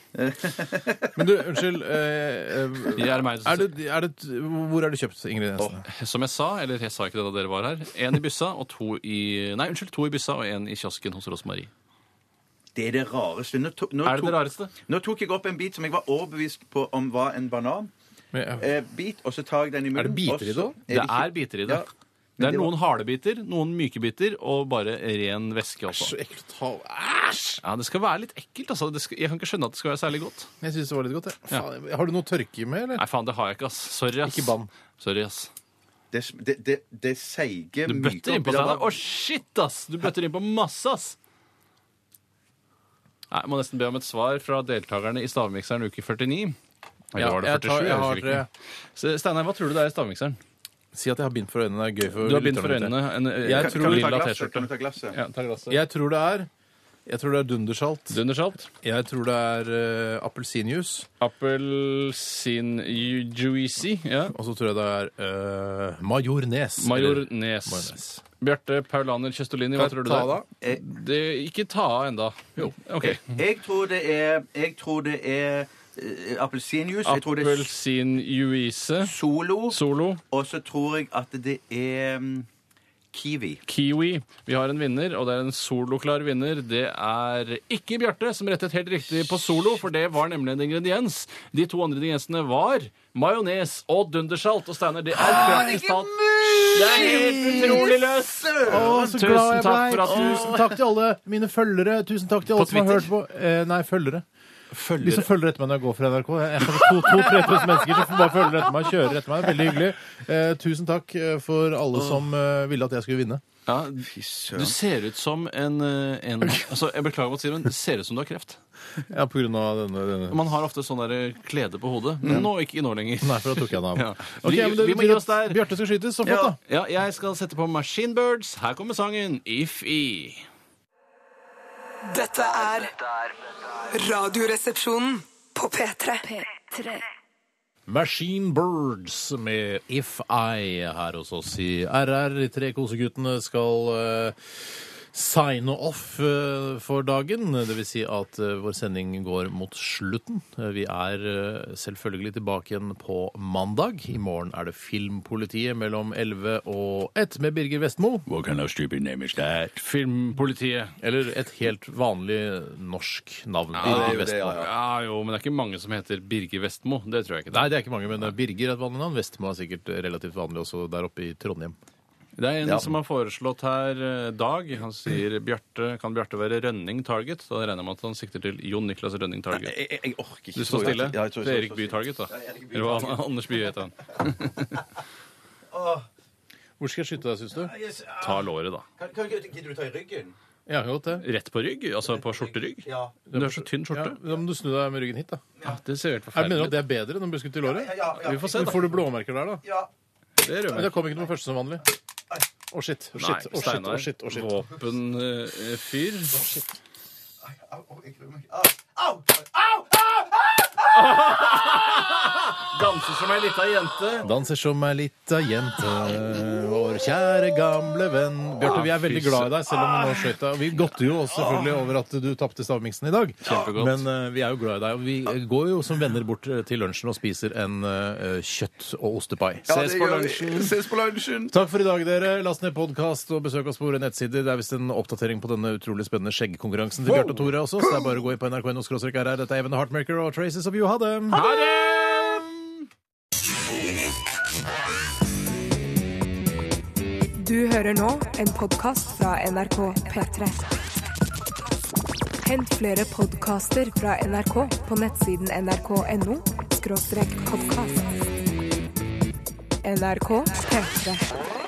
S3: Men du, unnskyld. eh, eh,
S4: Ja, er det meg som-
S3: er det, er det, hvor er det kjøpt ingrediensene?
S4: Som jeg sa, eller jeg sa ikke det da dere var her, én i byssa og to i Nei, unnskyld, to i byssa og én i kiosken hos Rosmarie.
S5: Det er det rareste. Nå, to, nå,
S4: Er det det
S5: tok-
S4: rareste?
S5: nå tok jeg opp en bit som jeg var overbevist på om var en banan.
S3: Men,
S5: Eh, bit, og så tar jeg den i munnen.
S3: det biter
S5: og
S3: i det
S5: så
S3: også?
S4: Det
S5: ikke-
S4: er biter i det.
S5: Ja.
S4: Det er
S5: det var-
S4: noen harde biter, noen myke biter og bare ren væske også.
S3: Så ekkelt å ta Æsj!
S4: Ja, Det skal være litt ekkelt. altså. Det skal, jeg kan ikke skjønne at det skal være særlig godt.
S3: Jeg syns det var litt godt, jeg. Faen, Har du noe tørke med, eller?
S4: Nei, faen, det har jeg ikke, ass. Sorry, ass.
S3: Ikke bann.
S4: Sorry, ass.
S5: Det, det, det, det seige
S4: Du bøtter innpå, Steinar. Å, shit, ass! Du bøtter innpå masse, ass! Nei, jeg må nesten be om et svar fra deltakerne i Stavmikseren uke 49. Eller var det
S3: jeg,
S4: 47?
S3: tar, jeg har eh,
S4: husker
S3: tre.
S4: ikke. Så, Steinar, hva tror du det er i Stavmikseren?
S3: Si at jeg har bind for øynene. Det er gøy for
S4: Du har bind for
S3: lytterne
S4: øynene. En, eh,
S3: Jeg
S5: Kan
S3: tror
S5: du
S4: lilla
S5: ta glasset?
S4: t-skjorte.
S5: Kan du ta glasset?
S4: Ja, ta
S3: ute.
S4: glasset.
S3: Jeg tror det er Jeg tror det er dundersalt.
S4: Dundersalt.
S3: Jeg tror det er eh, appelsinjuice.
S4: Appelsin-juicy. Ja.
S3: Og så tror jeg det er eh, majornes. Eller-
S4: Majornes.
S3: Majornes.
S4: Bjarte Paulaner Kjestolini, hva
S3: Kan jeg
S4: tror du
S3: ta
S4: det er? Det, ikke ta av enda. Jo. OK.
S5: Eh, Jeg tror det er Jeg tror det er eh, appelsinjuice. Jeg tror det er
S4: Appelsin-juice.
S5: Solo.
S4: Solo.
S5: Og så tror jeg at det er mm, kiwi.
S4: Kiwi. Vi har en vinner, og det er en soloklar vinner. Det er ikke Bjarte som rettet helt riktig på solo, for det var nemlig en ingrediens. De to andre ingrediensene var majones og dundersalt. Og Steinar, det er
S5: Ah,
S4: praktisk talt Det er helt utrolig løs!
S3: så
S4: Tusen
S3: glad jeg
S4: takk
S3: ble.
S4: for at du-
S3: Tusen takk til alle mine følgere. Tusen takk til alle
S4: På
S3: som har
S4: Twitter?
S3: hørt på. Eh, nei, følgere. De som følger etter meg når jeg går fra NRK. Jeg har 2000-3000 mennesker som bare følger etter meg og kjører etter meg. Veldig hyggelig. Eh, tusen takk eh, for alle som eh, ville at jeg skulle vinne.
S4: Ja, du ser ut som en, eh, en altså, Jeg beklager å si det, men det ser ut som du har kreft.
S3: Ja, på grunn av denne, denne.
S4: Man har ofte sånn der klede på hodet,
S5: Mm.
S4: men nå ikke nå lenger.
S3: Nei, for da tok jeg den av.
S4: Ja.
S3: Ok,
S4: Vi-
S3: men det
S4: vi må
S3: betyr
S4: gi oss
S3: at
S4: der.
S3: Bjarte skal skytes. Så flott, da.
S4: Ja, jeg skal sette på Machine Birds. Her kommer sangen If I.
S7: Dette er Radioresepsjonen på P3.
S3: Machine Birds med If I her hos oss i RR. De tre koseguttene skal eh, signe off eh, for dagen. Det vil si at eh, vår sending går mot slutten. Eh, vi er eh, selvfølgelig tilbake igjen på mandag. I morgen er det Filmpolitiet mellom 11 og 1 med Birger Vestmo.
S5: What kind of stupid name is that?
S4: Filmpolitiet.
S3: Eller et helt vanlig norsk navn.
S5: det er jo
S3: Birger
S5: det,
S3: Vestmo.
S5: ja, ja.
S4: Ja, jo, men det er ikke mange som heter Birger Vestmo. Det tror jeg ikke.
S3: Nei, det er ikke mange, men eh, Birger er et vanlig navn. Vestmo er sikkert relativt vanlig også der oppe i Trondheim.
S4: Det er en som har foreslått her eh, Dag. Han sier Bjarte, kan Bjarte være Rønning Target? Da regner jeg med at han sikter til Jon Niklas Rønning Target.
S5: Jeg, jeg, jeg orker ikke.
S4: Du står
S5: tror jeg.
S4: stille?
S5: Ja, jeg tror jeg
S4: det er
S5: står-
S4: Erik
S5: står
S4: Bye Target,
S5: stille.
S4: da.
S5: Ja, Erik Bye
S4: Eller hva? *laughs* Anders Bye heter han.
S3: Hvor skal jeg skyte deg, syns du?
S5: Yes, ah,
S4: Ta låret, da.
S5: kan- kan du- Gidder du ta i ryggen?
S3: Ja, godt det.
S4: Rett på rygg? Altså på skjorterygg?
S5: Ja.
S4: Du har så tynn skjorte.
S3: Ja, da må du snu deg med ryggen hit, da.
S4: Ja, det ser helt
S3: Jeg mener
S4: forferdelig
S3: at det er bedre enn å bli skutt i låret.
S5: Ja, ja. Sånn,
S4: Vi får se,
S3: Men
S4: da.
S3: Får du blåmerker der, da?
S5: ja.
S4: Det rømmer.
S3: Men det kom ikke noe første som vanlig. Å, shit. Å,
S4: Nei,
S3: shit. Å, shit. Å,
S4: Steinar. eh,
S3: shit. Å, shit.
S4: Våpenfyr.
S5: Au, au, jeg gruer meg. Au, au, au!
S4: Danser som ei lita jente.
S3: Danser som ei lita jente, vår kjære gamle venn.
S4: Ah,
S3: Bjarte, vi er veldig glad i deg, selv om du nå skøyt deg. Og Vi godter jo også selvfølgelig over at du tapte stavmiksen i dag.
S4: Kjempegodt.
S3: Men eh, vi er jo glad i deg. Og vi eh, går jo som venner bort eh, til lunsjen og spiser en eh, kjøtt- og ostepai.
S5: Ja,
S4: Ses
S5: det
S4: på
S5: gjør vi.
S4: lunsjen.
S5: Ses på lunsjen.
S3: Takk for i dag, dere. Last ned podkast og besøk oss på våre nettsider. Det er visst en oppdatering på denne utrolig spennende skjeggkonkurransen til Bjarte og Tore også, så det er bare å gå inn på nrk.no her. Dette er Even Heartmaker og Traces of You. Ha det!
S4: Ha det!
S1: Du hører nå en podkast fra NRK P3. Hent flere podkaster fra NRK på nettsiden nrk.no podkast. NRK P3.